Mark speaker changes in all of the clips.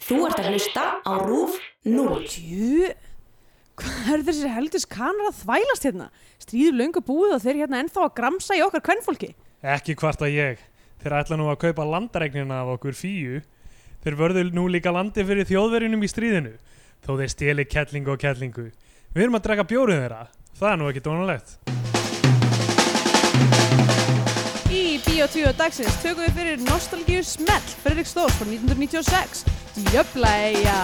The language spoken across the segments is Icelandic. Speaker 1: Þú ert að hlusta á RÚF 0.
Speaker 2: Jú, hvað er þessir heldis kanar að þvælast hérna? Stríður löngu búið og þeir hérna ennþá að gramsa í okkar kvennfólki.
Speaker 3: Ekki hvarta ég. Þeir ætla nú að kaupa landaregnina af okkur fíu. Þeir vörðu nú líka landi fyrir þjóðverjunum í stríðinu. Þó þeir steli kettlingu og kettlingu. Við erum að draka bjórið þeirra. Það er nú ekki dónalegt.
Speaker 2: Í Bíó 2 dagsins tökum við fyrir Nostalgíu Smell, Fredrik Stórs frá 1996, Djöflæja.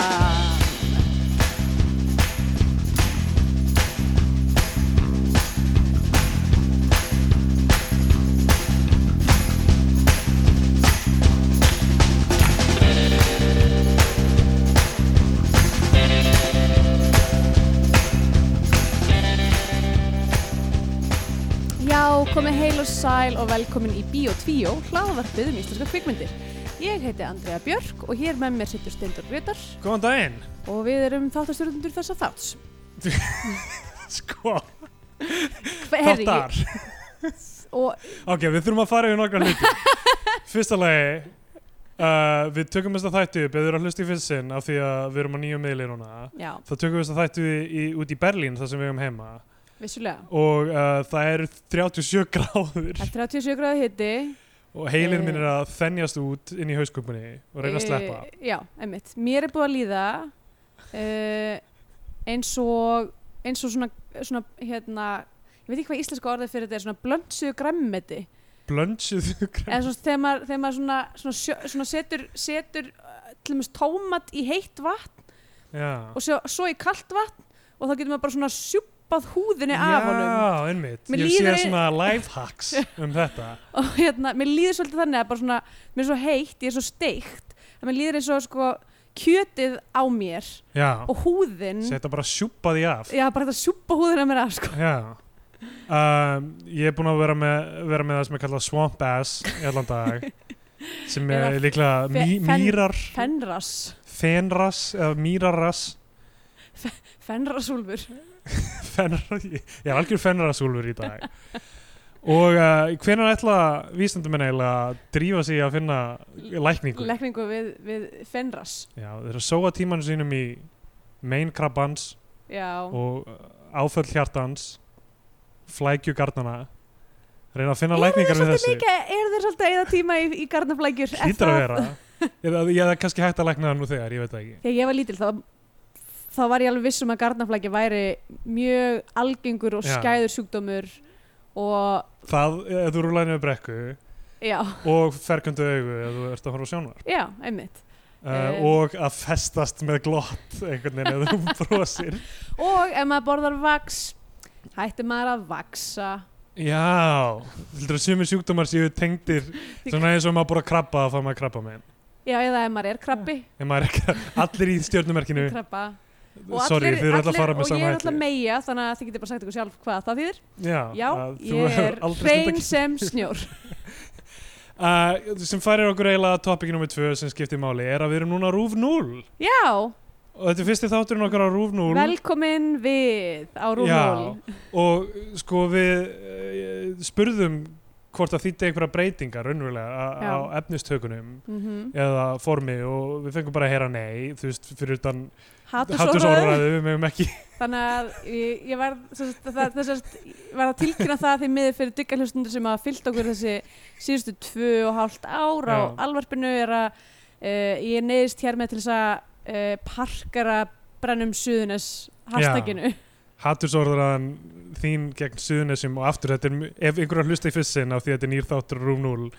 Speaker 2: Já, komið heil og sæl og velkomin í Bíó 2, hlaðvarpið um íslenska kvikmyndir. Ég heiti Andrea Björk og hér með mér sittur Steindur Grétar
Speaker 3: Góðan daginn.
Speaker 2: og við erum þáttastjórnundur þessa þátts.
Speaker 3: Sko,
Speaker 2: Hva- herri, ég-
Speaker 3: þáttar.
Speaker 2: Og
Speaker 3: Ok, við þurfum að fara yfir nokkra hluti. Fyrsta lagi, uh, við tökum þess að þættu upp. Ef þið eru að hlusta í fyrst sinn af því að við erum á nýju miðli núna.
Speaker 2: já,
Speaker 3: Þá tökum við þess að þættu í, út í Berlín þar sem við erum heima.
Speaker 2: vissulega.
Speaker 3: Og uh, það eru 37 gráður.
Speaker 2: Það er 37 gráði hitti.
Speaker 3: og
Speaker 2: Eh.
Speaker 3: heilin minn er að þennjast út inn í hauskupunni og reyna að sleppa
Speaker 2: Eh, já, einmitt. Mér er búið að líða uh, eins og eins og svona, svona hérna, ég veit ekki hvað íslenska orðið fyrir þetta er svona blöndsuðu græmmeti
Speaker 3: blönsuð
Speaker 2: eða svona þegar maður, þegar maður svona, svona, sjö, svona setur, setur eh, til dæmis tómat í heitt vatn
Speaker 3: já,
Speaker 2: og svo, svo í kalt vatn og þá getur maður bara svona sjúpað húðinni af honum
Speaker 3: já einmitt
Speaker 2: Mér
Speaker 3: ég sé
Speaker 2: líður-
Speaker 3: svona life hacks um þetta
Speaker 2: og hérna, mér líður svolítið þannig að bara svona, mér er svo heitt, ég er svo steikt að mér líður eins og sko kjötið á mér
Speaker 3: já,
Speaker 2: og húðin
Speaker 3: setja bara sjúpa því af
Speaker 2: Já, bara þetta sjúpa húðina mér af, sko.
Speaker 3: já um, ég er búinn að vera með, vera með það sem er kallað swamp ass í allan dag sem er
Speaker 2: Eða
Speaker 3: líklega
Speaker 2: fe-
Speaker 3: mý,
Speaker 2: fen-
Speaker 3: mýrar
Speaker 2: Fenras.
Speaker 3: fenras eða mýrarras
Speaker 2: Fenrasúlfur.
Speaker 3: Fenra- ég er algjör fennarasúlfur í dag og uh, hvenær ætla vísindamenn eiginlega að drífa sig í að finna lækningu
Speaker 2: Lekningu við, við fenras.
Speaker 3: Já, þeir eru að sóa tímanu sínum í meinkrabbans
Speaker 2: Já.
Speaker 3: og uh, áföll hjartans flækju gardana reyna að finna lækningar við þessu
Speaker 2: Líka, eru þeir svolítið að eða tíma í, í garnaflækjur? Er
Speaker 3: hlýtur að
Speaker 2: það-
Speaker 3: vera eða, eða kannski hægt að lækna það nú þegar, ég veit það ekki
Speaker 2: Þegar ég var lítil, þá, þá var ég alveg viss um að garnaflækja væri mjög algengur og
Speaker 3: Já.
Speaker 2: skæður sjúkdómur og,
Speaker 3: það, ef þú rúlar niður brekku
Speaker 2: já,
Speaker 3: og ferköndu augu ef þú ert að horfa á sjónvar
Speaker 2: já, einmitt.
Speaker 3: uh,
Speaker 2: Eh.
Speaker 3: og að festast með glott einhvern veginn ef þú brosir
Speaker 2: Og ef maður borðar vaks, hættir maður að vaksa.
Speaker 3: Já, heldur að sumir sjúkdómar séu tengdir svona eins og maður búið að krabba að fá maður krabba með
Speaker 2: Já, eða ef maður er krabbi,
Speaker 3: en maður er ekki, allir í stjórnumerkinu
Speaker 2: krabba.
Speaker 3: sorry, þið eru alltaf að fara
Speaker 2: Og
Speaker 3: með
Speaker 2: ég
Speaker 3: sama
Speaker 2: er alltaf að
Speaker 3: hætti
Speaker 2: meia, þannig að þið getur bara sagt ykkur sjálf hvað það þýðir.
Speaker 3: Já,
Speaker 2: Já,
Speaker 3: að þú
Speaker 2: ég
Speaker 3: hefur
Speaker 2: er
Speaker 3: aldrei stundað
Speaker 2: hrein sem snjór.
Speaker 3: Uh, sem færir okkur eiginlega að topic nr. 2 sem skiptir máli er að við erum núna rúf 0
Speaker 2: Já,
Speaker 3: og þetta er fyrsti þátturinn okkar á rúf 0
Speaker 2: velkomin við á Rúmól.
Speaker 3: Já, og uh, sko við uh, spurðum hvort að þýtti einhverja breytingar raunverulega
Speaker 2: Já.
Speaker 3: á- á efnistökunum
Speaker 2: Mm -hmm.
Speaker 3: eða formi og við fengum bara að heyra nei þú veist, fyrir utan
Speaker 2: Hattusorðræður.
Speaker 3: við mögum ekki
Speaker 2: Þannig að ég, ég var, þess að, þess að, var að tilkynna það því miður fyrir diggarhlustundur sem hafa fyllt okkur þessi síðustu tvö og hálft ár á
Speaker 3: Já.
Speaker 2: alvarpinu er að uh, ég neyðist hér með til þess að uh, parkara brennum suðunes hashtaginu.
Speaker 3: hatursorðan þín gegn suðunesum og aftur, þetta er, mj- ef einhverjar hlusta í fyrst sinn af því þetta er nýr þáttur rúm 0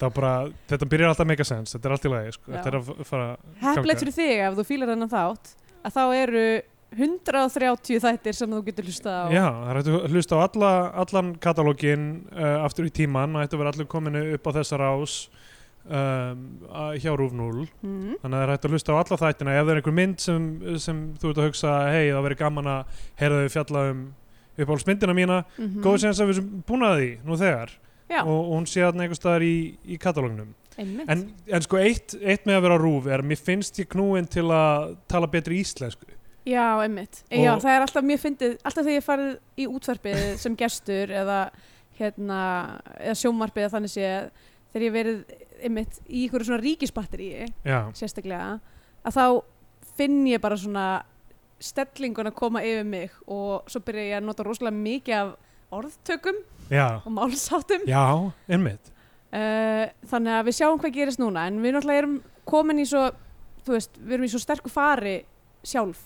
Speaker 3: þá bara, þetta byrjar alltaf að make sense þetta er allt í lagi, sko,
Speaker 2: Já.
Speaker 3: þetta er að f- fara
Speaker 2: Heppilegt
Speaker 3: ganga.
Speaker 2: fyrir þig ef þú fílar þennan þátt að þá eru 130 þættir sem þú getur hlustað á.
Speaker 3: Já, það er hægt að hlusta á alla, allan katalógin uh, aftur í tíman og þetta verður allir kominu upp á þessa rás um, að- hjá Rúf 0
Speaker 2: Mhm.
Speaker 3: þannig að það er hægt að hlusta á alla þættina ef það er einhver mynd sem, sem þú ert að hugsa hei, það verður gaman að heyra þau fjalla um uppáhaldsmyndina mína
Speaker 2: Mhm.
Speaker 3: góð séns að við sem búin að því nú þegar
Speaker 2: Já.
Speaker 3: og, og hún sé þarna einhvers staðar í, í katalógnum
Speaker 2: Einmitt.
Speaker 3: en, en sko eitt, eitt með að vera rúf er mér finnst ég knúin til að tala betri íslensku
Speaker 2: Já, einmitt.
Speaker 3: Og-
Speaker 2: Já, það er alltaf mjög fyndið, alltaf þegar ég er farið í útvarpið sem gestur eða, hérna, eða sjómarpið eða þannig sé þegar ég hef verið einmitt í ykkur svona ríkisbatteríi
Speaker 3: já,
Speaker 2: sérstaklega að þá finn ég bara svona stellingun að koma yfir mig og svo byrja ég að nota rosalega mikið af orðtökum
Speaker 3: Já,
Speaker 2: og málsáttum
Speaker 3: já, einmitt.
Speaker 2: uh, þannig að við sjáum hvað gerist núna en við náttúrulega erum komin í svo þú veist, við erum í svo sterku fari sjálf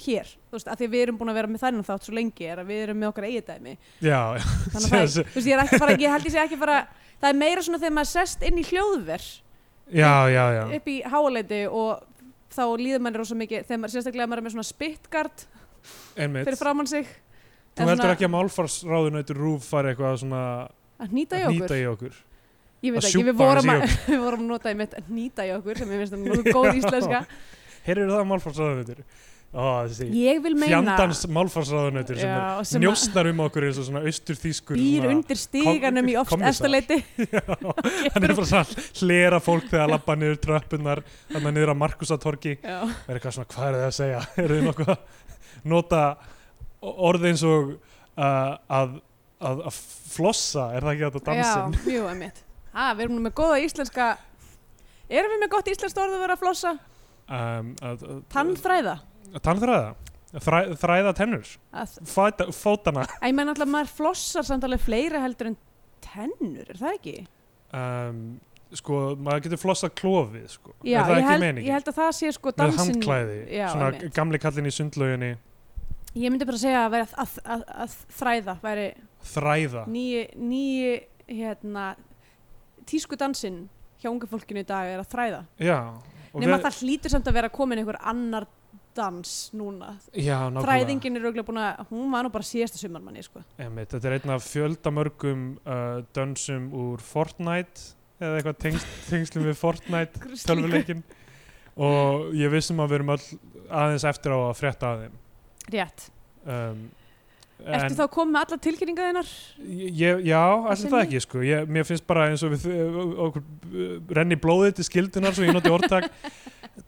Speaker 2: hér, þú veist, að því að við erum búin að vera með þennan þátt svo lengi er að við erum með okkar eigidæmi
Speaker 3: Já,
Speaker 2: þannig að það,
Speaker 3: Yes.
Speaker 2: er- þú veist, ég er ekki bara, ég held ég sé ekki bara það er meira svona þegar maður sest inn í hljóðver
Speaker 3: já, já, já.
Speaker 2: upp í háaleiti og þá líður manni rosa mikið þegar maður sérstaklega maður er með svona spytgard
Speaker 3: Einmitt.
Speaker 2: fyrir framann sig
Speaker 3: Þú heldur ekki að málfarsráðunautur rúf fari eitthvað að svona
Speaker 2: að nýta í
Speaker 3: að
Speaker 2: okkur
Speaker 3: nýta í okkur.
Speaker 2: ég veit
Speaker 3: að
Speaker 2: ekki, við
Speaker 3: sjúpa
Speaker 2: vorum, að,
Speaker 3: aðeins
Speaker 2: við vorum að nota í mitt að nýta í okkur sem ég finnst að nú góð íslenska
Speaker 3: Heyrðu það málfarsráðunautur? Ó, þessi
Speaker 2: ég vil meina
Speaker 3: fjandans málfarsráðunautur sem
Speaker 2: Já,
Speaker 3: er njóstnar um okkur eins og svona austurþýskur
Speaker 2: býr
Speaker 3: svona-
Speaker 2: undir stíganum í oft
Speaker 3: kommissar.
Speaker 2: efstaleiti
Speaker 3: hann er bara svona að hlera fólk þegar að labba niður tröppunar þannig að niður að Markusatorki
Speaker 2: já,
Speaker 3: er eitthvað svona, hvað er það að segja? er þið nokkuð að nota orð eins og uh, að, að, að flossa er það ekki þetta dansin?
Speaker 2: já, mjög að mitt að við erum nú með góða íslenska erum við með gott íslenskt orð að vera að flossa
Speaker 3: Um, að, að,
Speaker 2: tannþræða
Speaker 3: Tannþræða? Þræ, þræða tennur?
Speaker 2: að,
Speaker 3: Fæta, fótana?
Speaker 2: að ég menn alltaf maður flossar samt alveg fleira heldur en tennur, er það ekki?
Speaker 3: Um, sko, maður getur flossað klofið sko.
Speaker 2: Já,
Speaker 3: er það
Speaker 2: ég
Speaker 3: ekki
Speaker 2: held,
Speaker 3: meningin?
Speaker 2: ég held að það sé sko
Speaker 3: með
Speaker 2: dansin
Speaker 3: handklæði,
Speaker 2: já,
Speaker 3: svona
Speaker 2: einmitt.
Speaker 3: gamli kallinn í sundlauginni
Speaker 2: Ég myndi bara segja að, vera að, að, að, að þræða væri
Speaker 3: þræða
Speaker 2: nýji, nýji hérna, tísku dansin hjá ungu fólkinu í dag er að þræða
Speaker 3: Já, og
Speaker 2: Nefn að það hlýtur samt að vera komin einhver annar dans núna
Speaker 3: já, nákvæmlega.
Speaker 2: Þræðingin er auðvitað búin að, hún var nú bara síðasta sumarmanni sko.
Speaker 3: Einmitt, þetta er einn af fjöldamörgum uh, dönsum úr Fortnite eða eitthvað tengst, tengslum við Fortnite tölvuleikin og ég vissum að við erum all aðeins eftir á að frétta að þeim
Speaker 2: Rétt,
Speaker 3: um,
Speaker 2: ertu þá komið með alla tilkynninga þinnar?
Speaker 3: Ég, já, allir
Speaker 2: sem
Speaker 3: það
Speaker 2: ég-
Speaker 3: ekki sko ég, Mér finnst bara eins og við ö- okkur ö, renni blóðið til skildunar svo ég noti orðtak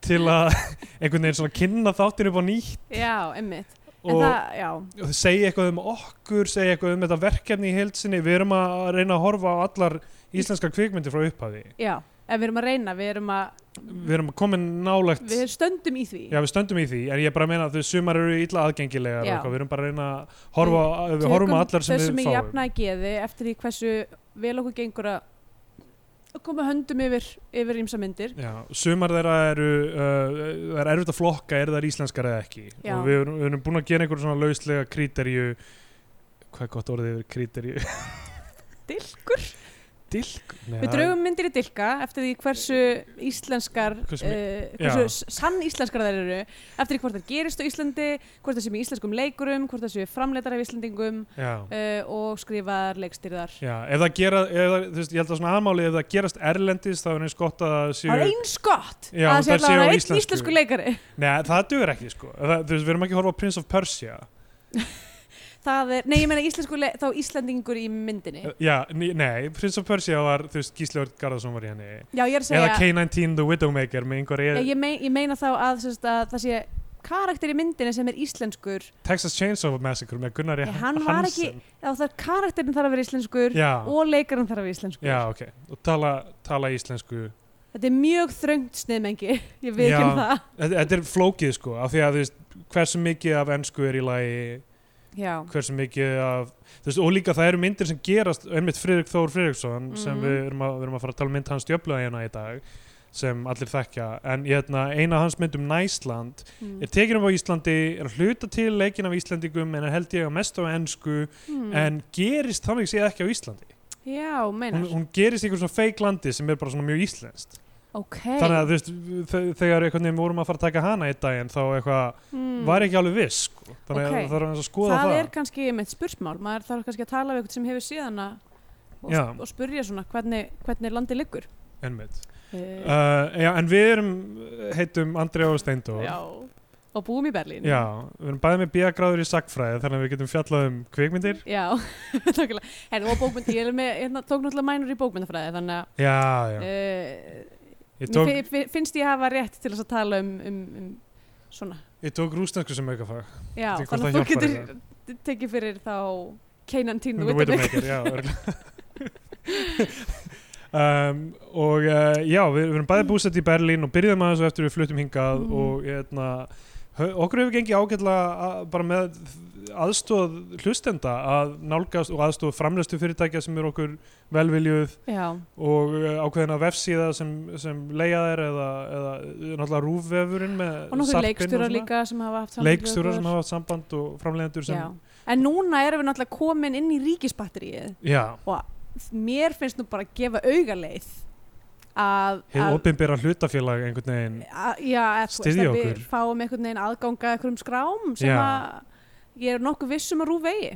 Speaker 3: til að einhvern veginn svona kynna þáttir upp á nýtt
Speaker 2: Já, emmitt, en
Speaker 3: og,
Speaker 2: það, já
Speaker 3: og þau segja eitthvað um okkur segja eitthvað um þetta verkefni í heilsinni við erum að reyna að horfa á allar íslenska kvikmyndir frá upphafi
Speaker 2: Já, en við erum að reyna, við erum að
Speaker 3: við erum komin nálægt
Speaker 2: við stöndum í því
Speaker 3: já við stöndum í því en ég bara meina að þau sumar eru illa aðgengilegar og
Speaker 2: Já.
Speaker 3: eitthvað, við erum bara að reyna að horfa á- við horfum á allar sem
Speaker 2: þessum
Speaker 3: við
Speaker 2: í
Speaker 3: fáum
Speaker 2: jafna að geði eftir því hversu vel okkur gengur að að koma höndum yfir yfir ímsa myndir
Speaker 3: já, sumar þeirra eru uh, það er erfitt að flokka er þær íslenskar eða ekki
Speaker 2: Já.
Speaker 3: og við erum, við erum búin að gera einhver svona lauslega kríterju hvað er gott orðið yfir kríterju
Speaker 2: Dilkur?
Speaker 3: dilk Nei,
Speaker 2: Við
Speaker 3: það-
Speaker 2: draugum myndir í dilka eftir því hversu íslenskar hversu,
Speaker 3: Hversu mi-
Speaker 2: uh,
Speaker 3: já.
Speaker 2: hversu s- sann íslenskar þær eru eftir því hvort það gerist á Íslandi hvort það sem í íslenskum leikurum hvort það sem framleitar af Íslandingum
Speaker 3: já.
Speaker 2: uh, og skrifaðar leikstyrðar
Speaker 3: Já, ef það gera, ef það, þú veist, ég held að svona aðmáli ef það gerast erlendis þá er eins gott að það séu,
Speaker 2: Það er eins gott
Speaker 3: Já,
Speaker 2: að það sé
Speaker 3: þær séu
Speaker 2: allavega
Speaker 3: á
Speaker 2: einn
Speaker 3: íslensku.
Speaker 2: íslensku. leikari
Speaker 3: neða það dugur ekki sko, Ef það, þú veist, við erum ekki að horfa á Prince of Persia,
Speaker 2: Það er, nei ég meina íslensku le þá Íslandingur í myndinni
Speaker 3: já, nei, nei Prince of Persia var, þú veist, Gísli Örn Garðarsson var í henni,
Speaker 2: Já ég er að segja
Speaker 3: eða K-19 The Widowmaker með einhver
Speaker 2: Já,
Speaker 3: er,
Speaker 2: ég, mei, ég meina þá að, sérst, að það sé karakter í myndinni sem er íslenskur
Speaker 3: Texas Chainsaw Massacre með Gunnar
Speaker 2: Nei, hann
Speaker 3: Hansen,
Speaker 2: var ekki- þá þarf karakterin þarf að vera íslenskur
Speaker 3: já,
Speaker 2: og leikarinn þarf að vera íslenskur
Speaker 3: já, ok, og tala, tala íslensku,
Speaker 2: þetta er mjög þröngt sniðmengi ég veit ekki
Speaker 3: Já.
Speaker 2: um það
Speaker 3: þetta, þetta er flókið sko, af því að, þú veist, hversu mikið af ensku er í lagi,
Speaker 2: já,
Speaker 3: hversu mikið af þú veist, og líka það eru myndir sem gerast einmitt Friðrik Þór Friðriksson sem
Speaker 2: Mhm.
Speaker 3: við erum, að, við erum að fara að tala um mynd hans djöflaði hérna í dag sem allir þekkja en hérna, eina hans mynd um Næsland er
Speaker 2: mm.
Speaker 3: tekin um á Íslandi, er að hluta til leikin af Íslandingum en er held ég að mest á ensku
Speaker 2: Mm.
Speaker 3: en gerist þannig séð ekki á Íslandi
Speaker 2: já, meinar
Speaker 3: hún, hún gerist í einhver svona feik landi sem er bara svona mjög íslenskt
Speaker 2: ok
Speaker 3: þannig að þú veist, þe- þegar einhvern veginn vorum að fara að taka hana í daginn þá eitthvað,
Speaker 2: mm.
Speaker 3: var ekki alveg viss sko. þannig
Speaker 2: Ok.
Speaker 3: að það er aðeins að skoða
Speaker 2: það
Speaker 3: það,
Speaker 2: er kannski með spursmál maður þarf kannski að tala við eitthvað sem hefur síðan og,
Speaker 3: Já.
Speaker 2: og spurja svona hvernig, hvernig landi liggur
Speaker 3: einmitt
Speaker 2: uh,
Speaker 3: Uh, já, en við erum, eh, heitum Andri og Steindór.
Speaker 2: já, og búum í Berlín
Speaker 3: Já, við erum bæðið með bíagráður í sagfræði þannig að við getum fjallað um kvikmyndir.
Speaker 2: já, nákvæmlega Herðu, og bókmynd, ég er með, hérna, tók náttúrulega mænur í bókmyndafræði þannig að
Speaker 3: Já, já.
Speaker 2: Uh,
Speaker 3: Ég tók,
Speaker 2: mér fi- fi- finnst ég hafa rétt til þess að tala um, um, um svona
Speaker 3: ég tók rústensku sem aukafag.
Speaker 2: já,
Speaker 3: Veit ekki hvort
Speaker 2: þannig að þú
Speaker 3: það hjálpar
Speaker 2: getur tekið fyrir þá Kenan Tínu
Speaker 3: Widowmaker, já. örugglega. um, og uh, já, við, við erum bæði búsett í Berlín og byrjuðum aðeins og eftir við fluttum hingað
Speaker 2: Mm.
Speaker 3: og hérna, hö- okkur hefur gengið ágætlega að, bara með aðstóð hlustenda að nálgast og aðstóð framlöstu fyrirtækja sem eru okkur velviljuð
Speaker 2: já,
Speaker 3: og uh, ákveðina vefsíða sem, sem leiða þær eða, eða náttúrulega rúfvefurinn með
Speaker 2: og nokkur
Speaker 3: sarpinn
Speaker 2: leikstjórar
Speaker 3: svona.
Speaker 2: líka sem hafa haft samband við
Speaker 3: leikstjórar sem
Speaker 2: okkur.
Speaker 3: hafa haft samband og framleiðendur sem
Speaker 2: Já. en núna erum við náttúrulega komin inn í ríkisbatteríið
Speaker 3: Já,
Speaker 2: mér finnst nú bara að gefa augaleið að,
Speaker 3: hefur opinbera hlutafélag einhvern veginn
Speaker 2: að, já, að, þú veist,
Speaker 3: Styðja
Speaker 2: að við
Speaker 3: okkur.
Speaker 2: fáum einhvern veginn aðganga einhverjum skrám sem
Speaker 3: Já.
Speaker 2: að ég er nokkuð viss um að rúf vegi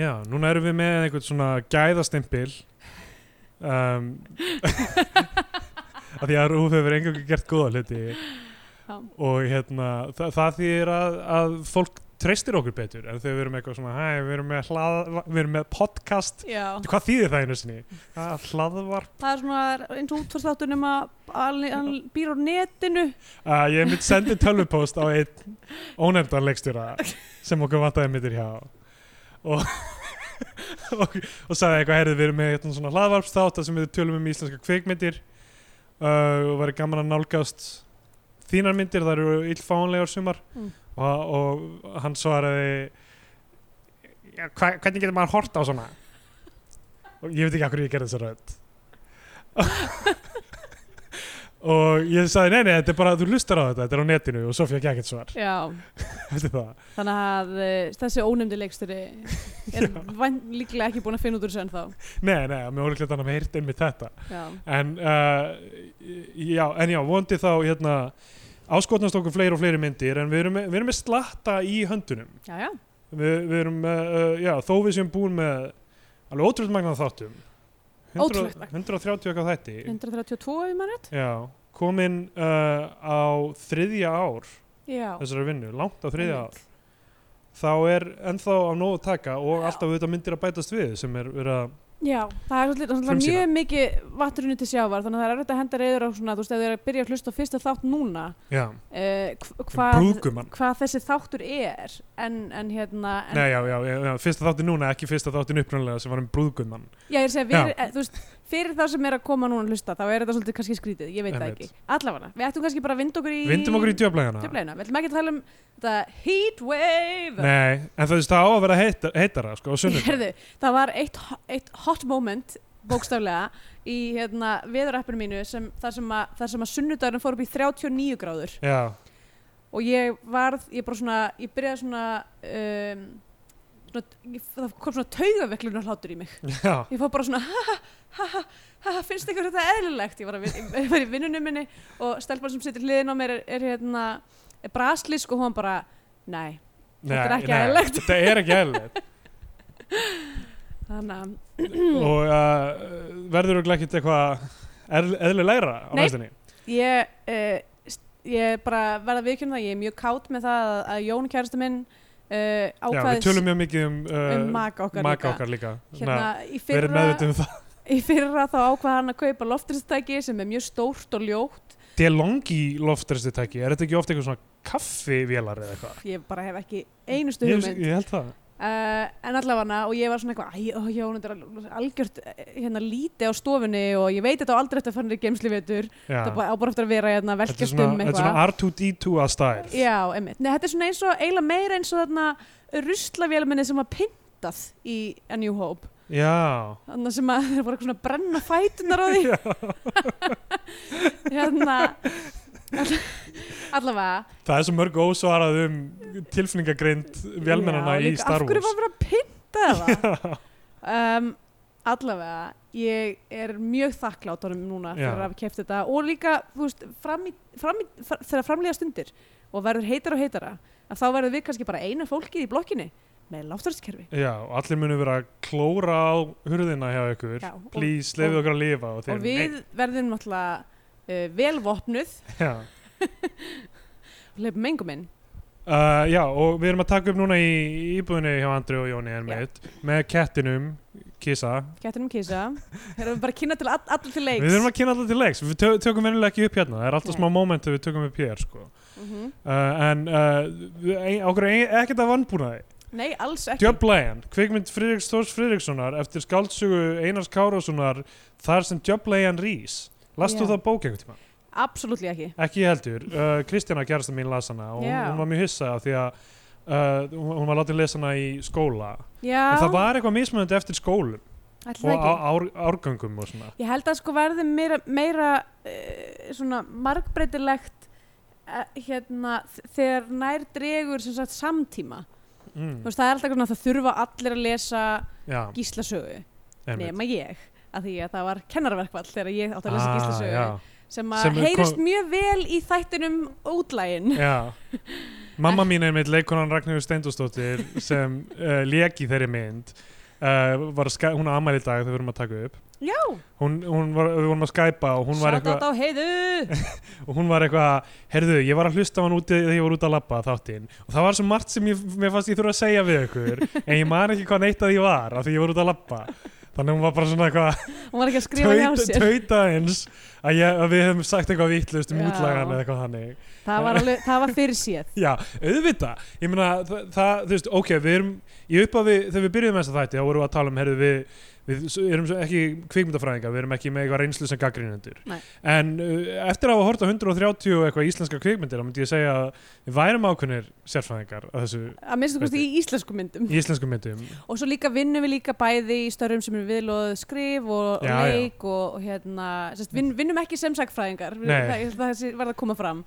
Speaker 3: Já, núna erum við með einhvern svona gæðastimpil um, að því að Rúf hefur einhverjum gert góða hluti
Speaker 2: Já.
Speaker 3: og hérna, þa það þýðir að, að fólk treystir okkur betur en þegar við erum eitthvað svona, hæ, við erum með, hlað, við erum með podcast
Speaker 2: já.
Speaker 3: hvað þýðir það einu sinni? Það er Hlaðvarp
Speaker 2: það er svona eins og útvarstáttunum að að- hann býr á netinu
Speaker 3: Uh, ég mynd sendi tölvupóst á einn ónefndan leikstjóra sem okkur vantaði myndir hjá og, og, og sagði eitthvað heyrðu við erum með eitthvað svona hlaðvarpstátt þar sem við tölum um íslenska kveikmyndir uh, og væri gaman að nálgast þínar myndir, það eru illfánlegar sumar
Speaker 2: Mm.
Speaker 3: og, og hann svaraði ja, hva, hvernig getur maður hort á svona og ég veit ekki af hverju ég gerði þessa rödd og ég sagði nei nei þetta er bara þú lustar á þetta, þetta er á netinu og svo fyrir ekki ekkert svar
Speaker 2: já.
Speaker 3: eftir það
Speaker 2: þannig að uh, þessi ónefndi leikstjóri er væn, líklega ekki búin að finna út úr þessu ennþá
Speaker 3: Nei, nei, mér voru hlutan að mér hirti einmitt þetta
Speaker 2: já,
Speaker 3: en, uh, já, en já, vondi þá hérna, áskotnast okkur fleiri og fleiri myndir en við erum, með- við erum með slatta í höndunum
Speaker 2: já, já.
Speaker 3: við, við erum með, uh, já, þó við séum búin með alveg ótrúlega magna þáttum 100,
Speaker 2: Ótrúlegt magn.
Speaker 3: 130 eitthvað þætti
Speaker 2: 132 í mann rétt
Speaker 3: já, komin uh, á þriðja ár
Speaker 2: já,
Speaker 3: þessari vinnu, langt á þriðja ár
Speaker 2: einmitt.
Speaker 3: þá er ennþá á nóg að taka og
Speaker 2: Já.
Speaker 3: alltaf auðvitað myndir að bætast við sem er verið að
Speaker 2: Já, það er svolítið, svolítið
Speaker 3: Frumsýna.
Speaker 2: mjög mikið vatnurinu til sjávar þannig að það er erfitt að henda reyður á svona þú veist, ef þið er að byrja að hlusta á fyrsta þátt núna
Speaker 3: já,
Speaker 2: uh, hvað
Speaker 3: brúðgumann
Speaker 2: hva þessi þáttur er en, en hérna en,
Speaker 3: Nei, já, já, já, já, fyrsta þáttin núna, ekki fyrsta þáttin upprunalega sem var um brúðgumann.
Speaker 2: Já, ég er að segja, við, eh, þú veist, fyrir þá sem er að koma núna að hlusta, þá er þetta svolítið kannski skrítið, ég veit það
Speaker 3: Einmitt.
Speaker 2: ekki. Allavega, við ættum kannski bara að vinda okkur í...
Speaker 3: Vindum okkur í djöflægana.
Speaker 2: djöflegina. Við ætlum ekki að tala um þetta heat wave.
Speaker 3: Nei, en það, það á að vera heitar, heitara, sko, á sunnum.
Speaker 2: Herðu, það var eitt, ho- eitt hot moment, bókstaflega, í hérna, veðurappinu mínu, sem, þar, sem að, þar sem að sunnudagurinn fór upp í 39 gráður.
Speaker 3: Já,
Speaker 2: Og ég varð, ég bara svona, ég byrjaði svona... Um, Svona, ég- það kom svona taugaveiklun hlátur í mig
Speaker 3: já,
Speaker 2: ég fór bara svona ha ha ha ha ha ha finnst ykkur þetta eðlilegt ég var, að, vin- ég var í vinnunum minni og stelpan sem situr hliðin á mér er, er hérna er braslísk og hún bara nei,
Speaker 3: nei,
Speaker 2: Þetta er ekki
Speaker 3: nei,
Speaker 2: eðlilegt.
Speaker 3: Þetta er ekki eðlilegt.
Speaker 2: þannig að
Speaker 3: Og uh, verður okkur ekkert eitthvað eðl- eðlilegra á
Speaker 2: Nei.
Speaker 3: næstinni?
Speaker 2: ég, uh, ég bara verða viðkjörn það, ég er mjög kátt með það að, að Jón kærastu minn uh,
Speaker 3: Já, við
Speaker 2: ákvaðis
Speaker 3: tölum mjög mikið um, uh,
Speaker 2: um maka okkar
Speaker 3: maka
Speaker 2: líka
Speaker 3: okkar líka.
Speaker 2: hérna í
Speaker 3: verið
Speaker 2: fyrra,
Speaker 3: meðvitið um það.
Speaker 2: í fyrra þá ákvað hann að kaupa loftristæki sem er mjög stórt og ljótt
Speaker 3: DeLonghi loftresti tæki, er þetta ekki ofta eitthvað svona kaffivélar eða eitthvað?
Speaker 2: ég bara hef ekki einustu
Speaker 3: Ég,
Speaker 2: hugmynd
Speaker 3: ég held það.
Speaker 2: uh, en allavega og ég var svona eitthvað, æ, ó, Jón, þetta er al- algjört eh, hérna líti á stofunni og ég veit þetta á aldrei eftir að fara niður geimsli vetur
Speaker 3: Já.
Speaker 2: þetta á bara eftir að vera hérna
Speaker 3: Þetta er
Speaker 2: velkjast
Speaker 3: svona,
Speaker 2: um
Speaker 3: þetta er svona
Speaker 2: eitthvað
Speaker 3: R2D2 að stær.
Speaker 2: já, einmitt, Nei, þetta er svona eins og eiginlega meira eins og þarna ruslavéluminni sem var pyntað í A New Hope
Speaker 3: Já.
Speaker 2: þannig sem að þeir voru eitthvað svona að brenna fætunar á því hérna all- allavega
Speaker 3: Það er svo mörg ósvarað um tilfinningagreind velmennana
Speaker 2: Já,
Speaker 3: í
Speaker 2: líka,
Speaker 3: Star
Speaker 2: af hverju var
Speaker 3: Wars.
Speaker 2: verið að pynta það um, allavega ég er mjög þakklátt honum núna
Speaker 3: Já.
Speaker 2: fyrir að hafa keft þetta og líka þú veist, fram í, fram í, fr þegar framlega stundir og verður heitara og heitara að þá verður við kannski bara eina fólkið í blokkinni með láftarskerfi
Speaker 3: Já, og allir munu vera að klóra á hurðina hjá ykkur.
Speaker 2: Já, og-
Speaker 3: Please,
Speaker 2: og-
Speaker 3: lefið okkur að lifa. Og, þeir,
Speaker 2: og við verðum náttúrulega uh, velvopnuð
Speaker 3: Nei, já.
Speaker 2: og leifum engum inn
Speaker 3: Uh, já, og við erum að taka upp núna í í íbúðinni hjá Andri og Jóni
Speaker 2: Já.
Speaker 3: Ermeit með kettinum, Kisa.
Speaker 2: getur um kísa erum við bara að kynna til all, allir til leiks
Speaker 3: Við erum að kynna alltaf til leiks. Við tö- tökum venjulega ekki upp hérna. Það er alltaf
Speaker 2: Nei.
Speaker 3: smá moment þegar við tökum upp hér, sko.
Speaker 2: Mhm.
Speaker 3: Uh, en uh, við- ein- okkur er ein- ekkert að vannbúnaði.
Speaker 2: Nei, alls ekki.
Speaker 3: Djöblæjan, kvikmynd Friðriks Þórs Friðrikssonar eftir skáldsögu Einars Kárássonar þar sem Djöblæjan rís. Lastu
Speaker 2: Já.
Speaker 3: það bók einhvern tíma?
Speaker 2: Absolutt ekki.
Speaker 3: Ekki ég heldur. Uh, Kristjana gerðast mín las hana og hún,
Speaker 2: Já.
Speaker 3: hún var mjög hissa af því að uh, hún- hún var látið lesa hana í skóla.
Speaker 2: Já,
Speaker 3: En það var eitthvað mismunandi eftir skólum
Speaker 2: ætli það
Speaker 3: og
Speaker 2: ekki.
Speaker 3: á, ár, árgöngum og svona.
Speaker 2: Ég held að sko verði meira, meira uh, svona margbreytilegt uh, hérna þ- þegar nær dregur sem sagt samtíma. Þú
Speaker 3: Mm.
Speaker 2: veist, það er alltaf svona að það þurfa allir að lesa
Speaker 3: Já,
Speaker 2: gíslasögu,
Speaker 3: einmitt.
Speaker 2: nema ég. Að því að það var kennarverkvall þegar ég átti að lesa
Speaker 3: Ah,
Speaker 2: gíslasögu.
Speaker 3: já,
Speaker 2: Sem að
Speaker 3: Sem er
Speaker 2: heyrist
Speaker 3: kom-
Speaker 2: mjög vel í þættinum útlægin.
Speaker 3: já. Mamma mín er mitt leikonan Ragnhjóður Steindósdóttir sem uh, lék í þeirri mynd. Uh, var að ska- hún á ammæli í dag þegar við vorum að taka upp.
Speaker 2: Já,
Speaker 3: Hún, hún var, við vorum að skæpa og hún var
Speaker 2: sátt
Speaker 3: eitthvað,
Speaker 2: á heiðu.
Speaker 3: og hún var eitthvað, herðu, ég var að hlusta á hann úti þegar ég var út að labba þáttinn og það var svo margt sem ég, mér fannst ég þurfa að segja við ykkur en ég man ekki hvað neitt að ég var af því ég var út að labba. Þannig hún var bara svona eitthvað,
Speaker 2: Hún var ekki að skrifa hjá
Speaker 3: tauta,
Speaker 2: sér.
Speaker 3: tauta eins að, ég, að við hefum sagt eitthvað vittlust um
Speaker 2: Já.
Speaker 3: útlagan eða eitthvað hannig
Speaker 2: Það var, alveg, það var fyrir séð.
Speaker 3: já, auðvitað, ég meina það, það, þú veist, ok, við erum í upphafi, þegar við byrjuðum þess að þætti, þá vorum við að tala um herðu, við, við s- erum svo ekki kvikmyndafræðingar, við erum ekki með eitthvað reynslu sem gaggrinendur
Speaker 2: Nei.
Speaker 3: en uh, eftir að hafa horta 130 og eitthvað íslenska kvikmyndir, þá myndi ég segja að við værum ákunnir sérfræðingar að þessu
Speaker 2: Að minnstu kosti í íslensku myndum.
Speaker 3: í íslensku myndum
Speaker 2: Og svo líka vinnum við líka bæði í störfum sem eru viðlóð skrif og
Speaker 3: Já, já.
Speaker 2: leik og, og hérna, sérst, vinn, vinnum ekki sem sagfræðingar,
Speaker 3: Nei.
Speaker 2: það, það, það var það að koma fram.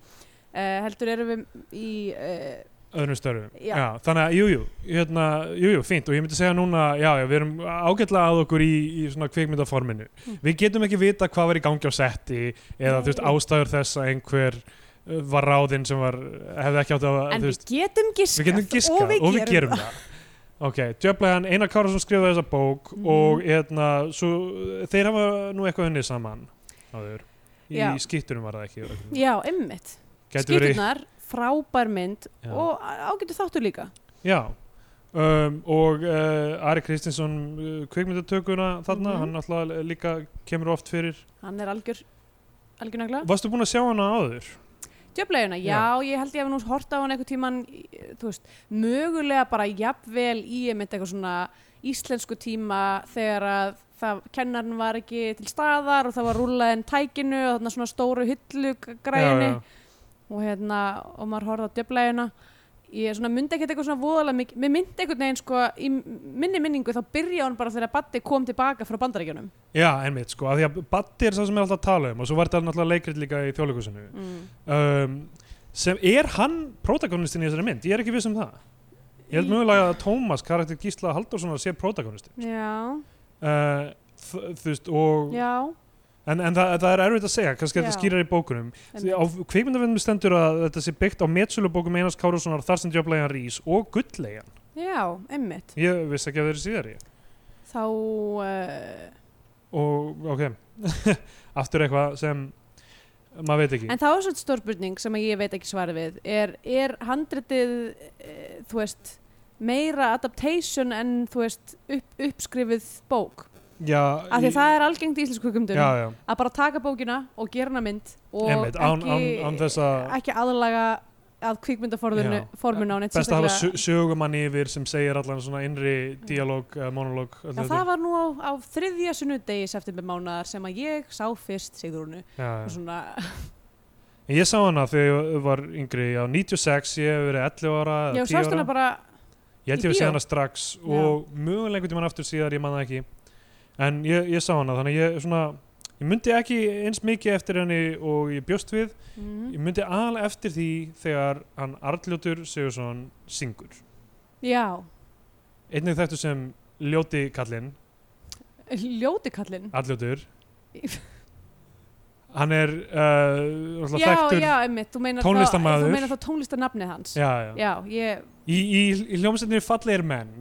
Speaker 2: Uh, heldur erum við í, uh,
Speaker 3: öðrum störfum
Speaker 2: Já.
Speaker 3: þannig að, jújú, jú, hérna, jújú, jú, fínt og ég myndi segja núna, já, já, við erum ágætlega að okkur í, í svona kvikmyndaforminu
Speaker 2: Mm.
Speaker 3: við getum ekki vita hvað var í gangi á setti eða, þú veist,
Speaker 2: Nei.
Speaker 3: ástæður þess að einhver uh, var ráðinn sem var hefði ekki átt að,
Speaker 2: en
Speaker 3: þú
Speaker 2: við
Speaker 3: veist
Speaker 2: getum giskað,
Speaker 3: við getum giskað
Speaker 2: og við gerum, það.
Speaker 3: það ok, djöflegan, Einar Kárasson skrifaði þessa bók
Speaker 2: Mhm.
Speaker 3: og, hérna, svo þeir hafa nú eitthvað unnið saman áður, í
Speaker 2: Já.
Speaker 3: skýttunum var það ekki
Speaker 2: Já, ymmit.
Speaker 3: Gæti verið-
Speaker 2: Skýtunar, frábær mynd
Speaker 3: Já.
Speaker 2: og ágætu þáttur líka.
Speaker 3: Já um, og uh, Ari Kristinsson uh, kvikmyndatökuna þarna
Speaker 2: Mhm.
Speaker 3: hann náttúrulega líka kemur oft fyrir
Speaker 2: Hann er algjör, algjör nagla.
Speaker 3: Varstu búin að sjá hana áður?
Speaker 2: Djöflaugina, já, ég held ég að nú horta á hann einhvern tíman, þú veist, mögulega bara jafnvel í einmitt eitthvað svona íslensku tíma þegar að það, kennarinn var ekki til staðar og það var rúlaðin tækinu og þarna svona stóru hyllugræðinu
Speaker 3: Já, já.
Speaker 2: og hérna, og maður horfði á djöflaugina. Ég svona myndi ekkert eitthvað svona voðalega mikið, mér myndi einhvern veginn sko, í minni minningu þá byrja hún bara þegar Batti kom tilbaka frá bandaríkjunum.
Speaker 3: Já, einmitt sko, af því að Batti er það sem er alltaf að tala um og svo var þetta náttúrulega leikrit líka í þjóðleikusinu
Speaker 2: Mm.
Speaker 3: um, sem er hann protagonistin í þessari mynd, ég er ekki viss um það Ég held
Speaker 2: Í-
Speaker 3: mögulega að Tómas, karakter Gísla Halldórssonar sé protagonistin
Speaker 2: Já,
Speaker 3: uh, þ- þú veist, og
Speaker 2: já.
Speaker 3: en, en það, það er erfitt að segja, kannski þetta
Speaker 2: Já.
Speaker 3: skýrar í bókunum
Speaker 2: einmitt.
Speaker 3: á kvikmyndavennum stendur að þetta sé byggt á metsölubókum Einars Kárássonar þar sem djöflegan rís og gulllegan
Speaker 2: Já, einmitt.
Speaker 3: ég vissi ekki að þeir eru síðari
Speaker 2: Þá... Uh,
Speaker 3: og ok aftur eitthvað sem maður veit ekki
Speaker 2: En þá er svona stórspurning sem að ég veit ekki svarið við er, er handritið e, þú veist meira adaptation en þú veist upp, uppskrifið bók
Speaker 3: já,
Speaker 2: af því að það er algengt í íslensku
Speaker 3: já,
Speaker 2: kumdum
Speaker 3: já,
Speaker 2: að bara taka bókina og gera hana mynd og
Speaker 3: Einmitt, án-
Speaker 2: ekki,
Speaker 3: án- án þess að-
Speaker 2: ekki aðlaga að kvikmyndaforðinu
Speaker 3: Já.
Speaker 2: forminu á neitt
Speaker 3: best að hafa
Speaker 2: sérstaklega.
Speaker 3: sö- sögumann yfir sem segir allan svona innri dialóg, uh, monológ
Speaker 2: Já, það var nú á, á þriðja sunnudegi september mánar sem að ég sá fyrst Sigrúnu
Speaker 3: já,
Speaker 2: og
Speaker 3: já.
Speaker 2: svona,
Speaker 3: En ég sá hana þegar ég var yngri á 96, ég hef verið 11 ára eða
Speaker 2: já,
Speaker 3: 10
Speaker 2: sást
Speaker 3: ára.
Speaker 2: hana bara
Speaker 3: Ég held
Speaker 2: Í
Speaker 3: ég að sé
Speaker 2: bíó?
Speaker 3: hana strax
Speaker 2: Já.
Speaker 3: og mögulega einhvern tímann aftur síðar, ég man það ekki. En ég, ég sá hana, þannig að ég svona, ég myndi ekki eins mikið eftir henni og ég bjóst við.
Speaker 2: mm,
Speaker 3: Ég myndi al eftir því þegar hann Arnljótur Sigursson syngur.
Speaker 2: já,
Speaker 3: Einnig þetta sem ljóti kallinn,
Speaker 2: ljóti kallinn
Speaker 3: Arnljótur. Hann er uh,
Speaker 2: já,
Speaker 3: þekktur
Speaker 2: já, einmitt, þú meinar þá,
Speaker 3: tónlistarmaður.
Speaker 2: þú meinar þá tónlistarnafnið hans
Speaker 3: Já, já.
Speaker 2: já, ég,
Speaker 3: Í, í, í hljómsveitinu fallegir menn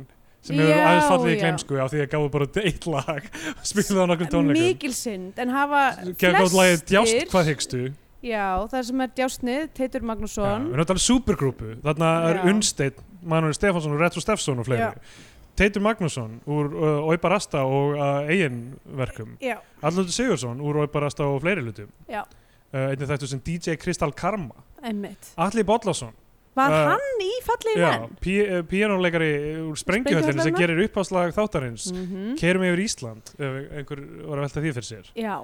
Speaker 3: sem hefur
Speaker 2: Já,
Speaker 3: aðeins fallið í
Speaker 2: já.
Speaker 3: glemsku á því að gáðu bara eitt lag og spilaði á nokkrum tónleikum.
Speaker 2: mikil synd en hafa
Speaker 3: Gæði góð lagið
Speaker 2: flestir
Speaker 3: Djást, hvað hyggstu?
Speaker 2: já, það sem er djásnið, Teitur
Speaker 3: Já,
Speaker 2: Magnússon
Speaker 3: við erum að tala um supergrúpu. Þarna er
Speaker 2: Já.
Speaker 3: Unnsteinn, Manuel Stefánsson og Retro Stefsson og fleiri. Teitur Magnússon úr uh, Óipa Rasta og uh, eigin verkum.
Speaker 2: já,
Speaker 3: Allur Sigursson úr Óipa Rasta og fleiri hlutum.
Speaker 2: Já.
Speaker 3: Uh, einnig þetta sem DJ Kristal Karma.
Speaker 2: einmitt
Speaker 3: Alli Bollason,
Speaker 2: Var
Speaker 3: Eh,
Speaker 2: hann í fallegi
Speaker 3: Já,
Speaker 2: menn?
Speaker 3: pí, eh, píanóleikari úr sprengjuhöllinni sem
Speaker 2: Sprengjuhöllinna?
Speaker 3: gerir uppáslag þáttarins mm.
Speaker 2: Mm
Speaker 3: kerum yfir Ísland ef einhver var að velta því fyrir sér
Speaker 2: Já.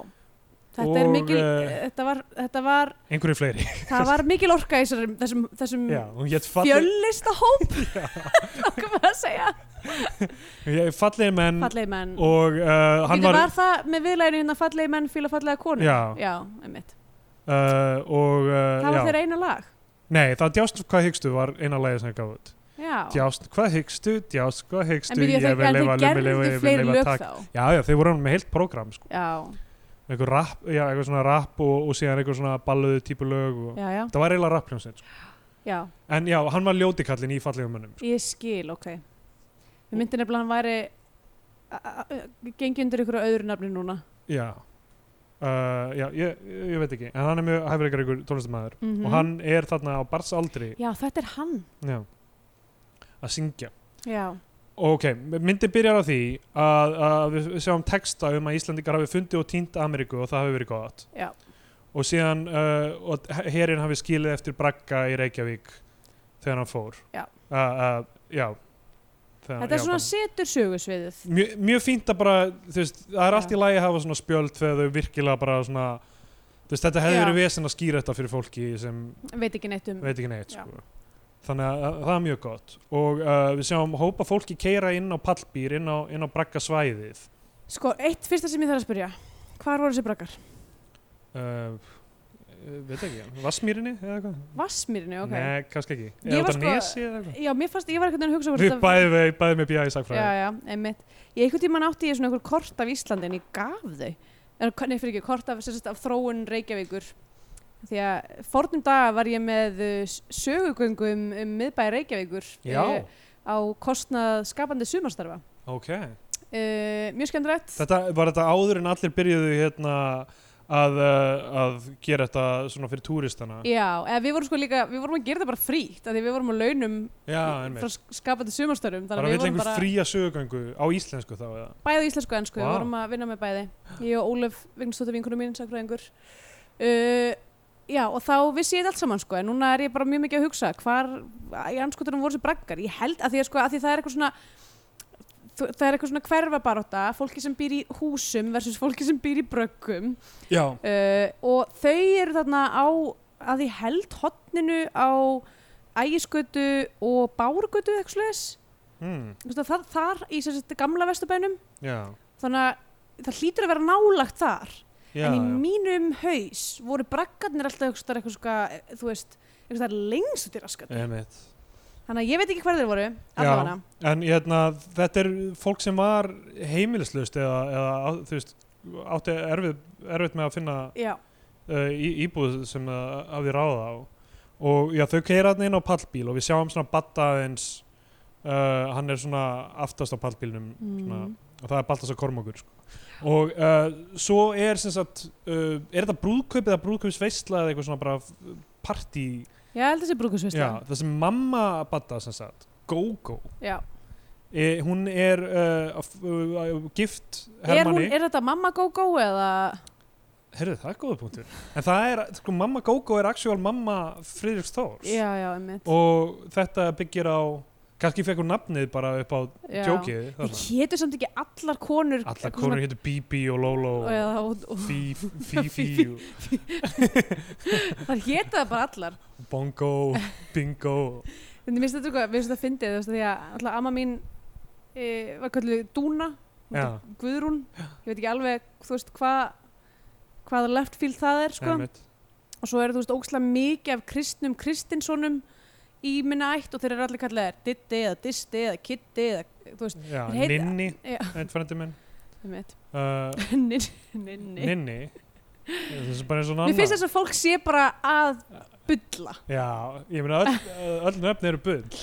Speaker 2: Þetta er
Speaker 3: Og,
Speaker 2: mikil,
Speaker 3: eh,
Speaker 2: þetta var, þetta var,
Speaker 3: einhverju fleiri
Speaker 2: það var mikil orka í þessum, þessum, þessum
Speaker 3: Já, hún hétt falleg,
Speaker 2: fjöllista hóp, okkur maður að segja.
Speaker 3: fallegi menn
Speaker 2: Fallegi menn.
Speaker 3: og uh, hann
Speaker 2: Býtu, var...
Speaker 3: var
Speaker 2: það með viðlæðinu hérna fallegi menn fíla fallega konu?
Speaker 3: Já.
Speaker 2: einmitt.
Speaker 3: uh, og uh,
Speaker 2: Það var
Speaker 3: já.
Speaker 2: þeirra eina lag.
Speaker 3: Nei, það djást hvað hyggstu var eina lagi sem ég gaf út
Speaker 2: Já.
Speaker 3: Djást hvað hyggstu, djást hvað hyggstu
Speaker 2: en býtu,
Speaker 3: ég
Speaker 2: þeir,
Speaker 3: vil
Speaker 2: en
Speaker 3: lifa,
Speaker 2: þeir
Speaker 3: lumi, lifa,
Speaker 2: gerðu
Speaker 3: ég vil
Speaker 2: fleiri
Speaker 3: lifa
Speaker 2: lög
Speaker 3: takk
Speaker 2: þá.
Speaker 3: Já, já, þeir voru með heilt prógram sko.
Speaker 2: Já,
Speaker 3: einhver rap, já, eitthvað svona rap og, og síðan eitthvað svona balluðu típu lög og...
Speaker 2: já, já,
Speaker 3: það var eiginlega rappljónsinn sko.
Speaker 2: já,
Speaker 3: en já, hann var ljótikallin í fallegum mönnum sko.
Speaker 2: ég skil, ok. Við myndin nefnilega að hann væri a- a- a- gengi undir ykkur öðru nafni núna.
Speaker 3: já, uh, já ég, ég veit ekki en hann er mjög hæfileikar ykkur tónlistamæður
Speaker 2: Mhm.
Speaker 3: og hann er þarna á barsaldri
Speaker 2: Já, þetta er hann.
Speaker 3: já, að syngja
Speaker 2: Já,
Speaker 3: ok, myndi byrjar á því að, að við sjáum texta um að Íslandingar hafi fundið og týnt Ameríku og það hafi verið gott
Speaker 2: já,
Speaker 3: og síðan uh, og herin hafi skilið eftir bragga í Reykjavík þegar hann fór
Speaker 2: Já.
Speaker 3: uh, uh, já
Speaker 2: þetta
Speaker 3: þegar,
Speaker 2: er
Speaker 3: já,
Speaker 2: svona
Speaker 3: bara-
Speaker 2: setur sögusviðið.
Speaker 3: Mjö, mjög fínt að bara þú veist, það er
Speaker 2: Já.
Speaker 3: allt í lagi að hafa svona spjöld þegar þau virkilega bara svona þú veist, þetta hefði
Speaker 2: Já.
Speaker 3: verið vesen að skýra þetta fyrir fólki sem
Speaker 2: Veit ekki neitt um.
Speaker 3: veit ekki neitt
Speaker 2: Já.
Speaker 3: sko. þannig að, að það er mjög gott og uh, við sjáum hópa fólki keira inn á pallbýr, inn á, inn á bragga svæðið
Speaker 2: Sko, eitt fyrsta sem ég þarf að spyrja. Hvar voru þessi brakkar?
Speaker 3: uh, veit ekki, Vassmýrinni eða eitthvað?
Speaker 2: Vassmýrinu, ok.
Speaker 3: Nei, kannski ekki,
Speaker 2: Ég
Speaker 3: eða
Speaker 2: var
Speaker 3: út af
Speaker 2: sko-
Speaker 3: nesi eða eitthvað
Speaker 2: Já, mér fannst, ég var einhvern veginn að hugsa hvort
Speaker 3: Við bæðum við, bæði með bíða í
Speaker 2: Já,
Speaker 3: sagfræði
Speaker 2: já, einmitt. Ég einhvern tímann átti ég svona einhver kort af Íslandi en ég gaf þau. En, nei, fyrir ekki, kort af, sem sagt, af þróun Reykjavíkur. Því að fornum daga var ég með uh, s- sögugöngu um, um miðbæ Reykjavíkur eh, á kostnað skapandi sumarstarfa.
Speaker 3: ok
Speaker 2: Uh, mjög skemmtilegt.
Speaker 3: Þetta var þetta áður en allir byrjuðu hérna að, uh, að gera þetta svona fyrir túristana
Speaker 2: Já, eða við vorum sko líka, við vorum að gera það bara frítt, af því við vorum á launum
Speaker 3: Já,
Speaker 2: frá
Speaker 3: einmitt
Speaker 2: sk- skapandi sumarstörum,
Speaker 3: Bara
Speaker 2: þannig að
Speaker 3: vill
Speaker 2: við vorum
Speaker 3: einhver
Speaker 2: bara
Speaker 3: fría sögugöngu á íslensku þá eða
Speaker 2: bæði á íslensku og ennsku,
Speaker 3: Vá.
Speaker 2: við vorum að vinna með bæði ég og Ólef Vignstóttir vinkunum mín sakfræðingur uh, já og þá vissi ég þetta allt saman sko en núna er ég bara mjög mikið að hugsa hvar í anskotunum voru þessi braggar ég held að því að sko að því það er eitthvað svona þú- það er eitthvað svona hverfabaróta fólki sem býr í húsum versus fólki sem býr í bröggum
Speaker 3: Já
Speaker 2: uh, og þau eru þarna á að ég held hotninu á ægiskötu og bárgötu eitthvað slags
Speaker 3: mm,
Speaker 2: þar, þar í sem sagt gamla vesturbænum
Speaker 3: Já,
Speaker 2: þannig að það hlýtur að vera nálagt þar
Speaker 3: já,
Speaker 2: en í
Speaker 3: já.
Speaker 2: mínum haus voru braggarnir alltaf eitthvað, staðar eitthvað, svona, eh, þú veist, eitthvað staðar lengst út í raskat
Speaker 3: Einmitt.
Speaker 2: þannig að ég veit ekki hver þeir voru allavega
Speaker 3: En hérna, þetta er fólk sem var heimilislaust eða, eða á- þú veist, átti erfið, erfitt með að finna
Speaker 2: já,
Speaker 3: uh, í, íbúð sem það hafði ráða á og já, þau keira hann inn á pallbíl og við sjáum svona Batta aðeins uh, hann er svona aftast á pallbílnum svona,
Speaker 2: Mm.
Speaker 3: og það er Baltasar Kormokur sko. og uh, svo er sem sagt, uh, er þetta brúðkaup eða brúðkaupsveisla eða eitthvað svona bara partí,
Speaker 2: ég held þessi brúkusvisla
Speaker 3: já, það sem mamma Batta sem sagt, Gogo
Speaker 2: já.
Speaker 3: e, hún er uh, af- uh, gift
Speaker 2: Er, hún,
Speaker 3: Hermanni,
Speaker 2: er þetta mamma go-go eða
Speaker 3: herðu það er góða punktur en það er, sko, mamma Gogo er actual mamma Friðriks Þórs
Speaker 2: já, já, emmitt
Speaker 3: og þetta byggir á kannski fekk hún nafnið bara upp á djókið
Speaker 2: ég
Speaker 3: þarna.
Speaker 2: hétu samt ekki allar konur
Speaker 3: allar konur hittu Bibi og Lolo
Speaker 2: og,
Speaker 3: og
Speaker 2: eða, og, og,
Speaker 3: Fí- Fifi
Speaker 2: Fifi.
Speaker 3: og
Speaker 2: þar hétu það bara allar
Speaker 3: Bongo og Bingo
Speaker 2: En mér finnst þetta eitthvað, mér finnst þetta fyndið, þú veist, því að alltaf amma mín e, var kallið Dúna, hún
Speaker 3: Já.
Speaker 2: heitir Guðrún, ég veit ekki alveg, þú veist, hvað hvaða left field það er, sko.
Speaker 3: Einmitt.
Speaker 2: Og svo eru, þú veist, ógslag mikið af kristnum kristinssonum í minna ætt og þeir eru allir kallaðir Ditti eða Disti eða Kitti eða, þú veist,
Speaker 3: Já,
Speaker 2: Þeir heita-
Speaker 3: Ninni,
Speaker 2: Já.
Speaker 3: einn frændi minn
Speaker 2: ég veit,
Speaker 3: uh,
Speaker 2: ninni, ninni.
Speaker 3: Ninni það er bara eins og
Speaker 2: Mér
Speaker 3: nanna
Speaker 2: finnst þess að fólk sé bara að bulla,
Speaker 3: Já, ég meina öll, öll nöfn eru bull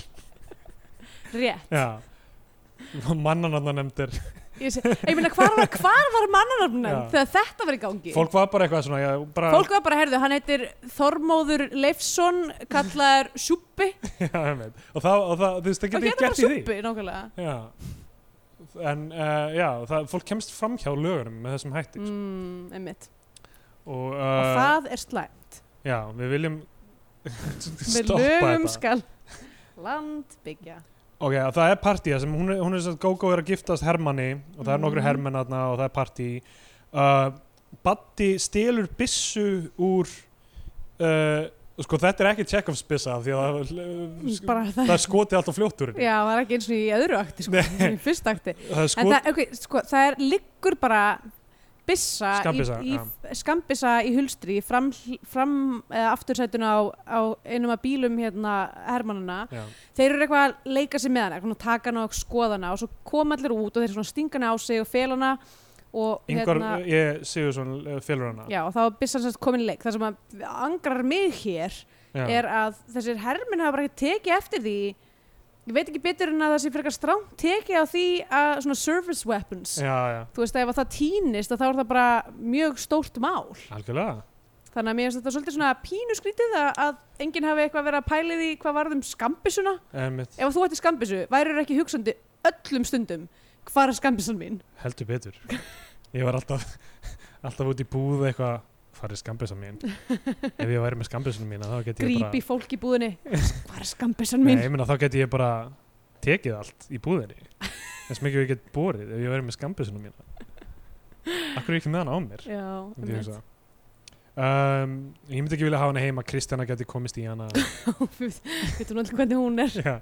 Speaker 2: rétt.
Speaker 3: Já mannanarna nefndir
Speaker 2: Ég, sé, ég meina, hvar var, hvar var mannaröfnum
Speaker 3: Já.
Speaker 2: þegar þetta var í gangi?
Speaker 3: fólk var bara eitthvað svona já, bara,
Speaker 2: Fólk var bara, heyrðu, hann heitir Þormóður Leifsson, kallaður Sjúppi.
Speaker 3: já, einmitt. og það, og það, þú veist, það
Speaker 2: Og
Speaker 3: getur
Speaker 2: hérna
Speaker 3: ekki
Speaker 2: bara
Speaker 3: gert í því
Speaker 2: Sjúppi, nákvæmlega.
Speaker 3: Já, en uh, já, það, fólk kemst fram hjá lögunum með þessum hætti sko.
Speaker 2: Mm, einmitt.
Speaker 3: og, uh,
Speaker 2: Og það er slæm.
Speaker 3: já, við viljum
Speaker 2: Með
Speaker 3: Stoppa
Speaker 2: lögum
Speaker 3: þetta.
Speaker 2: skal land byggja.
Speaker 3: Ok, og það er partíja sem hún er, hún er satt Gogo er að giftast Hermanni og það er nokkru
Speaker 2: Mhm.
Speaker 3: hermenn aðna og það er partí uh, Batti stelur byssu úr uh, sko þetta er ekki Chekhovs byssa því að það,
Speaker 2: Bara það,
Speaker 3: það er skotið alltaf fljótt úr henni.
Speaker 2: já, það er ekki eins og í öðru akti, sko,
Speaker 3: Nei.
Speaker 2: eins og í fyrsta akti.
Speaker 3: það er
Speaker 2: En
Speaker 3: skot,
Speaker 2: það, okay, sko, það er liggur bara byssa
Speaker 3: Skammbissa,
Speaker 2: í, í, skambissa í hulstri fram, fram eða aftursætuna á, á einum af bílum hérna hermannana
Speaker 3: já,
Speaker 2: þeir eru eitthvað að leika sér með hana eitthvað að taka hana og skoða hana og svo koma allir út og þeir svona stinga hana á sig og fel hana og
Speaker 3: yngvar, ég sigur svona félur hana
Speaker 2: hérna- já og þá er byssan sem sagt komin í leik það sem að angrar mig hér
Speaker 3: Já.
Speaker 2: er að þessir herminn hafa bara ekki tekið eftir því ég veit ekki betur en að það sé frekar strámt tekið á því að svona service weapons
Speaker 3: já, já,
Speaker 2: þú veist að ef að það týnist að þá er það bara mjög stórt mál
Speaker 3: algjörlega
Speaker 2: þannig að mér finnst þetta svolítið svona pínu skrítið að, að enginn hafi eitthvað verið að pæli því hvað um varðum skambisuna
Speaker 3: Einmitt,
Speaker 2: ef að þú ætti skambissu værir ekki hugsandi öllum stundum hvað er skambissan mín
Speaker 3: heldur betur ég var alltaf alltaf út í búð eitthvað hvað er skambisa mín ef ég væri með skambisuna mín þá geti ég bara
Speaker 2: grípi fólk í búðinni hvað er skambissan
Speaker 3: Nei,
Speaker 2: mín
Speaker 3: ég meina þá geti ég bara tekið allt í búðinni þess mikið ég get borið ef ég verið með skambisuna mína Akkur er ég ekki með hana á mér
Speaker 2: já,
Speaker 3: myndi ég,
Speaker 2: einmitt.
Speaker 3: hugsa. um, ég myndi ekki vilja hafa hana heima Kristjana geti komist í hana
Speaker 2: við veitum allir hvernig hún er
Speaker 3: já.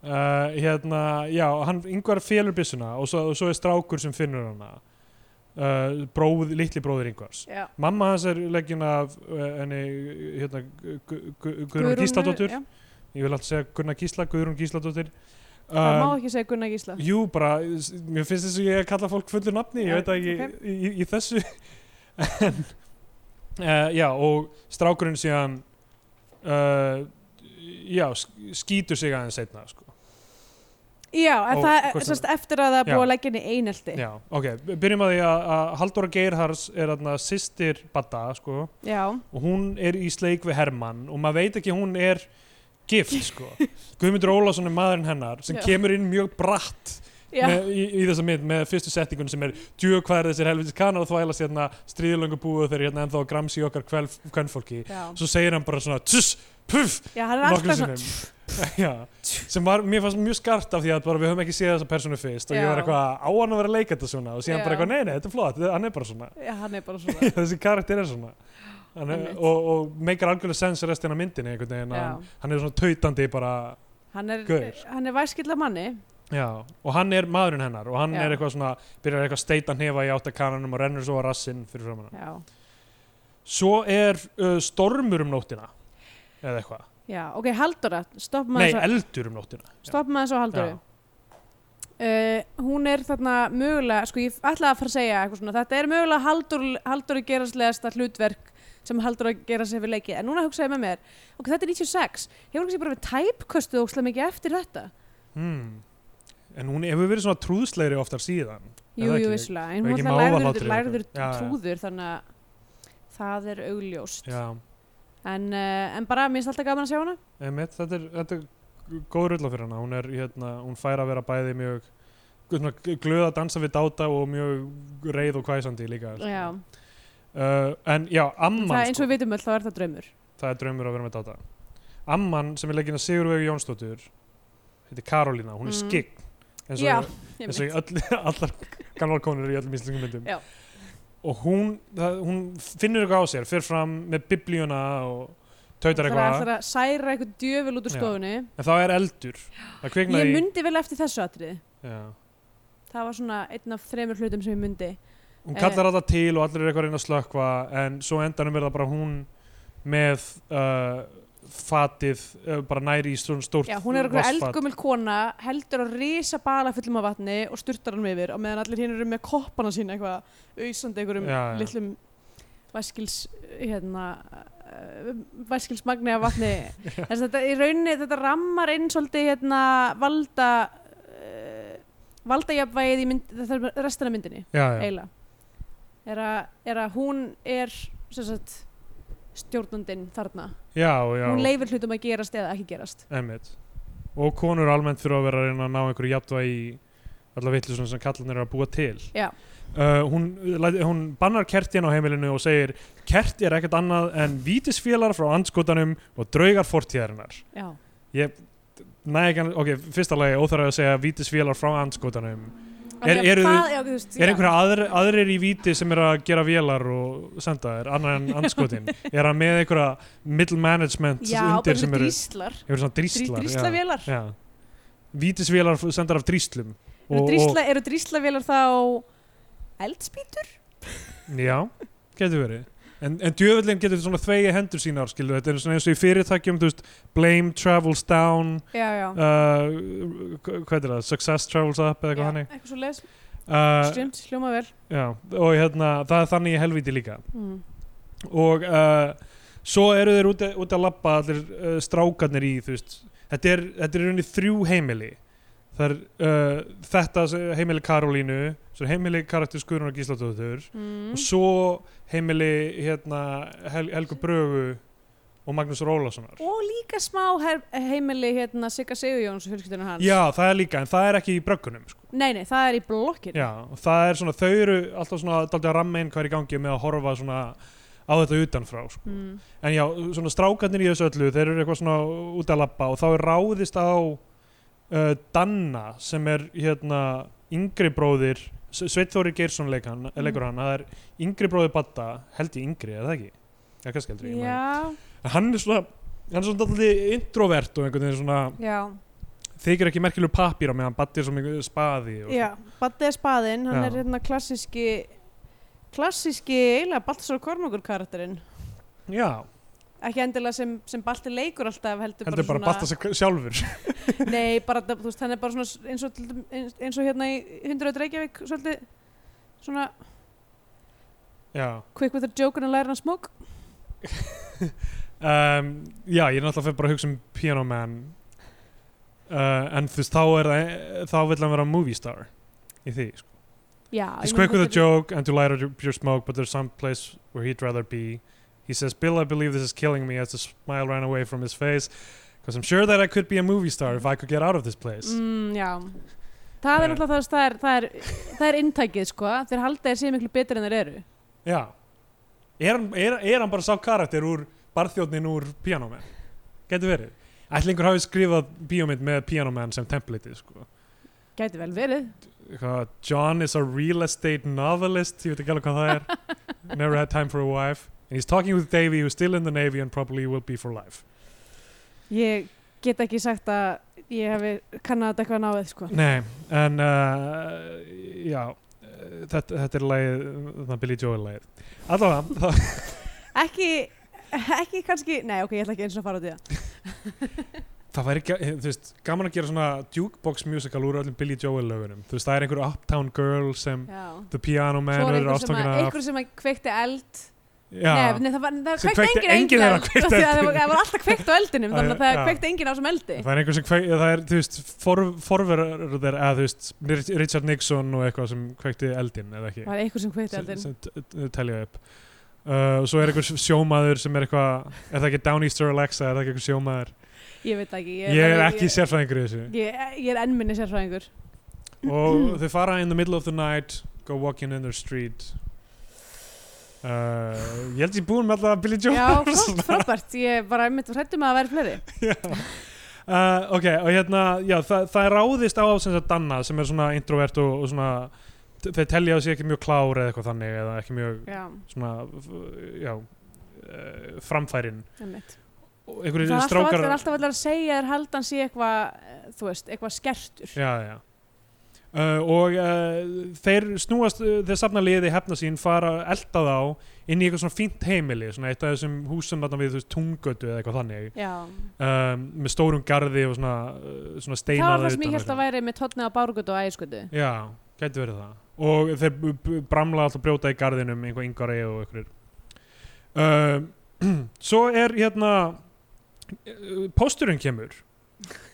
Speaker 3: Uh, hérna, já, hann yngvar félur byssuna og svo, og svo er strákur sem finnur hana uh, bróð, litli bróðir yngvars
Speaker 2: já.
Speaker 3: Mamma hans er leggin af uh, henni, hérna, Gu- Gu- Gu- Guðrún Gísladóttur
Speaker 2: já.
Speaker 3: ég vil alltaf segja Gunnar Gísla, Guðrún Gísladóttir
Speaker 2: það má
Speaker 3: Um,
Speaker 2: ekki segja Gunnar Gísla
Speaker 3: Jú, bara, s- mér finnst þess að ég að kalla fólk fullu nafni, ég
Speaker 2: Já,
Speaker 3: veit það ekki
Speaker 2: ok.
Speaker 3: í, í, í þessu en, uh, já, og strákurinn síðan uh, já, sk- skýtur sig aðeins seinna, sko
Speaker 2: já, en
Speaker 3: Ó,
Speaker 2: það
Speaker 3: hvort
Speaker 2: er
Speaker 3: sem-
Speaker 2: sérst eftir að það er búið
Speaker 3: Já.
Speaker 2: að leggja henni einelti
Speaker 3: Já, ok, b- byrjum að því að, að Halldóra Geirhars er þarna systir Badda, sko,
Speaker 2: já.
Speaker 3: og hún er í sleik við Hermann og maður veit ekki að hún er gift, sko Guðmundur Ólafsson er maðurinn hennar sem
Speaker 2: Já.
Speaker 3: kemur inn mjög bratt
Speaker 2: Já.
Speaker 3: með, í, í þessa mynd með fyrstu settingun sem er djög hvað er þessir helvitis kanar að þvælast hérna stríðlöngu búið og þeir eru hérna ennþá að gramsi okkar kvennfólki
Speaker 2: Já.
Speaker 3: svo segir hann bara svona tss, puff
Speaker 2: já, hann er
Speaker 3: nokkrum
Speaker 2: alltaf svona
Speaker 3: sinnum Já, sem var, mér fannst mjög skart af því að bara við höfum ekki séð þessa personu fyrst og ég
Speaker 2: Já.
Speaker 3: var eitthvað á hann að vera að leika þetta svona og síðan
Speaker 2: Já.
Speaker 3: bara eitthvað, nei, nei, þetta er flott, þetta- hann er bara svona
Speaker 2: Já, hann er bara svona.
Speaker 3: þessi karakter er svona hann, er-
Speaker 2: Einmitt.
Speaker 3: og, og meikar algjörlega sens restina af myndinni einhvern veginn,
Speaker 2: Já.
Speaker 3: hann, hann er svona tautandi bara
Speaker 2: Hann er,
Speaker 3: Gaur.
Speaker 2: hann er væskill af manni.
Speaker 3: Já, og hann er maðurinn hennar og hann
Speaker 2: Já.
Speaker 3: er eitthvað svona, byrjar eitthvað að steita hnefa í áttakananum og rennur svo á rassinn fyrir fram hana.
Speaker 2: Já.
Speaker 3: Svo er uh, stormur um nóttina, eða eitthvað.
Speaker 2: Já, ok, Halldóra, stopp
Speaker 3: Nei,
Speaker 2: maður svo,
Speaker 3: eldur um nóttina.
Speaker 2: stopp maður svo Halldóru. Uh, hún er þarna mögulega, sko ég ætlaði að fara að segja eitthvað svona, þetta er mögulega Halldór, Halldóri geraslegasta hlutverk sem Halldóri gerast hefur leikið, en núna hugsaði ég með mér, ok, þetta er 96, hefur hún kannski bara við tæpköstuð ókslega mikið eftir þetta?
Speaker 3: Hmm. En hún hefur verið svona trúðslegri oftar síðan.
Speaker 2: Jú,
Speaker 3: Er það
Speaker 2: jú,
Speaker 3: ekki-
Speaker 2: vissulega, en
Speaker 3: er
Speaker 2: hún
Speaker 3: ekki
Speaker 2: ætla lærður,
Speaker 3: mávahlátri
Speaker 2: lærður
Speaker 3: eitthvað? Já, já.
Speaker 2: trúður, þannig að það er augljóst,
Speaker 3: Já,
Speaker 2: en, uh, en bara, mér er alltaf gaman að sjá hana.
Speaker 3: emitt, þetta er, þetta er góð rulla fyrir hana. Hún, er, hérna, hún fær að vera bæði mjög svona, glöð að dansa við dáta og mjög reið og kvæsandi líka. sko.
Speaker 2: Já,
Speaker 3: Uh, en já, amman sko.
Speaker 2: það, eins og við vitum öll, þá er það draumur.
Speaker 3: það er draumur að vera með dáta Amman sem er leggin að Sigurvegu Jónsdóttur heitir Karolína, hún er
Speaker 2: Mm.
Speaker 3: skikk eins
Speaker 2: Já,
Speaker 3: og, eins og í öll, allar gamlar konur í öllum íslenskum myndum
Speaker 2: Já.
Speaker 3: og hún, það, hún finnur eitthvað á sér fer fram með biblíuna og tautar
Speaker 2: Það
Speaker 3: eitthvað,
Speaker 2: ætlar að særa eitthvað djöfil út úr
Speaker 3: Já.
Speaker 2: stofunni.
Speaker 3: en þá er eldur það kviknaði
Speaker 2: Ég
Speaker 3: í-
Speaker 2: myndi vel eftir þessu atriði.
Speaker 3: Já.
Speaker 2: Það var svona einn af þremur hlutum sem ég myndi.
Speaker 3: hún
Speaker 2: Eh.
Speaker 3: kallar alltaf til og allir er eitthvað að reyna að slökva en svo á endanum verða bara hún með uh, fatið uh, bara næri í svona stórt
Speaker 2: Já, hún er eitthvað
Speaker 3: vatnsfat.
Speaker 2: eldgumil kona, heldur að risa bala fullum af vatni og sturtar hann yfir og meðan allir hinn eru með koppana sína eitthvað, auðsandi einhverjum
Speaker 3: Já, já.
Speaker 2: litlum væskils, hérna, uh, væskilsmagni af vatni. Þess að þetta í rauninni, þetta rammar inn svolítið hérna valda, uh, valdajafvægið í mynd, það er restina af myndinni.
Speaker 3: já, já.
Speaker 2: eiginlega er, að- er að hún er sem sagt, stjórnandinn þarna
Speaker 3: Já, já,
Speaker 2: hún leifir hlutum að gerast eða ekki gerast
Speaker 3: emmitt. Og konur almennt fyrir að vera að reyna að ná einhverju jafnvægi í alla vitlu svona sem kallanir eru að búa til
Speaker 2: Já.
Speaker 3: uh, hún, læt- hún bannar kertjan á heimilinu og segir kerti er ekkert annað en vítisfélar frá andskotanum og draugar fortíðarinnar
Speaker 2: já,
Speaker 3: Nei, ekki, ok, fyrsta lagi óþarf að segja vítisfélar frá andskotanum
Speaker 2: Af
Speaker 3: Er-
Speaker 2: því að
Speaker 3: eru
Speaker 2: hvað-
Speaker 3: þið-
Speaker 2: já, þú veist,
Speaker 3: Er
Speaker 2: já.
Speaker 3: einhverja aðr, aðrir í víti sem er að gera vélar og senda þér, annar en anskotin? er hann með einhverja middle management
Speaker 2: já,
Speaker 3: undir sem eru,
Speaker 2: dríslar,
Speaker 3: eru svona
Speaker 2: dríslar,
Speaker 3: dríslar?
Speaker 2: dríslavélar
Speaker 3: Já. Vítisvélar f- sendar af dríslum.
Speaker 2: eru, drísla, eru dríslavélar þá eldspýtur?
Speaker 3: já, getur verið. En, en djöfullin getur svona þvegi hendur sínar, skilur þetta er svona eins og í fyrirtækjum, þú veist, blame travels down,
Speaker 2: já, já,
Speaker 3: uh, hva- hvað er það, success travels up eða
Speaker 2: já
Speaker 3: eitthvað hannig.
Speaker 2: eitthvað svo les,
Speaker 3: Uh,
Speaker 2: stjönd, hljóma vel
Speaker 3: já, og hérna, það er þannig í helvíti líka.
Speaker 2: mm.
Speaker 3: og uh, svo eru þeir út, út að labba allir uh, strákarnir í þú veist, þetta er, þetta er í rauninni þrjú heimili það er uh, þetta sem- heimili Karolínu svo er heimili karakter Skurun og Gíslatóður
Speaker 2: Mm.
Speaker 3: og svo heimili hérna, Hel Helgu Brögu og Magnús Rólasonar
Speaker 2: og líka smá her- heimili hérna Sigga Sigurjóns og fjölskyldunar hans
Speaker 3: já það er líka en það er ekki í bröggunum sko.
Speaker 2: nei, nei, það er í blokkin
Speaker 3: já, og það er svona þau eru alltaf svona daldið að ramma inn hvað er í gangi með að horfa svona á þetta utanfrá sko.
Speaker 2: mm.
Speaker 3: En já, svona strákarnir í þessu öllu, þeir eru eitthvað svona út að labba og þá er ráðist á uh, Danna sem er hérna yngri bróðir, Sveitþóri Geirsson leik hann,
Speaker 2: Mm.
Speaker 3: leikur hann, það er yngri bróðir Badda, held ég yngri, er það ekki? Já, kannski eldri, ég maður
Speaker 2: já,
Speaker 3: ekki. En Hann er svona, hann er svona alltaf introvert og einhvern veginn svona,
Speaker 2: já,
Speaker 3: þykir ekki merkilegu pappíra meðan Baddi er svona einhvern spaði og
Speaker 2: já Baddi er spaðinn, hann
Speaker 3: Já.
Speaker 2: er hérna klassíski klassíski eiginlega Baltasar Kormákur karakterinn
Speaker 3: svona. Já,
Speaker 2: ekki endilega sem, sem Balti leikur alltaf heldur,
Speaker 3: heldur bara, bara Badda
Speaker 2: svona,
Speaker 3: sig sjálfur.
Speaker 2: nei, bara þú veist, hann er bara svona eins og, til dæmis- eins, eins og hérna í 100 Reykjavík svolítið svona
Speaker 3: já.
Speaker 2: quick with a joke and a læra hann smók
Speaker 3: um, Já, ég er náttúrulega fyrir bara að hugsa um Piano Man uh, En þú veist, þá er það Þá vill hann vera movie star Í því, sko
Speaker 2: já,
Speaker 3: He's quick with a joke and to light up your smoke But there's some place where he'd rather be He says, Bill, I believe this is killing me As the smile ran away from his face Because I'm sure that I could be a movie star If I could get out of this place
Speaker 2: mm, já það
Speaker 3: Eh.
Speaker 2: er náttúrulega það, það, er, það, er, það er inntækið sko, þeir halda þeir séu miklu betur en þeir eru
Speaker 3: Já er hann, er, er hann bara sá karakter úr Barþjóðnin úr Piano Man Getur verið Ætli einhver hafi skrifað bíómynd með Piano Man sem template sko.
Speaker 2: gæti vel verið
Speaker 3: hvað, John is a real estate novelist ég veit ekki alveg hvað það er never had time for a wife and he's talking with Davy who's still in the navy and probably will be for life
Speaker 2: ég get ekki sagt að ég hef kannat þetta eitthvað náðið sko
Speaker 3: nei, en uh, já eh, þetta, þetta er lagið, það Billy Joel lagið allavega, það
Speaker 2: ekki, ekki kannski nei ok, ég ætla ekki eins og að fara út í það
Speaker 3: Það væri ekki, þú veist, gaman að gera svona jukebox musical úr öllum Billy Joel lögunum Þú veist, það er einhver Uptown Girl sem
Speaker 2: já.
Speaker 3: The Piano Man
Speaker 2: svo er
Speaker 3: verður
Speaker 2: einhver sem, að,
Speaker 3: ástangina
Speaker 2: einhver sem að kveikti eld
Speaker 3: Já,
Speaker 2: nei, nei, það, var, það
Speaker 3: Sem kveikti
Speaker 2: kveikti
Speaker 3: enginn
Speaker 2: engin
Speaker 3: þeirra
Speaker 2: eld
Speaker 3: kveikti
Speaker 2: af því að það
Speaker 3: eldinum.
Speaker 2: var- það var alltaf kveikt á eldinum
Speaker 3: Já,
Speaker 2: þannig að það
Speaker 3: já.
Speaker 2: kveikti enginn á þessum eldi
Speaker 3: Það er einhver sem kveik, það er, þú veist, for, forverður þeir, eða þú veist, Rich- Richard Nixon og eitthvað sem kveikti eldinn, eða ekki,
Speaker 2: það var einhver sem kveikti
Speaker 3: sem,
Speaker 2: eldin
Speaker 3: sem t- t- telja upp. Uh, og svo er einhver sjómaður sem er eitthvað, er það ekki Downeaster Alexa, er það ekki einhver sjómaður?
Speaker 2: ég veit það ekki
Speaker 3: Ég, er ekki sérfræðingur í þessu.
Speaker 2: ég, ég er ennminni sérfræðingur
Speaker 3: og þau fara in the middle of the night, go walking in their street. Uh, ég held ég búin með alltaf Billy Joel.
Speaker 2: Já, flott, frábært, ég bara mitt var hrættum að það væri fleiri
Speaker 3: Já. Uh, ok, og hérna, já, þa það er ráðist á sem sagt Danna sem er svona introvert og, og svona, t- þeir telja sig ekki mjög klár eða eitthvað þannig eða ekki mjög
Speaker 2: Já,
Speaker 3: svona, f- já, uh, framfærin.
Speaker 2: einmitt
Speaker 3: Og
Speaker 2: Það
Speaker 3: Einhverjir
Speaker 2: er alltaf
Speaker 3: strákar...
Speaker 2: allir, alltaf allir að segja þér haldan sé eitthvað, eh, þú veist, eitthvað skertur
Speaker 3: Já, já. Uh, og uh, þeir snúast, uh, þeir safna liði hefna sín, fara að elda þá inn í eitthvað svona fínt heimili, svona eitt af þessum húsum þarna við þú veist tungötu eða eitthvað þannig,
Speaker 2: Já,
Speaker 3: um, með stórum garði og svona, uh, svona
Speaker 2: það
Speaker 3: steinaði
Speaker 2: var það sem ég held að væri með tónni á bárgötu og ægiskötu
Speaker 3: Já, gæti verið það og þeir b- b- bramla alltaf brjóta í garðinum einhver yngari og einhverjir um, Svo er hérna eh, pósturinn kemur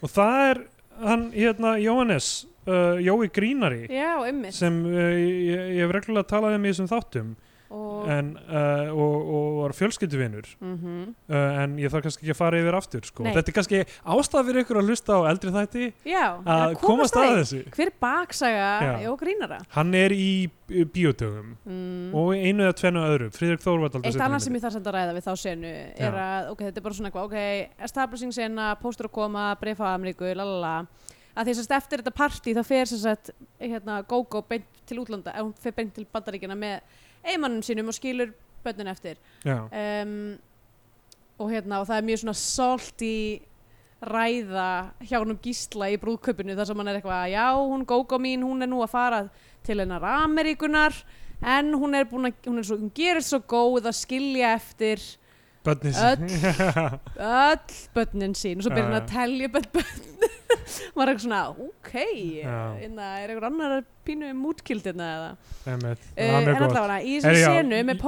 Speaker 3: og það er hann hérna Jóhannes uh, Jói Grínari eh,
Speaker 2: Já, einmitt
Speaker 3: sem uh, ég, ég hef reglulega talað um í þessum þáttum
Speaker 2: og
Speaker 3: en, uh, og, og var fjölskylduvinur
Speaker 2: Mhm.
Speaker 3: uh, en ég þarf kannski ekki að fara yfir aftur sko.
Speaker 2: Nei.
Speaker 3: þetta er kannski ástæða fyrir ykkur að hlusta á eldri þætti
Speaker 2: já,
Speaker 3: að komast að þessu
Speaker 2: hver er baksaga
Speaker 3: Já.
Speaker 2: og grínara
Speaker 3: hann er í uh, bíotögum
Speaker 2: mm.
Speaker 3: og í einu eða tvennu öðru Fríðrik Þórvaldaldur
Speaker 2: Eitt annað sem ég þarf samt að ræða við þá senu er
Speaker 3: Já.
Speaker 2: að, ok, þetta er bara svona eitthvað, ok, establishing sena, póstur að koma, breyfa á Ameríku, lalala, að því sérst eftir þetta partí þá fer sérst hérna, GóGó beint til útlanda, eða hún fer beint til bandaríkina með eigmannum sínum og skilur bönnin eftir.
Speaker 3: já,
Speaker 2: Um, og hérna, og það er mjög svona salty ræða hjá húnum gísla í brúðkaupinu þar sem hann er eitthvað, já, hún GóGó mín, hún er nú að fara til hennar Ameríkunar, en hún er búin að, hún er svo, hún gerir svo góð að skilja eftir
Speaker 3: bönni
Speaker 2: öll börnin sín og svo byrjar hann
Speaker 3: Já,
Speaker 2: að telja börn börn maður er eitthvað svona, ok
Speaker 3: Já.
Speaker 2: inna, er einhver annar að pínu um útkildina eða Eh,
Speaker 3: hann
Speaker 2: en
Speaker 3: er góð
Speaker 2: allavega í
Speaker 3: Heyrðu,
Speaker 2: þessari
Speaker 3: já,
Speaker 2: senu með
Speaker 3: ég- Já,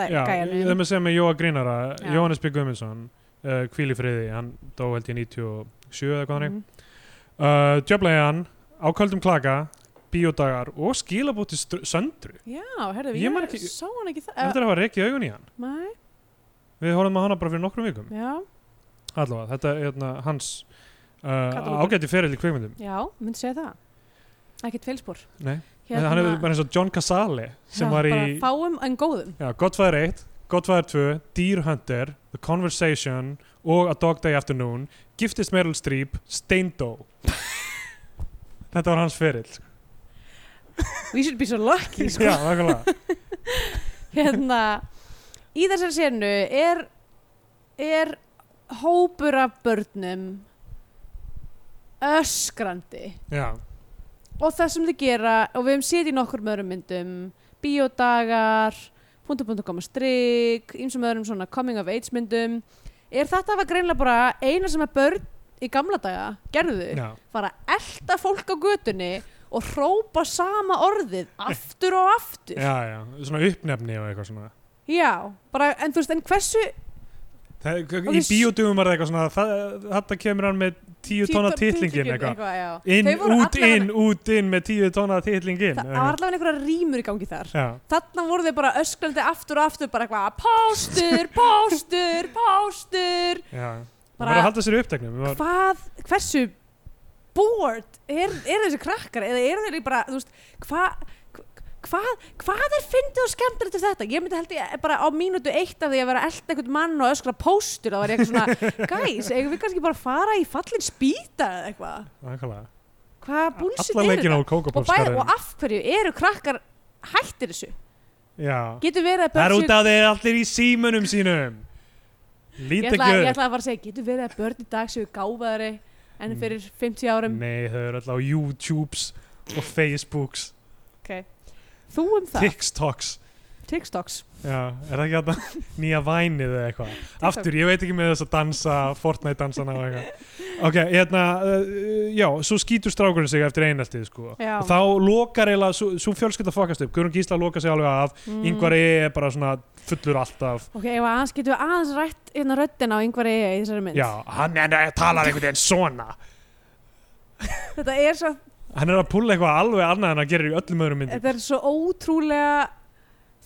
Speaker 3: það
Speaker 2: postgæjanum
Speaker 3: með sem með Jóa Grínara
Speaker 2: Já.
Speaker 3: Jóhannes B. Guðmundsson uh, Kvíli friði, hann dó held ég 97 eða hvað hann er
Speaker 2: Mhm.
Speaker 3: uh, Djöflaðan, ákvöldum klaka bíódagar og skilabóti söndru,
Speaker 2: já, herðu,
Speaker 3: Ég
Speaker 2: ég,
Speaker 3: man ekki-
Speaker 2: sá hann ekki það
Speaker 3: eftir að hafa rekið augun í hann
Speaker 2: mæ,
Speaker 3: við horfum á hana bara fyrir nokkrum vikum
Speaker 2: já,
Speaker 3: allavega, þetta er hérna, hans uh,
Speaker 2: Katalógur.
Speaker 3: ágæti ferill í kvikmyndum
Speaker 2: já, myndi segja það ekkert feilspor
Speaker 3: Nei, hann er bara eins og John Casale sem
Speaker 2: Hérna. já,
Speaker 3: var í
Speaker 2: bara fáum en góðum
Speaker 3: já, Godfather 1, Godfather 2 Deer Hunter, The Conversation og A Dog Day Afternoon giftist Meryl Streep, Steindó þetta var hans ferill sko.
Speaker 2: we should be so lucky sko.
Speaker 3: já, nákvæmlega
Speaker 2: hérna í þessari senu er er hópur af börnum öskrandi
Speaker 3: já,
Speaker 2: og það sem þið gera og við höfum séð í nokkur með öðrum myndum bíódagar, punktu punktu koma strik eins og með öðrum svona coming of age myndum er þetta var greinlega bara eina sem að börn í gamla daga gerðu
Speaker 3: já,
Speaker 2: fara að elta fólk á götunni og hrópa sama orðið aftur og aftur
Speaker 3: já, já, svona uppnefni og eitthvað svona
Speaker 2: Já, bara, en þú veist, en hversu
Speaker 3: Það,
Speaker 2: Og
Speaker 3: í
Speaker 2: þess-
Speaker 3: bíódugum var það eitthvað svona það- þetta kemur hann með tíu tonna titlingin eitthvað
Speaker 2: já.
Speaker 3: inn,
Speaker 2: Þau voru
Speaker 3: út,
Speaker 2: allavega-
Speaker 3: inn, út, inn með tíu tonna titlingin
Speaker 2: Það var allavega einhverja rímur í gangi þar
Speaker 3: já,
Speaker 2: Þarna voru þau bara öskrandi aftur og aftur bara eitthvað, pástur, pástur, pástur
Speaker 3: já bara,
Speaker 2: Bara-
Speaker 3: var að halda sér í uppteknum var,
Speaker 2: Hvað, hversu bored er, er þessi krakkar eða eru þeir í bara, þú veist, hvað Hvað, hvað er fyndið og skemmtilegt eftir þetta? Ég myndi held ég bara á mínútu eitt af því að vera elda einhvern mann og öskra póstur þá var ég eitthvað svona, guys, eigum við kannski bara að fara í fallin spýta eða eitthvað?
Speaker 3: nákvæmlega.
Speaker 2: Hvað búlsitt
Speaker 3: alla
Speaker 2: er
Speaker 3: leikina
Speaker 2: þetta?
Speaker 3: úr
Speaker 2: Og, bæ, og
Speaker 3: kókapólskarinn
Speaker 2: af hverju eru krakkar hættir þessu?
Speaker 3: já
Speaker 2: Getur verið að
Speaker 3: Það er
Speaker 2: börn
Speaker 3: út af þeir allir í símunum sínum
Speaker 2: Ég
Speaker 3: Lít
Speaker 2: ætla,
Speaker 3: ekki
Speaker 2: ég
Speaker 3: upp
Speaker 2: ætla að fara að segja, getur verið að börn í dag séu gáfaðari en
Speaker 3: Mm.
Speaker 2: fyrir 50 árum?
Speaker 3: Nei, þau eru alltaf á YouTubes og Facebooks,
Speaker 2: Okay. Þú um það,
Speaker 3: TikToks
Speaker 2: TikToks.
Speaker 3: Já, er það ekki þetta nýja vænið eða eitthvað? Aftur, ég veit ekki með þess að dansa, Fortnite dansana og eitthvað Ok, hérna, uh, já, svo skýtur strákurinn sig eftir eineltið sko
Speaker 2: Já.
Speaker 3: og þá lokar eiginlega, svo, svo fjölskylda fokast upp Guðrún Gísla lokar sig alveg af, mm. yngvari er bara svona fullur alltaf
Speaker 2: Ok, ef aðeins getum við aðeins rætt hérna röddina á yngvar eiga í þessari mynd.
Speaker 3: Já, hann er að tala einhvern veginn svona
Speaker 2: Þetta er svo,
Speaker 3: Hann er að púla eitthvað alveg annað en að gera í öllum öðrum myndum
Speaker 2: þetta er svo ótrúlega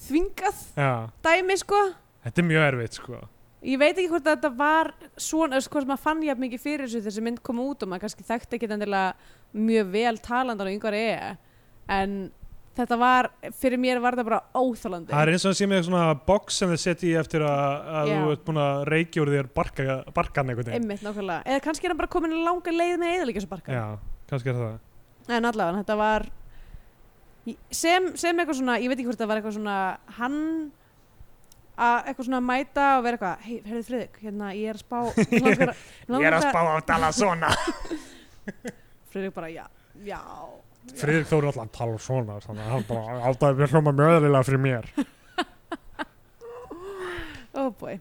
Speaker 2: þvingað
Speaker 3: Já,
Speaker 2: dæmi, sko.
Speaker 3: þetta er mjög erfitt sko
Speaker 2: Ég veit ekki hvort að þetta var svona, eða hvort maður fann jafn mikið fyrir þessu þegar þessi mynd kom út og maður kannski þekkti ekki endilega mjög vel talandan á yngvar eiga en þetta var, fyrir mér var þetta bara óþálandi.
Speaker 3: Það er eins og hann sé með svona box sem þið setja í eftir að, að
Speaker 2: Já.
Speaker 3: þú ert búin að reykja úr þér barka, barkan einhvern veginn
Speaker 2: Einmitt, nákvæmlega. Eða kannski er hann bara komin langa leið með eðalikja svo barka.
Speaker 3: Já, kannski er það
Speaker 2: En allavega, þetta var í- sem, sem eitthvað svona, ég veit ekki hvort það var eitthvað svona hann að eitthvað svona mæta og vera eitthvað hei, heyrðu Friðrik, hérna, ég er að spá mig langar, mig langar
Speaker 3: að tala svona
Speaker 2: Friðrik bara, já, já
Speaker 3: Friðrik Þóri alltaf að tala svona þannig að hann bara áttaði mér hljóma mjög öðlilega fyrir mér
Speaker 2: Oh boy.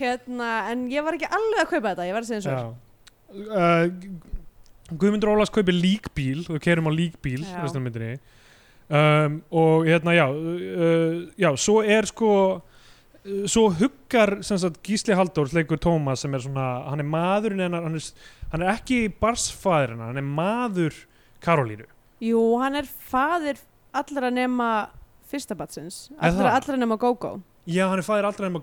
Speaker 2: Hérna, en ég var ekki alveg að kaupa þetta, ég var að segja eins og er.
Speaker 3: uh, Guðmundur Ólafs kaupir líkbíl og kerum á líkbíl
Speaker 2: Já.
Speaker 3: restina af myndinni. um, og hérna já uh, já, svo er sko uh, svo huggar sem sagt Gísli Halldórs leikur Tómas sem er svona, hann er maðurinn hennar, hann er, hann er ekki barsfæðir hennar, hann er maður Karolínu
Speaker 2: Jú, hann er faðir allra nema fyrsta batsins
Speaker 3: Er það?
Speaker 2: allra, allra nema Gogo
Speaker 3: Já, hann er fæðir aldrei nema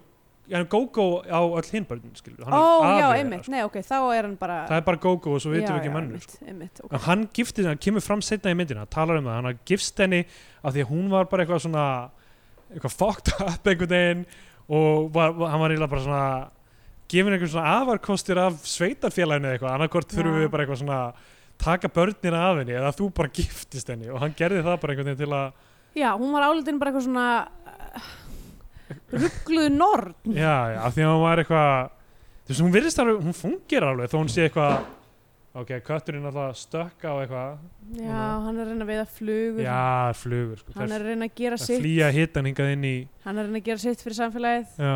Speaker 3: hann er Gogo á öll hinn börnin, skilur
Speaker 2: ó já, einmitt, nei ok, þá er hann bara
Speaker 3: sko. Það er bara Gogo og svo vitum
Speaker 2: Já,
Speaker 3: við ekki um
Speaker 2: já,
Speaker 3: mönnur sko.
Speaker 2: einmitt, einmitt, ok.
Speaker 3: En hann giftist, hann kemur fram setna í myndina, talar um það, hann gifst henni af því að hún var bara eitthvað svona eitthvað fucked up einhvern veginn og var, var- hann var eiginlega bara svona gefin einhvern svona afarkostir af sveitarfélaginu eða eitthvað, annarkvort þurfum
Speaker 2: Já.
Speaker 3: við bara eitthvað svona taka börnina af henni eða þú bara giftist henni og hann gerði það bara einhvern veginn til að
Speaker 2: já, hún var álitin bara eitthvað svona uh, ruggluð norn
Speaker 3: já, já, af því að hann var eitthvað þú veist, hún virðist alveg, hún fungir alveg þó hún sé eitthvað ok, kötturinn alltaf stökka á eitthvað
Speaker 2: já, hann er að reyna að veiða flugur
Speaker 3: já, flugur, sko,
Speaker 2: hann er
Speaker 3: þær,
Speaker 2: að reyna að gera
Speaker 3: þær
Speaker 2: sitt
Speaker 3: flýja hitan hingað inn í
Speaker 2: hann er að reyna að gera sitt fyrir samfélagið
Speaker 3: já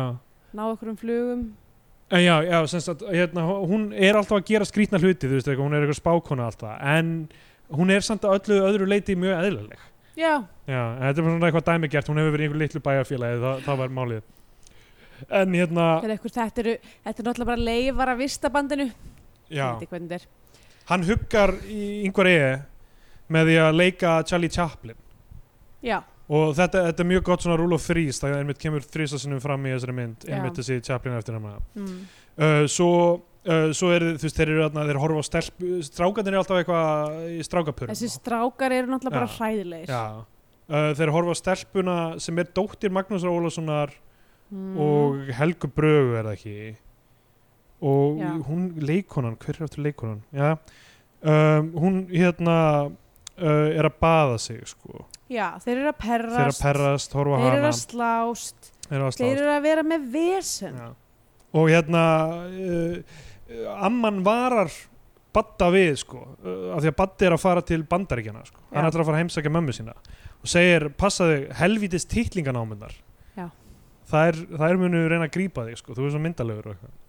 Speaker 2: ná okkur um flugum
Speaker 3: En já, já, sem sagt, hérna, hún er alltaf að gera skrýtna hluti, þú veist, eitthvað, hún er eitthvað spákona alltaf, en hún er samt að öllu öðru leiti mjög eðlileg.
Speaker 2: já,
Speaker 3: Já, en þetta er bara svona eitthvað dæmigert, hún hefur verið í einhver litlu bæjarfélagi, það, það var málið. En hérna,
Speaker 2: þetta er eitthvað þetta eru, þetta er náttúrulega bara leifar af vistabandinu
Speaker 3: já,
Speaker 2: Ég veit ekki hvernig þetta er.
Speaker 3: hann huggar í yngvar eigi með því að leika Charlie Chaplin
Speaker 2: já,
Speaker 3: og þetta, þetta er mjög gott svona rule of threes, það er einmitt kemur þrísasinum fram í þessari mynd,
Speaker 2: Já.
Speaker 3: einmitt þessi Chaplin eftir hann
Speaker 2: mm.
Speaker 3: uh, svo, uh, svo er þú veist, þeir eru þarna, þeir horfa á stelp strákanir er alltaf eitthvað í strákapörum
Speaker 2: þessi strákar eru náttúrulega bara
Speaker 3: Já.
Speaker 2: hræðilegir
Speaker 3: já Uh, þeir horfa á stelpuna sem er dóttir Magnúsar Ólasonar
Speaker 2: Mm.
Speaker 3: og Helgu Brögu er það ekki og
Speaker 2: Já.
Speaker 3: hún leikonan, hver er aftur leikonan já, um, hún hérna uh, er að baða sig sko,
Speaker 2: já, þeir eru að
Speaker 3: þeir eru
Speaker 2: perrast
Speaker 3: að perrast horfa á
Speaker 2: þeir eru
Speaker 3: hana,
Speaker 2: að slást
Speaker 3: þeir eru
Speaker 2: þeir
Speaker 3: að slást
Speaker 2: eru að vera með vesen
Speaker 3: Já. og hérna uh, uh, amman varar Badda við sko, uh, af því að Baddi er að fara til bandaríkjana sko, hann
Speaker 2: Já.
Speaker 3: ætlar að fara að heimsækja mömmu sína og segir, passaðu helvítist titlinganámyndar
Speaker 2: Já.
Speaker 3: þær, þær munu reyna að grípa þig sko, þú er svo myndalegur og eitthvað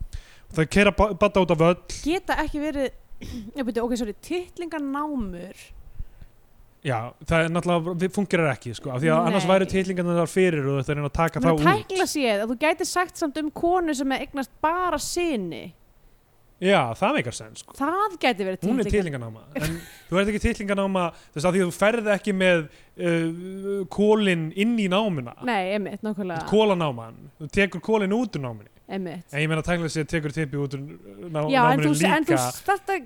Speaker 3: og það keira Badda út af völl
Speaker 2: geta ekki verið já, beti, ok, sorry, titlinganámur
Speaker 3: já, það er náttúrulega, við fungerar ekki sko, af því að annars
Speaker 2: Nei.
Speaker 3: væru titlingarnar þar fyrir og þetta er reyna að taka
Speaker 2: Menn,
Speaker 3: það út
Speaker 2: tækla séð að þú gæti sagt samt um konu sem er eignast bara sinni
Speaker 3: já, það meikar sens sko
Speaker 2: það gæti verið
Speaker 3: hún er
Speaker 2: titlingan
Speaker 3: titlinganáma en þú ert ekki titlinganáma þú veist að því að þú ferð ekki með uh, kólin inn í námuna
Speaker 2: nei, emitt, nákvæmlega
Speaker 3: kólanáman, þú tekur kólin út úr náminni
Speaker 2: emitt
Speaker 3: en ég meina tækla sér tekur tippi út úr ná,
Speaker 2: já, en þú,
Speaker 3: náminni
Speaker 2: en þú
Speaker 3: líka
Speaker 2: starta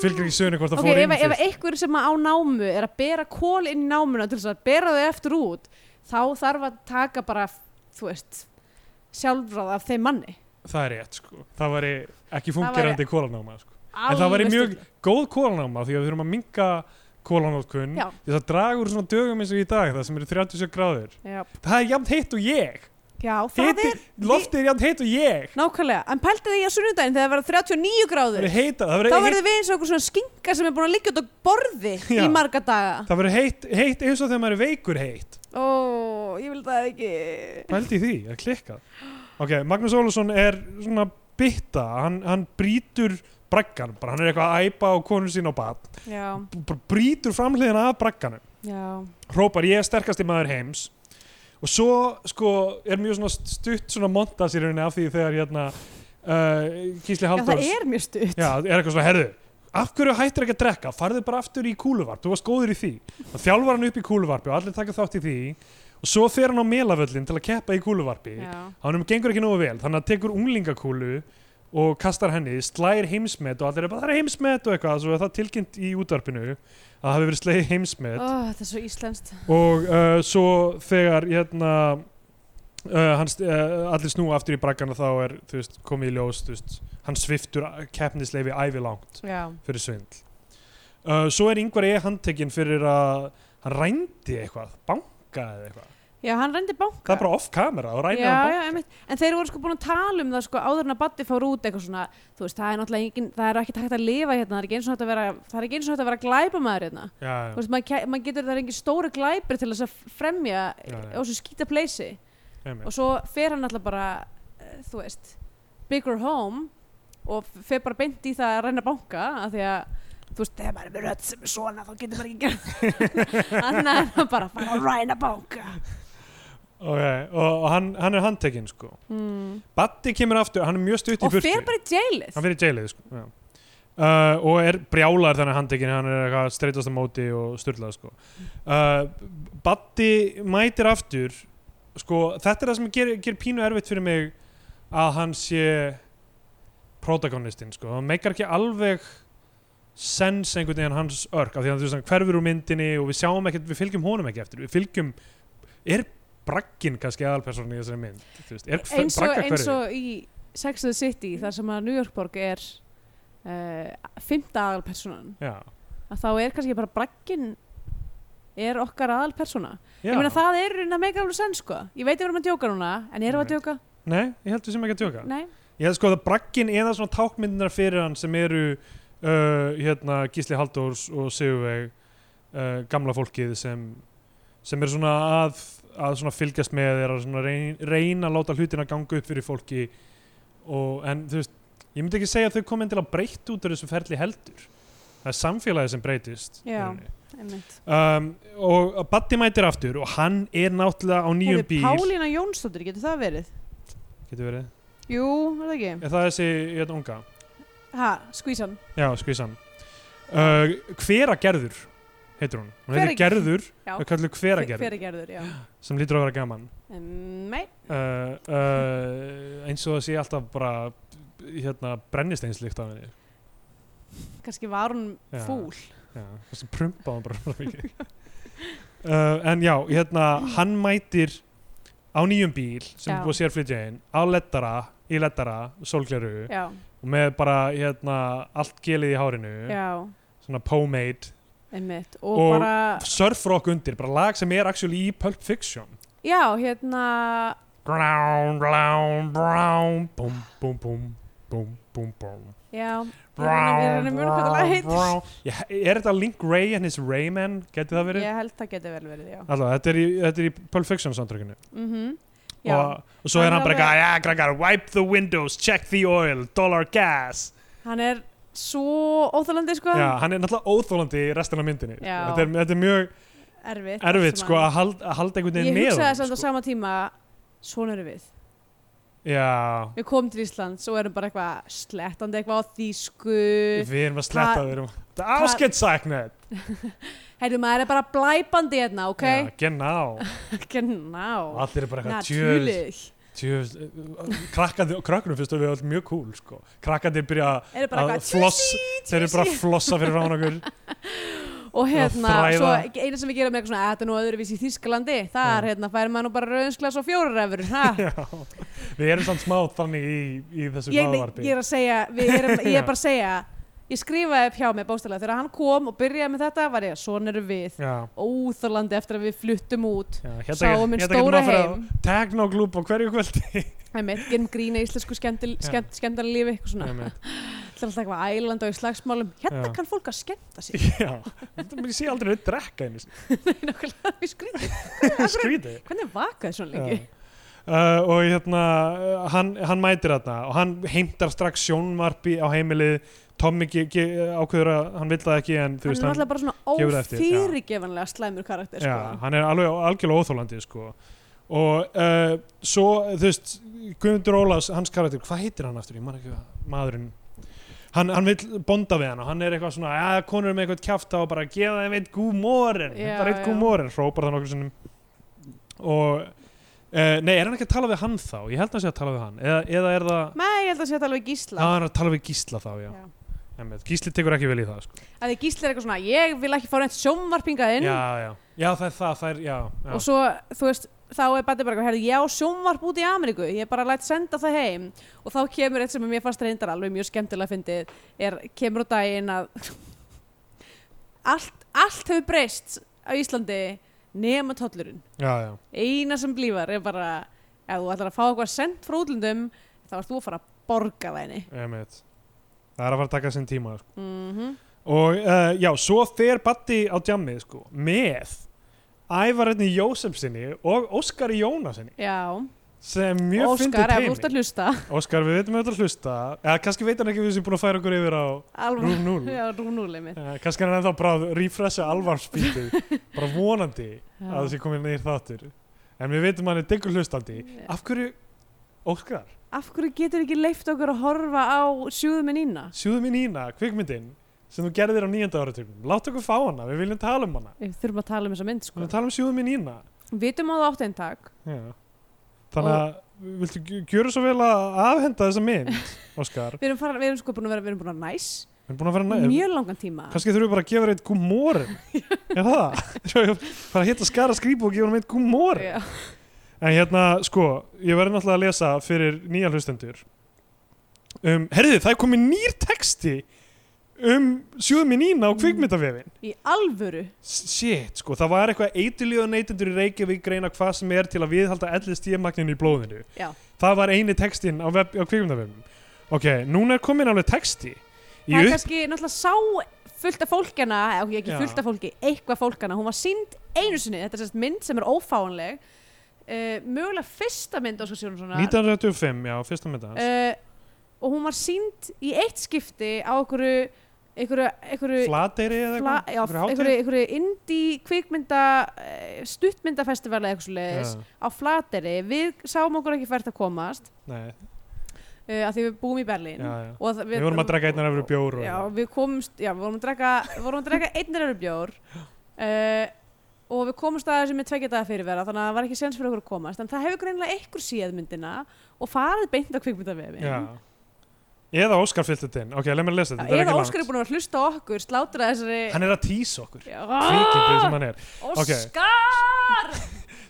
Speaker 3: fylgir ekki sögni hvort það
Speaker 2: ok,
Speaker 3: fór
Speaker 2: ef,
Speaker 3: inn
Speaker 2: ef
Speaker 3: fyrst
Speaker 2: einhver sem á námu er að bera kól inn í námuna til þess að bera þau eftir út þá þarf að taka bara þú veist sjálfráð af þeim manni
Speaker 3: það er rétt sko, það væri ekki
Speaker 2: væri-
Speaker 3: fungerandi kólanáma sko. en það væri
Speaker 2: Alveg
Speaker 3: mjög
Speaker 2: stundum.
Speaker 3: góð kólanáma því að við þurfum að minka kólanótkun
Speaker 2: Já.
Speaker 3: því að draga úr svona dögum eins og í dag það sem eru 37 gráður
Speaker 2: já,
Speaker 3: það er jafn heitt og ég
Speaker 2: já það
Speaker 3: Hiti,
Speaker 2: er
Speaker 3: loftið er jafn heitt og ég
Speaker 2: nákvæmlega, en pælti því að sunnudaginn þegar það verður 39
Speaker 3: það
Speaker 2: gráður
Speaker 3: verður heita, það
Speaker 2: þá
Speaker 3: verður
Speaker 2: verður við eins og okkur svona skinka sem er búin að liggja út á borði
Speaker 3: Já.
Speaker 2: í marga daga
Speaker 3: Það verður heitt, heitt eins og þegar maður er veikur heitt.
Speaker 2: ó, ég vil það ekki
Speaker 3: Pældi í því, það er klikkað. Ok, Magnús Ólafsson er svona bytta, hann, hann brýtur braggan, bara hann er eitthvað að æpa á konu sín á bad,
Speaker 2: já,
Speaker 3: bara brýtur framhliðina af bragganum,
Speaker 2: já,
Speaker 3: hrópar ég er sterkasti maður heims og svo sko er mjög svona stutt svona montas í rauninni af því þegar hérna uh, Gísli
Speaker 2: já það
Speaker 3: Halldórs
Speaker 2: er mjög stutt
Speaker 3: Já, er eitthvað svona, herðu, af hverju hættir ekki að drekka, farðu bara aftur í kúluvarp, þú varst góður í því. Það þjálfar hann upp í kúluvarpi og allir taka þátt í því og svo fer hann á melavöllin til að keppa í kúluvarpi.
Speaker 2: já,
Speaker 3: Hann gengur ekki nógu vel, þannig að tekur unglingakúlu og kastar henni, slægir heimsmet og allir er bara, það er heimsmet og eitthvað, svo er það tilkynnt í útvarpinu að það hafi verið slegið heimsmet
Speaker 2: Ó, það er svo íslenskt
Speaker 3: og uh, svo þegar hérna uh, hans, uh, allir snúa aftur í braggana þá er þú veist, komið í ljós þú veist, hann sviftur keppnisleifi ævilangt
Speaker 2: já,
Speaker 3: fyrir svindl uh, svo er yngvar ég handtekinn fyrir að hann rændi eitthvað, banka eða eitthvað
Speaker 2: já hann rendi banka
Speaker 3: það er bara um off camera og rændi
Speaker 2: já,
Speaker 3: hann
Speaker 2: já,
Speaker 3: banka
Speaker 2: einmitt. en þeir voru sko búin að tala um það sko áður en að Baddi fór út eitthvað svona þú veist, það er náttúrulega engin, það er ekki hægt að lifa hérna það er ekki eins og hægt að vera, það er ekki eins og hægt að vera glæpamaður hérna,
Speaker 3: já,
Speaker 2: þú
Speaker 3: já,
Speaker 2: veist, maður, ke- maður getur það er engin stóru glæpir til þess að fremja
Speaker 3: Já, já.
Speaker 2: á þessu skýta pleysi
Speaker 3: einmitt.
Speaker 2: og svo fer hann alltaf bara eh, þú veist, bigger home og f- fer bara beint í það að reyna banka af því að þú veist, þegar maður er með rödd sem er svona þá getur maður ekki gert annað en að bara fara að ræna banka
Speaker 3: ok, og, og hann, hann er handtekinn sko
Speaker 2: mm.
Speaker 3: Batti kemur aftur, hann er mjög stutt í
Speaker 2: og
Speaker 3: burtu
Speaker 2: fer bara í jailið
Speaker 3: hann fyrir jailið sko. já. uh, og er brjálar þannig handtekinn hann er eitthvað streytast á móti og styrlað sko. uh, Batti mætir aftur sko, þetta er það sem ger, ger pínu erfitt fyrir mig að hann sé protagonistinn sko, hann meikar ekki alveg sens einhvern veginn hans örk af því að þú veist hann hverfur úr myndinni og við sjáum ekkert, við fylgjum honum ekki eftir við fylgjum, er bragginn kannski aðalpersonin í þessari mynd Þú veist, er
Speaker 2: eins og,
Speaker 3: bragga
Speaker 2: eins
Speaker 3: hverfið?
Speaker 2: og í Sex and the City þar sem að New Yorkborg er uh, fymta aðalpersonan
Speaker 3: Já,
Speaker 2: að þá er kannski bara bragginn er okkar aðalpersona
Speaker 3: já.
Speaker 2: ég meina það er reyna meika alveg senn sko ég veit ég verðum að djóka núna en erum við að
Speaker 3: Einmitt.
Speaker 2: djóka?
Speaker 3: Nei, ég held við sem ekki að tjóka
Speaker 2: Nei?
Speaker 3: Ég held sko að bragginn eða svona tákmyndunar fyrir hann sem eru uh, hérna, Gísli Halldórs og Sigurveg uh, gamla fólkið sem, sem er svona að, að svona fylgjast með er að svona reyn, reyna að láta hlutina ganga upp fyrir fólki og, en þú veist, ég myndi ekki segja að þau komin til að breytt út af þessu ferli heldur það er samfélagið sem breytist í
Speaker 2: Já.
Speaker 3: rauninni.
Speaker 2: Einmitt.
Speaker 3: um, og Batti mætir aftur og hann er náttúrulega á nýjum
Speaker 2: Heyrðu,
Speaker 3: bíl
Speaker 2: Pálína Jónsdóttir, getur það verið?
Speaker 3: getur verið,
Speaker 2: Jú, er það ekki?
Speaker 3: er það þessi hérna, unga?
Speaker 2: Ha, skvísan
Speaker 3: Já, skvísan uh, Hveragerður heitir hún Hún
Speaker 2: Hveragerður.
Speaker 3: heitir Gerður,
Speaker 2: Já.
Speaker 3: það kallar Hveragerður
Speaker 2: Hveragerður, já
Speaker 3: sem lítur að vera gaman
Speaker 2: Um, Nei,
Speaker 3: uh, uh, eins og það sé alltaf bara hérna brennisteinslikt af henni
Speaker 2: kannski var hún
Speaker 3: Já.
Speaker 2: fúl
Speaker 3: Já, þessi prumpa hann bara rosa mikið uh, En já, hérna hann mætir á nýjum bíl sem
Speaker 2: Já.
Speaker 3: er búið að sér flytja inn á lettara, í lettara, sólgleru
Speaker 2: Já,
Speaker 3: og með bara hérna allt gelið í hárinu
Speaker 2: já,
Speaker 3: svona pomade
Speaker 2: einmitt Og,
Speaker 3: Og-
Speaker 2: bara,
Speaker 3: surfrock undir, bara lag sem er actually í Pulp Fiction
Speaker 2: já, hérna
Speaker 3: Brown, brown, brown Búm, búm, búm, búm, búm, búm
Speaker 2: Já, Ég er að- ég er að
Speaker 3: Brown,
Speaker 2: muna hvað það lag heitir.
Speaker 3: brown Ég- Er þetta Link Ray and his Rayman? Geti það verið?
Speaker 2: ég held það geti vel verið, já
Speaker 3: Alltaf, þetta er í, þetta er í Pulp Fiction samtrykinu
Speaker 2: mm Já,
Speaker 3: og, og svo
Speaker 2: Hann
Speaker 3: er hann
Speaker 2: er
Speaker 3: bara
Speaker 2: alveg-
Speaker 3: eitthvað, "Yeah, krakkar, Wipe the windows, check the oil, dollar gas
Speaker 2: hann er svo óþalandi sko
Speaker 3: Já, hann er náttúrulega óþólandi í restina af myndinni sko.
Speaker 2: Já.
Speaker 3: þetta er, þetta er mjög
Speaker 2: Erfitt
Speaker 3: erfitt
Speaker 2: allt
Speaker 3: sko,
Speaker 2: saman.
Speaker 3: að halda, að halda einhvern
Speaker 2: Ég
Speaker 3: veginn með
Speaker 2: hugsaði
Speaker 3: honum, sko.
Speaker 2: þess að á sama tíma Svona erum við
Speaker 3: Já,
Speaker 2: Við komum til Íslands og erum bara eitthvað slettandi eitthvað á þýsku
Speaker 3: Við erum að sletta, um-
Speaker 2: Hva-
Speaker 3: við erum Það er áskettsæknet
Speaker 2: Heyrðu maður er bara blæpandi hérna, ok?
Speaker 3: Já, genau
Speaker 2: Genau
Speaker 3: Allir er bara eitthvað tjöð
Speaker 2: Natúrlig
Speaker 3: Tjöð Krakkandi, krökkunum finnst við öll mjög cool sko Krakkandi byrja að-
Speaker 2: Eru bara
Speaker 3: að
Speaker 2: eitthvað
Speaker 3: floss Þeir eru bara
Speaker 2: tjúsí.
Speaker 3: að flossa fyrir rán okkur
Speaker 2: Og hérna,
Speaker 3: þræða.
Speaker 2: svo eina sem við gerum er eitthvað svona, "Æ, þetta er nú öðruvísi í Þýskalandi Þar,
Speaker 3: Já.
Speaker 2: hérna, færi maður nú bara rauðinsglas og fjórar efur ha?
Speaker 3: Já Við erum samt smá þannig í, í þessu
Speaker 2: ég, nei,
Speaker 3: hlaðvarpi
Speaker 2: ég er að segja við erum, ég
Speaker 3: Já.
Speaker 2: er bara að segja ég skrifaði upp hjá mig bóstalega þegar hann kom og byrjaði með þetta var ég svona erum við
Speaker 3: Já
Speaker 2: óþorlandi eftir að við fluttum út
Speaker 3: Já, hérna
Speaker 2: Sáum
Speaker 3: get-
Speaker 2: um minn
Speaker 3: hérna getur
Speaker 2: stóra
Speaker 3: maður að fara á
Speaker 2: heim.
Speaker 3: Technoglúp á hverju kvöldi
Speaker 2: einmitt, gerum grína íslensku skemmtil,
Speaker 3: Já.
Speaker 2: skemmt, skemmtana lífi eitthvað svona,
Speaker 3: Einmitt.
Speaker 2: ætla alltaf eitthvað æland og í slagsmálum, hérna
Speaker 3: Já.
Speaker 2: kann fólk að skemmta sér
Speaker 3: Já, ég sé aldrei neitt drekka einu sinni.
Speaker 2: nákvæmlega, við skrýtum,
Speaker 3: Skrítið
Speaker 2: hvernig vakaði svona lengi
Speaker 3: Já. Uh, og hérna, uh, hann, hann mætir þarna og hann heimtar strax sjónvarpi á heimilið, Tommy ge- ge- ákveður að hann vill það ekki en
Speaker 2: hann er
Speaker 3: þú veist
Speaker 2: náttúrulega bara
Speaker 3: gefur
Speaker 2: svona
Speaker 3: það eftir, já.
Speaker 2: ófyrirgefanlega slæmur karakter
Speaker 3: já,
Speaker 2: sko.
Speaker 3: hann er alveg algjörlega óþólandi sko. og uh, svo þú veist, Guðmundur Ólafs hans karakter, hvað heitir hann aftur, ég man ekki hvað maðurinn Hann, hann vil bonda við hann og hann er eitthvað svona að konur er með eitthvað kjafta og bara gefa þeim eitt gúmórin
Speaker 2: Já,
Speaker 3: bara eitt
Speaker 2: já.
Speaker 3: gúmórin, hrópar það nokkur sinnum og uh, nei, er hann ekki að tala við hann þá? ég held að hann sé að tala við hann eða, eða er það
Speaker 2: Nei, ég held að sé þetta alveg
Speaker 3: Já,
Speaker 2: gísla
Speaker 3: hann er að tala við Gísla þá, já.
Speaker 2: Já.
Speaker 3: Einmitt. Gísli tekur ekki vel í það, sko.
Speaker 2: að því gísla er eitthvað svona, ég vil ekki fá reynt sjónvarpingaðinn
Speaker 3: Já, já. Já, það er það, það er, já. já.
Speaker 2: og svo, þú veist, þá er Batti bara hérðu, ég á sjónvarp út í Ameríku ég er bara lætt senda það heim og þá kemur eitt sem mér fannst reyndar alveg mjög skemmtilega fyndið, er, kemur á daginn að allt, allt hefur breyst á Íslandi nema tollurinn
Speaker 3: Já, já.
Speaker 2: eina sem blífar er bara ef þú ætlar að fá eitthvað sendt frá útlundum þá ert þú að fara að borga það henni
Speaker 3: Einmitt. Það er að fara að taka sinn tíma, sko.
Speaker 2: mm
Speaker 3: Og, uh, já, svo fer Batti á djammið, sko, með Ævarinni Jósefsinni og Óskari Jónasinni,
Speaker 2: Já,
Speaker 3: sem mjög fyndið
Speaker 2: Óskar, ef þú ert
Speaker 3: teimi.
Speaker 2: að hlusta
Speaker 3: Óskar, við veitum auðvitað að hlusta, eða kannski veit hann ekki við sem búin að færa okkur yfir á
Speaker 2: alveg,
Speaker 3: Rúf 0.
Speaker 2: já, rúnuleg mitt
Speaker 3: Uh, kannski er hann ennþá bara að refresha alvarspítið, bara vonandi
Speaker 2: Já.
Speaker 3: að það sé komin nýr þáttur en við veitum að hann er diggur hlustandi
Speaker 2: Já.
Speaker 3: af hverju Óskar,
Speaker 2: af hverju getur ekki leift okkur að horfa á sjúðum en ína?
Speaker 3: Sjúðu mín ína, kvikmyndin sem þú gerðir á nýjönda áratugum Látt okkur fá hana, við viljum tala um hana
Speaker 2: Við þurfum að tala um þessa mynd,
Speaker 3: Við
Speaker 2: sko.
Speaker 3: viljum tala um sjúðu mín ína
Speaker 2: Við vitum að það átt einn takk.
Speaker 3: Já. Þannig að viltu gj- gjöra svo vel að afhenda þessa mynd, Óskar
Speaker 2: Við erum, fara, við erum sko búin að vera, við erum búin að vera næs.
Speaker 3: Við erum búin að vera
Speaker 2: Nice, mjög langan tíma.
Speaker 3: Kannski þurfum við bara að gefa þér eitt gúmórin Er það? Svo ég bara að hitta skara skrýpu og gefa hann eitt gúmórin
Speaker 2: Já.
Speaker 3: En hérna, sko, ég verði náttúrulega að lesa fyrir nýja hlustendur um, Herðu, það er komið nýr texti um sjöðum í nýna á
Speaker 2: Mm.
Speaker 3: kvikmyndavefin
Speaker 2: Í alvöru.
Speaker 3: Shit, sko, það var eitthvað eitilíða neytendur í Reykjavík greina hvað sem er til að viðhalda ellið stíðmagninu í blóðinu
Speaker 2: Já.
Speaker 3: Það var eini textin á, web, á kvikmyndavefin Ok, núna er komin alveg texti Í
Speaker 2: Það er
Speaker 3: upp-
Speaker 2: kannski náttúrulega sá fullt af fólkjana, eða ok, ekki
Speaker 3: Já.
Speaker 2: fullt af fólki, eitthvað fólkjana. Hún var sínd einu sinni, þetta er sérst mynd sem er ófáanleg. Uh, mögulega fyrsta mynd Óskar Sjónssona.
Speaker 3: 1925, já, fyrsta mynda hans
Speaker 2: uh, og hún var sínd í eitt skipti á einhverju einhverju, einhverju
Speaker 3: Flateyri eða
Speaker 2: fla, já,
Speaker 3: Einhverju hátíð?
Speaker 2: einhverju, einhverju indie kvikmynda eh, stuttmyndafestivali eða eitthvað svoleiðis
Speaker 3: Já,
Speaker 2: á Flateri, við sáum okkur ekki fært að komast
Speaker 3: nei,
Speaker 2: uh, að því við búum í Berlín
Speaker 3: já, já.
Speaker 2: og það-
Speaker 3: Við vorum að drekka einnar efru bjór og
Speaker 2: já, við komumst, já, við vorum að drekka við vorum að drekka einnir eru bjór uh, og við komumst að þessu með tveggja daga fyrirvera, þannig að það var ekki sens fyrir okkur að komast en það hefur greinilega einhver séð myndina og farið beint á kvikmyndavefin
Speaker 3: já. Eða Óskar fyllt þetta inn Ok, leið mér að lesa
Speaker 2: Já,
Speaker 3: þetta, þetta er
Speaker 2: Eða
Speaker 3: ekki
Speaker 2: Óskar er búinn að vera að hlusta á okkur, slátra þessari
Speaker 3: Hann er að tísa okkur
Speaker 2: Já,
Speaker 3: Kvikindu sem hann er ok.
Speaker 2: Óskar!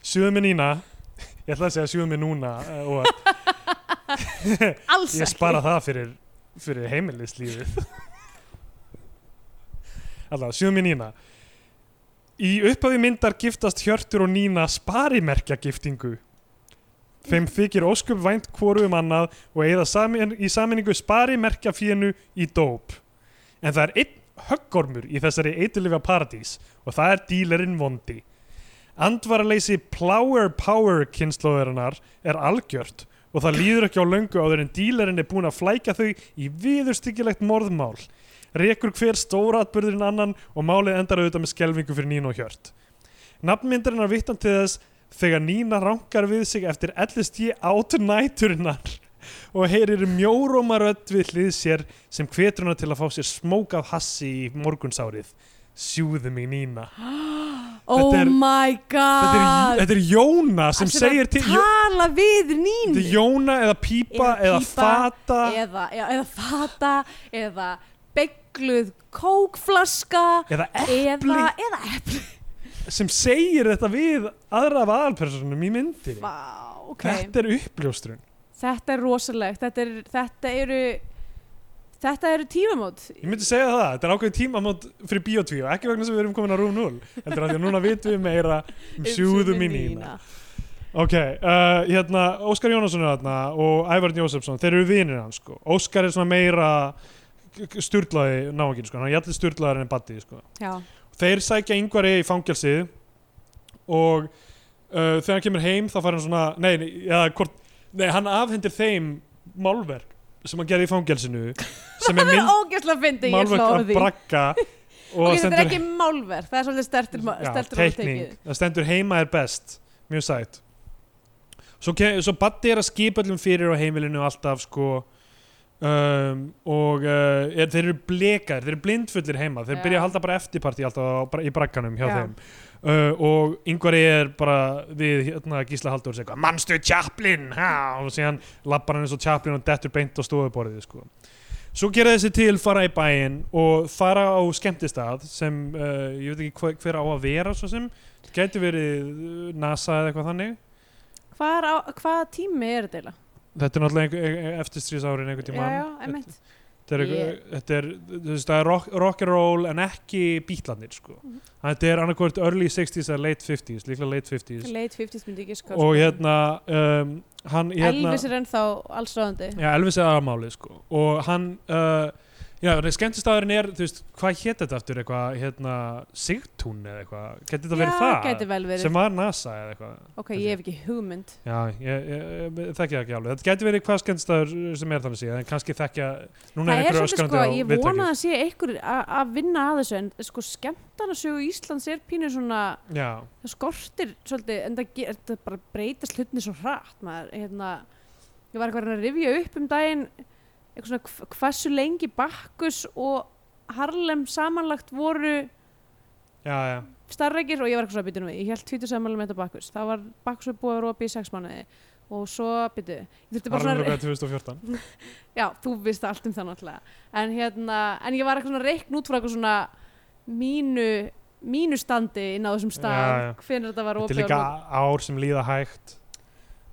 Speaker 3: Sjöðu mig nína Ég ætla að segja sjöðu mig núna eh, og
Speaker 2: Alls
Speaker 3: ég spara það fyrir, fyrir heimilislífið Allá, sjöðu mig nína Í upphafi myndar giftast Hjörtur og Nína sparimerkja giftingu Þeim þykir óskup vænt hvoru um annað og eigða samin, í saminningu spari merkjafínu í dóp. En það er einn höggormur í þessari eitilifja paradís og það er dílerinn vondi. Andvaraleysi plower power kynnslóðurinnar er algjört og það líður ekki á löngu áður en dílerinn er búin að flækja þau í viðurstyggilegt morðmál. Rekur hver stóratbyrðurinn annan og málið endar auðvitað með skelvingu fyrir Nín og Hjört. Nafnmyndarinn er vittan til þess þegar Nína rankar við sig eftir ellist ég át næturinnar og heyrir mjóróma rödd við hlið sér sem hvetur hana til að fá sér smók af hassi í morgunsárið sjúðu mig Nína
Speaker 2: Oh
Speaker 3: Þetta er-
Speaker 2: my
Speaker 3: þetta er,
Speaker 2: god!
Speaker 3: þetta er Jóna sem
Speaker 2: Hann
Speaker 3: segir til
Speaker 2: að Tala við
Speaker 3: þetta er
Speaker 2: Nínu!
Speaker 3: Jóna eða Pípa
Speaker 2: Eða
Speaker 3: eða,
Speaker 2: Pípa,
Speaker 3: Fata
Speaker 2: Eða, já, eða fata, eða begluð kókflaska,
Speaker 3: eða
Speaker 2: eða,
Speaker 3: Epli
Speaker 2: eða epli.
Speaker 3: sem segir þetta við aðra af aðalpersonum í myndinni
Speaker 2: Vá, ok.
Speaker 3: þetta er uppljóstrun
Speaker 2: Þetta er rosalegt, þetta, er, þetta eru, þetta eru tímamót.
Speaker 3: Ég myndi segja það, þetta er ákveðin tímamót fyrir Bíotvíu, ekki vegna sem við erum komin að Rúm 0 heldur að því að núna vitum við meira um sjúðum í nýna Ok, uh, hérna, Óskar Jónasson er þarna og Ævarn Jósefsson, þeir eru vinir hans sko. Óskar er svona meira sturlaði náungin, sko. hann er jætli sturlaðar en baddi sko.
Speaker 2: Já,
Speaker 3: Þeir sækja yngvari í fangelsið og uh, þegar hann kemur heim þá fær hann svona, nei, nei, ja, hvort, nei hann afhendir þeim málverk sem hann gerði í fangelsinu sem er mynd
Speaker 2: það er ógeðslega fyndið, ég
Speaker 3: málverk
Speaker 2: slá á
Speaker 3: af
Speaker 2: því.
Speaker 3: bragga og
Speaker 2: ok, þetta er ekki málverk, það er svolítið stertur stertur
Speaker 3: já, teikning, það stendur heima er best mjög sætt svo, ke- svo Batti er að skipa allum fyrir á heimilinu alltaf sko um, og uh, er, þeir eru blekar þeir eru blindfullir heima, þeir
Speaker 2: Já.
Speaker 3: byrja að halda bara eftirparti alltaf á, bara, í bragganum hjá
Speaker 2: Já.
Speaker 3: þeim uh, og yngvar er bara við hérna, Gísla Halldór segja eitthvað, mannstu Chaplin ha? og síðan lappar hann eins og Chaplin og dettur beint á stofuborðið sko Svo gera þessi til fara í bæinn og fara á skemmtistað sem uh, ég veit ekki hver, hver á að vera svo sem, gæti verið uh, NASA eða eitthvað þannig
Speaker 2: Hvar á, hvaða tími er þetta eiginlega?
Speaker 3: Þetta er náttúrulega eftirstrís árin einhvern
Speaker 2: já,
Speaker 3: tímann
Speaker 2: já, einmitt
Speaker 3: Þetta er, yeah.
Speaker 2: Ég-
Speaker 3: þetta er, þú veist, það er rock, rock and roll en ekki bítlanir sko.
Speaker 2: Mhm.
Speaker 3: Þetta er annarkvort early 60s eða late 50s, líklega late 50s
Speaker 2: late 50s myndi ég giska á, sko.
Speaker 3: og hérna, um, hann hérna,
Speaker 2: Elvis er ennþá allsráðandi
Speaker 3: Já, Elvis er aðmálið sko og hann uh, Já, skemmtistæðurinn er, þú veist, hvað hétt þetta aftur eitthvað, hérna, Sigtún eða eitthvað, geti þetta verið það?
Speaker 2: gæti vel verið
Speaker 3: Sem var NASA eða eitthvað
Speaker 2: ok, ég hef ekki hugmynd
Speaker 3: Já, ég, ég, ég þekki það ekki alveg Þetta geti verið hvað skemmtistæður sem er þannig síðan en kannski þekkja, núna
Speaker 2: það
Speaker 3: er
Speaker 2: er
Speaker 3: einhverju
Speaker 2: svolítið
Speaker 3: öskrandi
Speaker 2: sko,
Speaker 3: á
Speaker 2: ég
Speaker 3: viðtakið.
Speaker 2: vona að sé einhver a- að vinna að þessu en sko skemmtarnasögu Íslands er pínu svona
Speaker 3: Já,
Speaker 2: það skortir svolítið en það, ge- það bara breytast hlutinni svo hratt maður, hérna ég ég var eitthvað að reyna að rifja upp um daginn eitthvað svona hv- hversu lengi Bakkus og Harlem samanlagt voru
Speaker 3: já, já,
Speaker 2: starrækir og ég var eitthvað svona að nú við ég held 20 samanlega með þetta Bakkus það var Bakkus var búið að vera opið í 6 mánuði og svo byrju ég þurfti bara svona
Speaker 3: Harlem Lugga 2014
Speaker 2: Já, þú veist allt um það náttúrulega en, hérna, en ég var eitthvað svona reikn út frá eitthvað svona mínu mínu standi inn á þessum stað
Speaker 3: Já, já.
Speaker 2: hvenær þetta var
Speaker 3: Þetta er
Speaker 2: opið
Speaker 3: líka ár sem líða hægt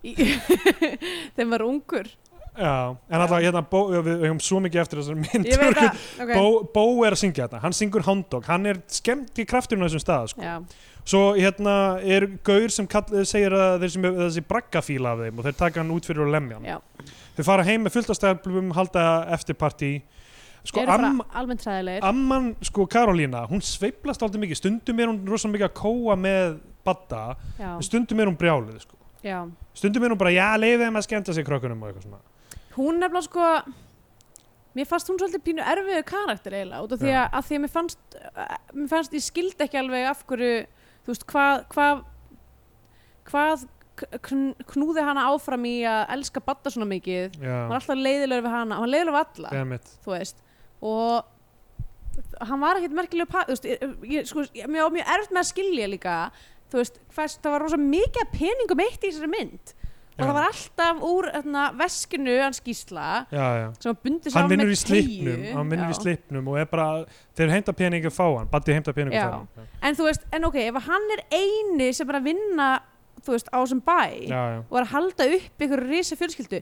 Speaker 2: þeim var ungur
Speaker 3: Já, en alltaf hérna Bó, við við höfum svo mikið eftir þessar mynd
Speaker 2: ég veit að okay.
Speaker 3: Bó, Bó er að syngja þetta, hann syngur Houndog hann er skemmt í krafturinn á þessum stað sko.
Speaker 2: Já,
Speaker 3: svo hérna er gaur sem kall, segir að þeir sem þessi braggafíla af þeim og þeir taka hann út fyrir og lemja hann
Speaker 2: já.
Speaker 3: þeir fara heim með fullt af stefnum, halda eftirparti sko
Speaker 2: eru bara
Speaker 3: am,
Speaker 2: almennt sæðilegir
Speaker 3: amman, sko Karolína hún sveiflast alltaf mikið, stundum er hún rosalega mikið að kóa með badda
Speaker 2: já,
Speaker 3: en stundum er hún brjálið sko.
Speaker 2: já.
Speaker 3: stundum er hún bara, já, leiðið þeim að skemmta sig krökkunum og eitthvað svona
Speaker 2: hún nefnilega sko mér fannst hún svolítið pínu erfiðu karakter eiginlega út af því
Speaker 3: Já.
Speaker 2: að, að því að mér fannst eh, mér fannst ég skildi ekki alveg af hverju þú veist hvað hvað, hvað k- kn- knúði hana áfram í að elska badda svona mikið hann var
Speaker 3: já,
Speaker 2: alltaf leiðilegur við hana, hann var leiðilegur við alla
Speaker 3: demmit
Speaker 2: þú veist og hann var ekkert merkilegur pa- þú veist, ég, ég, sko, ég, mér var mjög erft með að skilja líka þú veist, hvers, það var rosa mikið af peningum eitt í þessari mynd og
Speaker 3: Já.
Speaker 2: það var alltaf úr þarna, veskinu hans gísla
Speaker 3: já, já
Speaker 2: sem var bundið
Speaker 3: hann
Speaker 2: saman
Speaker 3: vinnur
Speaker 2: með
Speaker 3: í slipnum
Speaker 2: treyju.
Speaker 3: hann vinnur í
Speaker 2: Já.
Speaker 3: slipnum og er bara þeir heimta peningi að fá hann, baddi heimta peningi
Speaker 2: Já.
Speaker 3: að fá hann
Speaker 2: en þú veist, en ok, ef hann er eini sem er að vinna, þú veist, á þessum bæ
Speaker 3: já, já,
Speaker 2: og er að halda upp ykkur risa fjölskyldu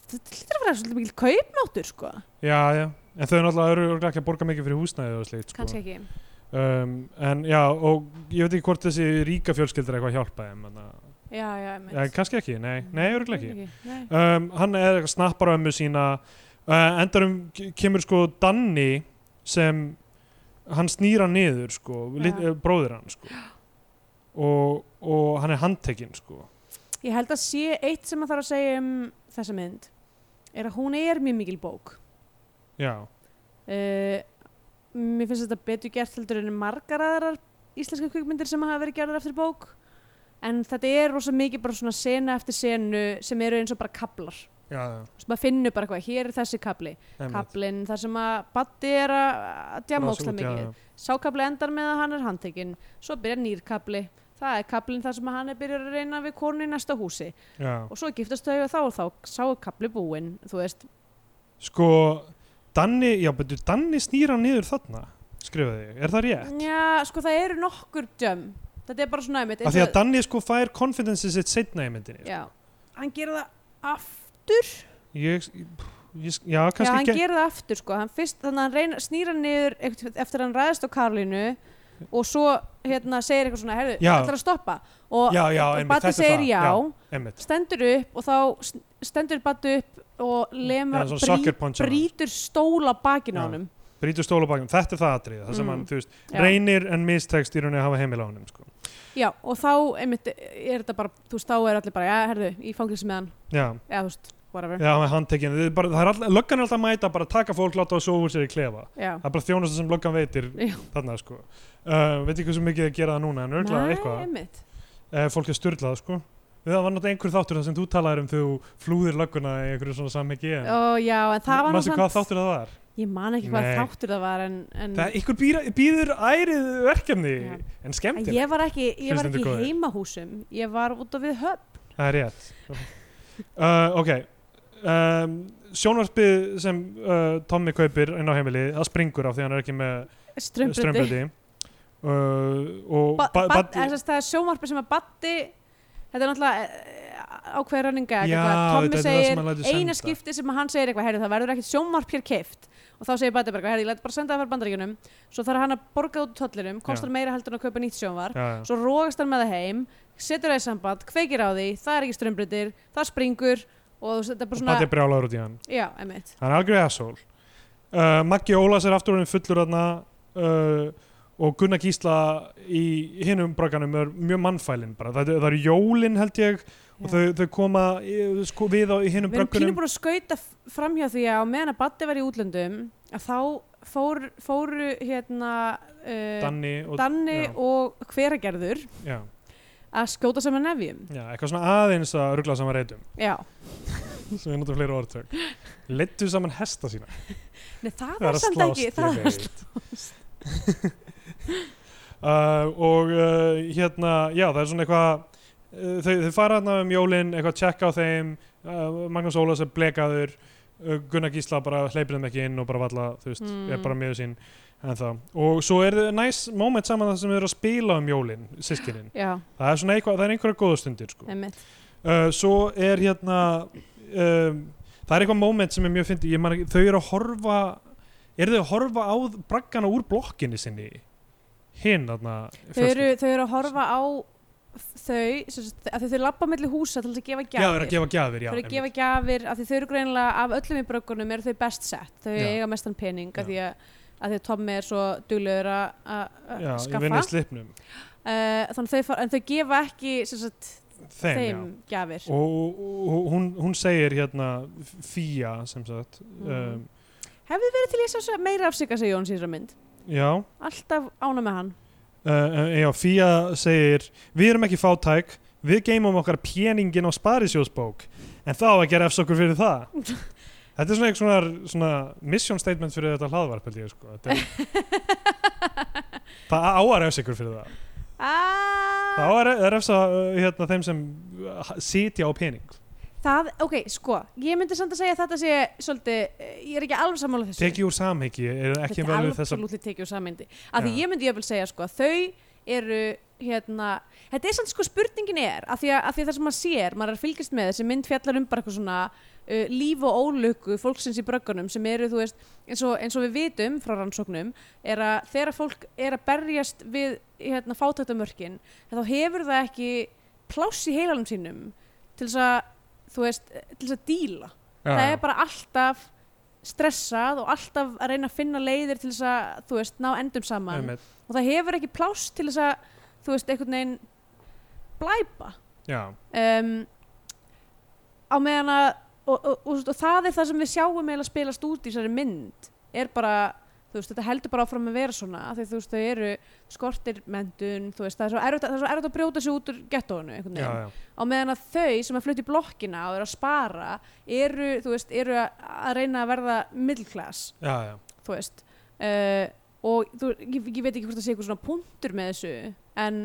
Speaker 2: þetta hlýtur að vera svolítið mikil kaupmáttur sko,
Speaker 3: já, já en þau náttúrulega eru örugglega ekki að borga mikið fyrir húsnæði og slíkt sko.
Speaker 2: kannski ekki
Speaker 3: um, en já, og ég veit ekki hvort þessi ríka fjölskyldur eitthvað hjálpa þeim en,
Speaker 2: já, já, ég
Speaker 3: ja, kannski ekki, nei, nei, örugglega ekki
Speaker 2: Nei.
Speaker 3: um, hann er eitthvað snappar á ömmu sína uh, endarum ke- kemur sko Danni sem hann snýra niður sko, lit,
Speaker 2: Já.
Speaker 3: eh, bróðir hann sko og, og hann er handtekinn sko
Speaker 2: Ég held að sé eitt sem maður þarf að segja um þessa mynd er að hún er mjög mikil bók.
Speaker 3: já,
Speaker 2: Uh, mér finnst þetta betur gert heldur en margar aðrar íslenska kvikmyndir sem hafa verið gerðar eftir bók en þetta er rosa mikið bara svona sena eftir senu sem eru eins og bara kablar.
Speaker 3: já, já
Speaker 2: Þú veist, maður finnur bara hvað, hér er þessi kabli,
Speaker 3: einmitt.
Speaker 2: kablin þar sem að Batti er að að djama ókslega mikið. Sákabli endar með að hann er handtekinn, svo byrjar nýrkabli, það er kablin þar sem að hann er byrjar að reyna við konu í næsta húsi.
Speaker 3: Já.
Speaker 2: og svo giftast þau og þá og þá sáu kapli búinn, þú veist
Speaker 3: Sko, Danni, já, betur, Danni snýra niður þarna, skrifaði ég, er það rétt?
Speaker 2: já, sko það eru nokkur djömm þetta er bara svona einmitt
Speaker 3: Af því að Danni sko fær confidence sitt setna í myndinni.
Speaker 2: já, hann gerir það aftur
Speaker 3: Ég, pff, ég, já,
Speaker 2: já, hann
Speaker 3: kannski ekki.
Speaker 2: gerir það aftur sko hann fyrst, þannig að hann reyna, snýra niður eftir, eftir að hann ræðist á Karlínu og svo hérna segir eitthvað svona herðu,
Speaker 3: Já.
Speaker 2: ætlar að stoppa og,
Speaker 3: Já, já,
Speaker 2: og
Speaker 3: einmitt, þetta
Speaker 2: Batti
Speaker 3: er
Speaker 2: segir
Speaker 3: það,
Speaker 2: já,
Speaker 3: já. Einmitt.
Speaker 2: stendur upp og þá sn- stendur Batti upp og lemur,
Speaker 3: Já, svona soccer punch á hann.
Speaker 2: brýtur stóla bakinn á
Speaker 3: Já.
Speaker 2: honum
Speaker 3: Brítur stólabakum, þetta er það aðrið, það sem
Speaker 2: Mm.
Speaker 3: hann, þú veist,
Speaker 2: Já.
Speaker 3: reynir en mistekst í rauninni að hafa heimil á honum, sko.
Speaker 2: Já, og þá einmitt, er þetta bara, þú veist, þá er allir bara, já, herðu, í fangilsi með hann,
Speaker 3: Já,
Speaker 2: eða þú veist, whatever.
Speaker 3: já, með handtekinn, það er bara, það er alltaf, löggan er alltaf að mæta, bara að taka fólk, láta það svo úr sér í klefa.
Speaker 2: Já,
Speaker 3: Það er bara þjónast sem löggan veitir
Speaker 2: Já.
Speaker 3: þarna, sko. Uh, veit ekki hversu mikið að gera það núna, en örgla eitthvað.
Speaker 2: einmitt.
Speaker 3: eh, fólk er styrlað sko það var náttúrulega einhver þáttur þar sem þú talaðir um þegar þú flúðir lögguna í einhverju svona samhengi en
Speaker 2: Ó, já, en það var
Speaker 3: Manstu hvað þáttur það var?
Speaker 2: Ég man ekki hvað
Speaker 3: Nei.
Speaker 2: þáttur það var, en, en
Speaker 3: Það ykkur býra- býður ærið verkefni
Speaker 2: Já.
Speaker 3: en skemmtir,
Speaker 2: ég var ekki, ég var
Speaker 3: Hlustendur
Speaker 2: ekki í
Speaker 3: góðir.
Speaker 2: heimahúsum, ég var út á við höfn.
Speaker 3: það er rétt uh, ok um, sjónvarpið sem uh, Tommy kaupir inn á heimili, það springur af því hann er ekki með
Speaker 2: Strömbröndi.
Speaker 3: strömbröti uh, og
Speaker 2: Ba
Speaker 3: ba-
Speaker 2: ba
Speaker 3: Baddi-
Speaker 2: þess að það er sjómarpi sem að batti, þetta er eh, náttúrulega ákveður rönninga,
Speaker 3: Já, þetta
Speaker 2: Tommi
Speaker 3: er það sem
Speaker 2: segir
Speaker 3: hann lætur
Speaker 2: eina
Speaker 3: senda.
Speaker 2: skipti sem að hann segir eitthvað, herri það verður ekkert sjómarp hér keift og þá segir Batti bara, herri ég læt bara senda það fyrir bandaríkjunum svo þarf hann að borga út úr tollinum, kostar meira heldur en að kaupa nýtt sjónvarp
Speaker 3: já, já.
Speaker 2: svo rógast hann með það heim setur það í samband, kveikir á því það er ekki strömbritir, það springur og þú veist, þetta er bara
Speaker 3: og
Speaker 2: svona
Speaker 3: Baddi er brjálaður út í hann
Speaker 2: já, einmitt.
Speaker 3: hann er algjörði asshole uh, Maggi Ólas er aftur hann fullur þarna uh, og Gunnar Gísla í hinum bragganum er mjög mannfælinn bara, það, það eru jólin held ég og þau, þau koma í- sko, við á, í hinum
Speaker 2: við erum pínu
Speaker 3: bragganum
Speaker 2: búin að skauta f- framhjá því að á meðan að Baddi var í útlöndum að þá fór, fóru hérna uh,
Speaker 3: Danni og
Speaker 2: Danni
Speaker 3: já.
Speaker 2: og hveragerður
Speaker 3: já,
Speaker 2: að skjóta saman nefjum
Speaker 3: já, eitthvað svona aðeins að ruggla saman reytum
Speaker 2: já
Speaker 3: sem við notum fleiri orðtök leittu saman hesta sína
Speaker 2: Nei, það var samt ekki, það var
Speaker 3: slást uh, og uh, hérna, já það er svona eitthvað uh, þau, þau fara hérna um jólin eitthvað tjekka á þeim uh, Magnús Ólas er blekaður uh, Gunnar Gísla bara hleypir þeim ekki inn og bara valla þú veist,
Speaker 2: Mm.
Speaker 3: er bara mjög sín en þá, og svo er næs moment saman það sem þau eru að spila um jólin sískinin,
Speaker 2: Já,
Speaker 3: það er svona eitthvað það er einhverja góðastundir sko
Speaker 2: einmitt
Speaker 3: uh, svo er hérna um, það er eitthvað moment sem er mjög fyndi ég man ekki, þau eru að horfa eru þau að horfa á braggana úr blokkinni sinni hinn þarna
Speaker 2: þau eru, þau eru að horfa á þau, sem sagt, af því þau labba milli húsa til þess að gefa
Speaker 3: já,
Speaker 2: gjafir
Speaker 3: þau eru að gefa gjafir
Speaker 2: Þau
Speaker 3: já,
Speaker 2: eru að
Speaker 3: einmitt.
Speaker 2: gefa gjafir, af því þau eru greinilega af öllum í bröggunum eru þau best sett, þau
Speaker 3: Já.
Speaker 2: eiga mestan pening af
Speaker 3: Já.
Speaker 2: því að, að því að Tommi er svo duglegur að að-
Speaker 3: já,
Speaker 2: að
Speaker 3: ég vinna
Speaker 2: skaffa
Speaker 3: í slipnum
Speaker 2: Eh, þannig þau fara, en þau gefa ekki sem sagt,
Speaker 3: þeim,
Speaker 2: þeim gjafir
Speaker 3: já og, og hún, hún segir hérna fía sem sagt um,
Speaker 2: Mhm. verið til ég sá svo meira af sig að segja Jóns í þessar mynd
Speaker 3: já
Speaker 2: alltaf ána með hann
Speaker 3: Uh, já, Fía segir við erum ekki fátæk, við geymum okkar peningin á sparisjóðsbók en það á ekki að refsa okkur fyrir það þetta er svona eitthvað svona, svona mission statement fyrir þetta hlaðvarp held ég sko. Þetta er, það á að refsa ykkur fyrir það það á
Speaker 2: Ah,
Speaker 3: að re- refsa uh, hérna, þeim sem uh, sitja á pening
Speaker 2: það, ok, sko ég myndi samt að segja að þetta sé svolítið, eh, ég er ekki alveg sammála þessu
Speaker 3: teki úr samhengi, er ekki
Speaker 2: þetta
Speaker 3: vel
Speaker 2: er
Speaker 3: við þessa
Speaker 2: absolutt tekið úr sammyndi að því
Speaker 3: Já.
Speaker 2: ég myndi jöfnvel segja sko að þau eru hérna, þetta er samt sko spurningin er að því að, að því að það sem maður sér, maður er að fylgjast með þessi mynd fjallar um bara eitthvað svona uh, líf og ólöku fólksins í bröggunum sem eru þú veist, eins og, eins og við vitum frá rannsóknum, er að þegar fólk er að berjast við hérna fátættamörkin, þá hefur það ekki pláss í heilanum sínum til þess að, þú veist til þess að díla það er bara alltaf stressað og alltaf að reyna að finna leiðir til þess að, þú veist, ná endum saman
Speaker 3: Einmitt,
Speaker 2: og það hefur ekki pláss til þess að, þú veist, einhvern veginn blæpa
Speaker 3: já,
Speaker 2: um, á meðan að og, og, og, og það er það sem við sjáum eiginlega spilast út í þessari mynd er bara, þú veist, þetta heldur bara áfram að vera svona, af því þú veist, þau eru skortir mentun, þú veist, það er svo erfitt að, það er svo erfitt að brjóta sig út úr gettóinu einhvern
Speaker 3: já,
Speaker 2: veginn
Speaker 3: já,
Speaker 2: á meðan að þau sem að flutti blokkina og eru að spara eru, þú veist, eru að, að reyna að verða middle class,
Speaker 3: já, já.
Speaker 2: þú veist uh, og þú, ég, ég veit ekki hvort það sé eitthvað svona punktur með þessu en,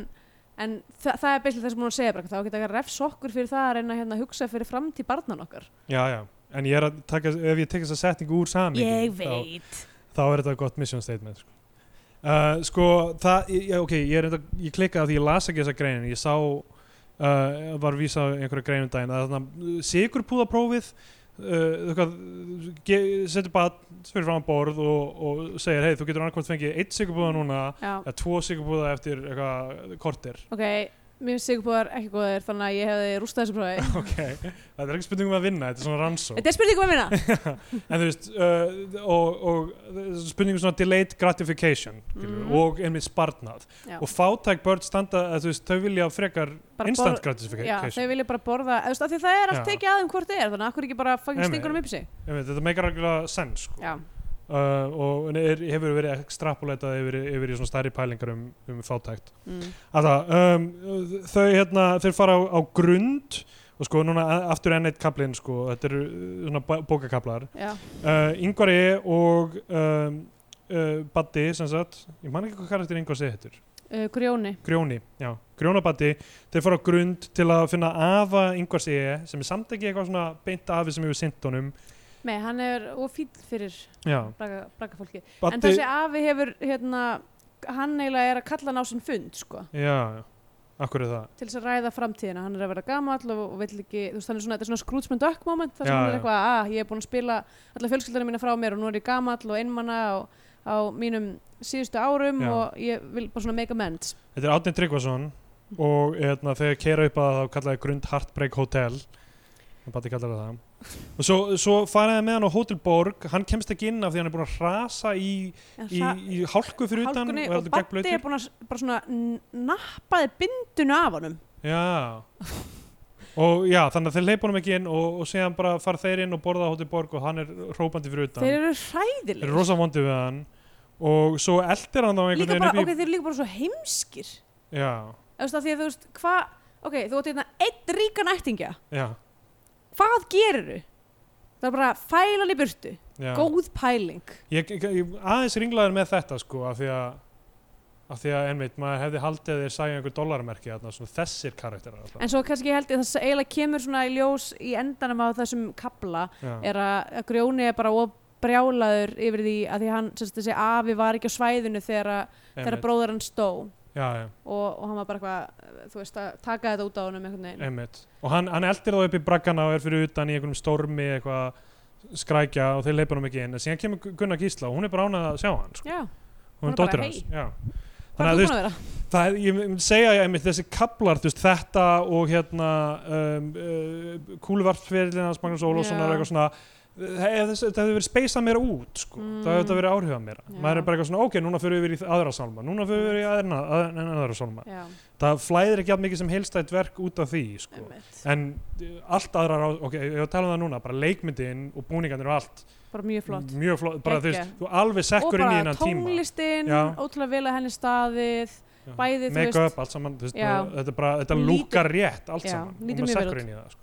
Speaker 2: en þa það er beislega það sem hún er að segja bara, þá geta ekki að refs okkur fyrir það að reyna hérna, að hugsa fyrir framtíð barnan okkar
Speaker 3: Já, já. En ég er að taka, ef ég tek þessa setningu úr samingi
Speaker 2: veit
Speaker 3: þá er þetta gott mission statement sko, uh, sko það, ég, ok, ég, er enda, ég klikkaði á því ég las ekki þessa greinin, ég sá uh, var vísa á einhverja greinum daginn að þarna sigurpúðaprófið Uh, hvað, ge, setur bat fyrir fram borð og, og segir hei þú getur annarkvæmt fengið eitt sigurpúða núna
Speaker 2: Já,
Speaker 3: eða tvo sigurpúða eftir eitthvað kortir
Speaker 2: ok, mér finnst sigurbúðar ekki góðir þannig að ég hefði rústað þessu prófi
Speaker 3: ok, þetta er ekki spurning um að vinna þetta er svona rannsó
Speaker 2: Þetta er spurning um minna
Speaker 3: en þú veist uh, og, og spurningum svona delayed gratification mm.
Speaker 2: Mhm.
Speaker 3: og einmitt sparnað
Speaker 2: Já.
Speaker 3: og fátæk börn standa að, þú veist, þau vilja frekar
Speaker 2: Bara
Speaker 3: instant
Speaker 2: borð- Já, þau
Speaker 3: gratification
Speaker 2: vilja bara borða, eða þú veist, af því það er allt
Speaker 3: Já.
Speaker 2: tekið aðeim hvort þið er, þannig að akkur ekki bara fucking
Speaker 3: Einmitt.
Speaker 2: stingur um upp í sig.
Speaker 3: einmitt, þetta meikar algjörlega sens sko.
Speaker 2: Já.
Speaker 3: uh, og en er, hefur verið extrapolatað yfir, yfir í svona stærri pælingar um, um fátækt
Speaker 2: Mm.
Speaker 3: Alltaf, um, þau hérna, þeir fara á, á grund og sko núna a- aftur enn eitt kaplinn sko, þetta eru uh, svona bó- bókakaplar
Speaker 2: Já.
Speaker 3: uh, Ingvari og um, uh, Baddi sem sagt, ég man ekki hvað karakter Ingvar segi hettur
Speaker 2: Uh, grjóni.
Speaker 3: Grjóni, já, Grjónabatti þeir fara á grund til að finna afa yngvars ég, sem er samt ekki eitthvað svona beint afi sem hefur sint honum
Speaker 2: Nei, hann er ofýll fyrir
Speaker 3: já,
Speaker 2: braga, braga fólki. En
Speaker 3: Batti,
Speaker 2: þessi afi hefur, hérna, hann eiginlega er að kalla hann á sinn fund, sko,
Speaker 3: já, akkur er það
Speaker 2: til þess að ræða framtíðina. Hann er að vera gamall og, og vill ekki, þú veist, hann er svona, þetta er svona skrútsmynd ökk moment, þar sem
Speaker 3: Já,
Speaker 2: hann er
Speaker 3: já.
Speaker 2: eitthvað, að ég er búin að spila alla fjölskyldana mína frá mér og nú er ég gamall og einmana og, á mínum síðustu árum
Speaker 3: Já.
Speaker 2: og ég vil bara svona make amends.
Speaker 3: þetta er Átni Tryggvason og hérna, þegar keira upp að þá kallaði grund Heartbreak Hotel Batti kallaði það og svo, svo faraði með hann á Hotel Borg hann kemst ekki inn af því hann er búin að hrasa í,
Speaker 2: En
Speaker 3: í,
Speaker 2: hra-
Speaker 3: í hálku fyrir utan
Speaker 2: hálkunni
Speaker 3: er
Speaker 2: og
Speaker 3: allur
Speaker 2: Batti
Speaker 3: gegnblautur.
Speaker 2: er búin að s- bara svona n- nappaði bindunu af honum
Speaker 3: Já Og já, þannig að þeir leipa honum ekki inn og, og síðan bara fara þeir inn og borða á Hóti Borg og hann er hrópandi fyrir utan
Speaker 2: þeir eru
Speaker 3: Þeir
Speaker 2: hræðilegir
Speaker 3: eru rosa vondið við hann og svo eldir hann þá einhvern
Speaker 2: líka
Speaker 3: veginn
Speaker 2: bara,
Speaker 3: upp
Speaker 2: ok, þeir eru líka bara svo heimskir
Speaker 3: í Já,
Speaker 2: Þú veist, af því að þú veist, hvað ok, þú átti hérna einn ríkan ættingja
Speaker 3: já,
Speaker 2: hvað gerirðu? það er bara fælan í burtu
Speaker 3: Já.
Speaker 2: góð pæling
Speaker 3: Ég, ég, ég aðeins ringlaður með þetta sko af því að af því að einmitt, maður hefði haldið að þeir sæja einhver dollarmerki þarna, svona þessir karakterar alltaf.
Speaker 2: en svo kannski held ég að það eiginlega kemur svona í ljós í endanum á þessum kabla
Speaker 3: Já,
Speaker 2: er að, að Grjóni er bara of brjálaður yfir því að því hann sem sagt, þessi afi var ekki á svæðinu þegar, að- þegar
Speaker 3: einmitt.
Speaker 2: bróður hann stó og,
Speaker 3: já, já,
Speaker 2: og hann var bara eitthvað þú veist að taka þetta út á honum einhvern veginn
Speaker 3: einmitt. Og hann, hann eldir þá upp í braggana og er fyrir utan í einhverjum stormi eitthvað skrækja og þeir leipur hann ekki inn en síðan kemur Gu- Gunnar Gísla og hún er bara ánað að sjá hann sko.
Speaker 2: já,
Speaker 3: hún
Speaker 2: Hún
Speaker 3: er
Speaker 2: er bara,
Speaker 3: dóttir
Speaker 2: hey.
Speaker 3: hans já.
Speaker 2: hvað er
Speaker 3: að þú
Speaker 2: þú
Speaker 3: veist,
Speaker 2: búin að vera?
Speaker 3: Það, er- ég myndi segja ég einmitt þessi kaplar, þú veist, þetta og hérna um, uh, kúluvarpferðin hans Magnús Ólafssonar
Speaker 2: Já.
Speaker 3: og eitthvað svona það hefði þetta hefði verið speysað meira út sko.
Speaker 2: Mm.
Speaker 3: það hefði þetta verið áhrifað meira
Speaker 2: Já.
Speaker 3: maður er bara eitthvað svona, ok, núna fyrir við yfir í aðra sálma núna fyrir við yfir í aðra, aðra, aðra sálma
Speaker 2: Já,
Speaker 3: það flæðir ekki að mikið sem heilstætt verk út af því sko.
Speaker 2: einmitt.
Speaker 3: en uh, allt aðra, ok, ég var að tala um það núna bara leikmyndin og búningarnir og allt
Speaker 2: bara mjög flott
Speaker 3: mjög flott, bara þú
Speaker 2: Geggjað.
Speaker 3: veist, þú alveg
Speaker 2: og
Speaker 3: sekkur inn í
Speaker 2: bara
Speaker 3: innan tíma
Speaker 2: tónlistin,
Speaker 3: Já.
Speaker 2: ótrúlega vel að henni staðið
Speaker 3: Já.
Speaker 2: bæði, þú
Speaker 3: make-up,
Speaker 2: veist-
Speaker 3: allt saman, þú veist,
Speaker 2: Já.
Speaker 3: og þetta, er bara, þetta
Speaker 2: Lítur-
Speaker 3: lúkar rétt allt
Speaker 2: Já,
Speaker 3: saman og
Speaker 2: lítur
Speaker 3: maður
Speaker 2: mjög vel
Speaker 3: sekkur
Speaker 2: út.
Speaker 3: inn í það sko.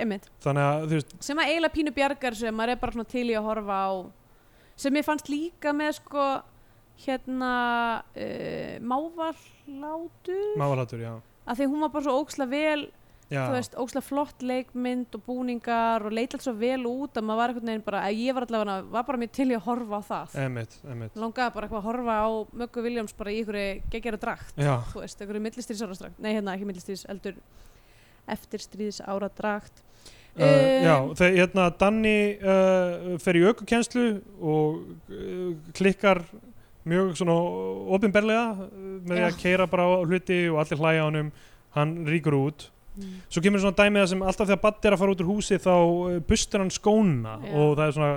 Speaker 2: einmitt,
Speaker 3: þannig að þú veist,
Speaker 2: sem að eiginlega pínu bjargar sem maður er bara svona til í að horfa á sem ég fannst líka með sko hérna uh, mávalátu
Speaker 3: mávalhatur, já,
Speaker 2: að því hún var bara svo óksla vel
Speaker 3: já.
Speaker 2: þú veist, óksla flott leikmynd og búningar og leit allt svo vel út að maður var einhvern veginn bara, að ég var allavega var bara mér til í að horfa á það
Speaker 3: emitt, emitt
Speaker 2: langaði bara eitthvað að horfa á Möggu Williams bara í einhverju geggjara drakt
Speaker 3: já,
Speaker 2: þú veist, einhverju millistríðsára drakt nei, hérna, ekki millistríðs, eldur eftirstríðsára drakt Eh,
Speaker 3: uh, já, þegar hérna Danni uh, fer í aukukenslu og uh, klikkar mjög svona opinberlega uh, með því
Speaker 2: Já.
Speaker 3: að keira bara á hluti og allir hlæja á honum, hann ríkur út
Speaker 2: Mm.
Speaker 3: svo kemur svona dæmið sem alltaf þegar Baddi er að fara út úr húsi þá uh, bustur hann skóna
Speaker 2: Já.
Speaker 3: og það er svona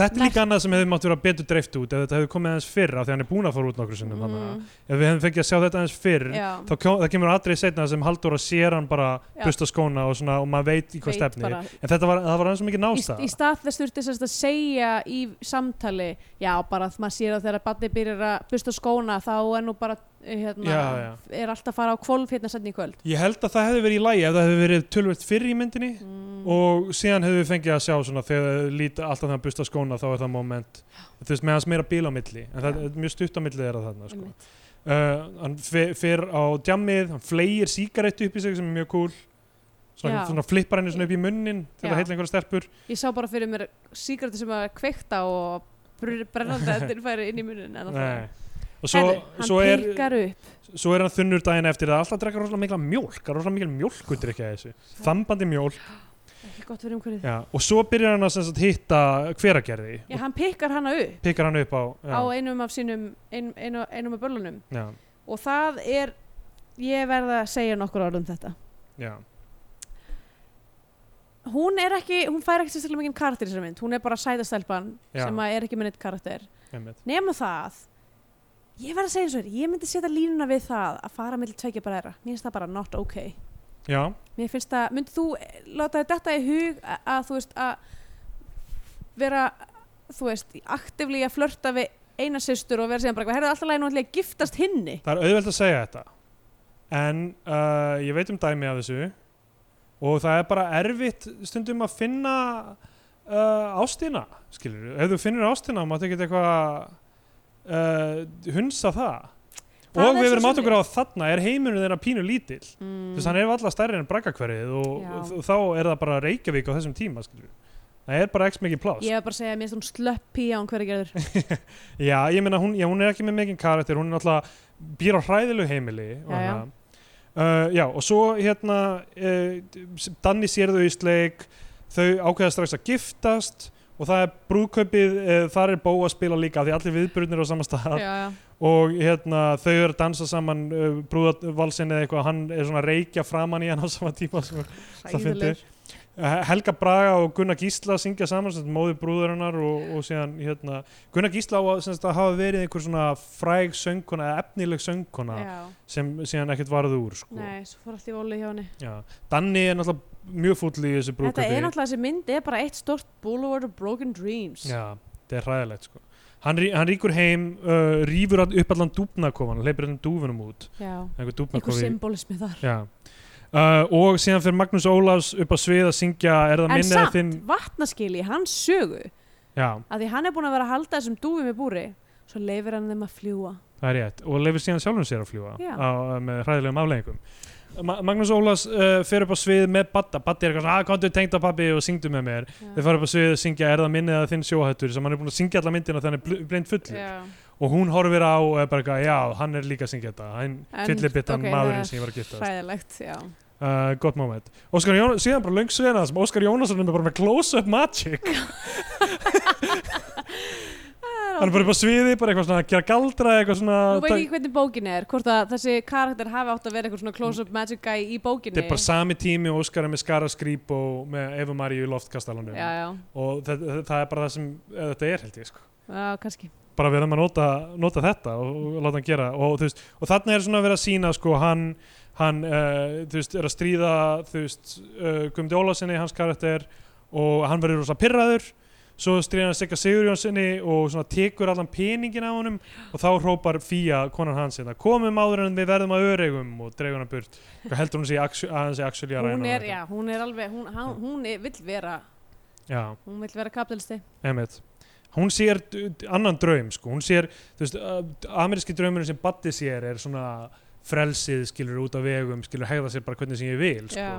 Speaker 3: þetta er líka
Speaker 2: Merk-
Speaker 3: annað sem hefði mátt vera betur dreift út ef þetta hefði komið aðeins fyrr af því hann er búin að fara út nokkur sinnum þannig
Speaker 2: Mm.
Speaker 3: að ef við hefðum fengið að sjá þetta aðeins fyrr
Speaker 2: já,
Speaker 3: þá kom, það kemur atrið setna sem Halldóra sér hann bara
Speaker 2: Já.
Speaker 3: busta skóna og, svona, og maður veit í hvað
Speaker 2: veit
Speaker 3: stefni
Speaker 2: bara.
Speaker 3: en þetta var, það var aðeins svo mikið
Speaker 2: í, í
Speaker 3: nástað
Speaker 2: stað þess þurfti þess að segja í samtali, já bara að maður sér að þegar badni byrjar að busta skóna þá er nú bara eh, hérna,
Speaker 3: Já, já.
Speaker 2: er alltaf að fara á kvolf hérna senni í kvöld
Speaker 3: ég held að það hefði verið í lægi ef það hefði verið tölvöld fyrr í myndinni
Speaker 2: mm.
Speaker 3: og síðan hefðum við fengið að sjá svona þegar þau líta alltaf þegar hann busta skóna þá er það moment þú veist með hans meira bíl á milli en
Speaker 2: Já.
Speaker 3: það
Speaker 2: Mm.
Speaker 3: er mjög stutt á milli þeirra þarna sko.
Speaker 2: einmitt.
Speaker 3: uh, hann fer fer á djammið hann fleir sígarettu upp í sig sem er mjög cool svona,
Speaker 2: Já.
Speaker 3: svona flippar henni svona upp í munnin til
Speaker 2: Já.
Speaker 3: að heila einhverja stelpur
Speaker 2: Ég sá bara fyrir mér síkartu sem að kveikta og brunn- brennandi endur færi inn í munin en það
Speaker 3: Nei. og svo,
Speaker 2: Herðu, hann
Speaker 3: svo, er,
Speaker 2: píkar upp
Speaker 3: svo er hann þunnur daginn eftir það alltaf drekkar rosalega mikla mjólk það er rosalega mikil mjólkudrykja í þessu þambandi mjólk
Speaker 2: ekki gott fyrir umhverfið
Speaker 3: já. og svo byrjar hann að sem sagt, hitta hveragerði
Speaker 2: Já, hann pikkar hana upp
Speaker 3: og pikkar hann upp á, já,
Speaker 2: á einum af sínum ein, einu, einum af börlunum
Speaker 3: já,
Speaker 2: og það er ég verða að segja nokkur orð um þetta
Speaker 3: já.
Speaker 2: hún er ekki, hún fær ekki sérstaklega mikið karakter í þessari mynd, hún er bara sæðastelpan
Speaker 3: Já.
Speaker 2: sem að er ekki með neitt karakter
Speaker 3: einmitt.
Speaker 2: nema það ég verða að segja eins og þér, ég myndi setja línuna við það að fara með tveikja bara þeirra, mér finnst það bara not okay
Speaker 3: já.
Speaker 2: Mér finnst það, myndið þú eh, láta þetta í hug að, að þú veist að vera, þú veist, aktivlega að flörta við eina systur og vera síðan bara eitthvað, herðu alltaf lægi nú ætla ég að giftast hinni.
Speaker 3: Það er auðvelt að segja þetta en uh, ég veit um dæmi af þessu og það er bara erfitt stundum að finna uh, ástina skilur ef þú finnir ástina máttu ekkert eitthvað uh, hunsa það,
Speaker 2: Það
Speaker 3: og
Speaker 2: er
Speaker 3: við
Speaker 2: svo
Speaker 3: verum átt okkur á
Speaker 2: svoleiðis.
Speaker 3: að þarna er heimurinn þeirra pínu lítill
Speaker 2: Mm.
Speaker 3: þú veist hann er alltaf stærri en braggakverið og,
Speaker 2: Já.
Speaker 3: og þá er það bara Reykjavík á þessum tíma skilur það er bara x mikið pláss
Speaker 2: Ég hef bara að segja að mér finnst hún slöpp pía hún hverja gerður.
Speaker 3: Já, ég meina hún, já, hún er ekki með mikinn karakter, hún er náttúrulega býr á hræðilegu heimili og
Speaker 2: Já, já.
Speaker 3: hana. Uh, já, og svo hérna uh, Danni sér þau í sleik þau ákveða strax að giftast og það er brúðkaupið uh, þar er Bó að spila líka af því allir viðburðnir á sama stað
Speaker 2: Já, já.
Speaker 3: og hérna þau eru að dansa saman uh, brúðavalsin eða eitthvað hann er svona að reykja framan í hann á sama tíma sko. sem það fyndi
Speaker 2: Hræðilegur.
Speaker 3: Helga Braga og Gunnar Gísla syngja saman sem sagt, móðir brúðurinnar og, og síðan hérna, Gunnar Gísla á að, sem sagt, að hafa verið einhver svona fræg söngkona eða efnileg söngkona
Speaker 2: Já,
Speaker 3: sem síðan ekkert varð úr sko.
Speaker 2: nei, svo fór allt í voli hjá henni.
Speaker 3: Já. Danni er náttúrulega mjög fúll í þessu
Speaker 2: Þetta er
Speaker 3: brúðkaupi
Speaker 2: náttúrulega þessi mynd, er bara eitt stort Boulevard of Broken Dreams.
Speaker 3: Já, þetta er hræðilegt sko. hann, rí- hann ríkur heim uh, rýfur all- upp allan dúfnakofan, hleypir allan dúfunum út
Speaker 2: Já.
Speaker 3: einhver
Speaker 2: Einhver
Speaker 3: dúfnakofi
Speaker 2: symbolismi þar.
Speaker 3: Já. uh, og síðan fyrir Magnús Ólafs upp á svið að syngja er það
Speaker 2: en
Speaker 3: minni eða
Speaker 2: samt,
Speaker 3: þinn
Speaker 2: vatnaskili, hans sögu
Speaker 3: já,
Speaker 2: að því hann er búin að vera að halda þessum dúfum í búri svo leifir hann þeim að fljúa
Speaker 3: það er rétt og lefur síðan sjálfum sér að fljúa
Speaker 2: Já.
Speaker 3: á, með hræðilegum afleggingum Ma Magnús Ólafs uh, fyrir upp á svið með Badda Baddi er eitthvað svona, að komdu tengt á pappi og syngdu með mér þeir fara upp á svið að syngja er það minni eða þinn sjóhættur sem hann er búin að syngja alla myndina þannig bl blind fullur og hún horfir á og er bara eitthvað, já, hann er líka að syngja þetta hann
Speaker 2: En-
Speaker 3: fyllibittan
Speaker 2: ok, það er
Speaker 3: maðurinn sem ég var að giftast
Speaker 2: hræðilegt, já
Speaker 3: uh, gott moment Óskar Jón, síðan bara löng svena sem Óskar Jónasson er bara með close-up magic hann er bara upp á sviði bara eitthvað svona að gera galdra eitthvað svona
Speaker 2: Nú veit ég ekki hvernig bókin er, hvort að þessi karakter hafi átt að vera eitthvað svona close-up magic guy í bókinni.
Speaker 3: þetta er bara sami tími og Óskar er með skara skrýp og með Eva Maríu í loftkastalanum
Speaker 2: Já, já,
Speaker 3: og það, það, það er bara það sem eh, þetta er held ég sko
Speaker 2: já, kannski.
Speaker 3: bara við erum að nota, nota þetta og, og láta hann gera og, þú veist, og þarna er svona verið að sína sko hann, hann uh, þú veist, er að stríða þú veist, uh, Guðmundi Ólásinni hans karakter og hann verður rosa pirraður svo stríða hann Sigga Sigurjónsinni og svona tekur allan peningin af honum og þá hrópar Fía, konan hans hérna, komum áður en við verðum að öregum og dregur hann burt og heldur hún sig að hann sé actually að
Speaker 2: Hún
Speaker 3: ræna
Speaker 2: er, já, hún er alveg, hún, hann, hún er, vill vera,
Speaker 3: já,
Speaker 2: hún vill vera kapitalisti.
Speaker 3: einmitt hún sér d- d- annan draum sko. hún sér, þú veist, uh, ameríski draumurinn sem Batti sér er svona frelsið skilur út af vegum, skilur hegða sér bara hvernig sem ég vil, sko
Speaker 2: Já,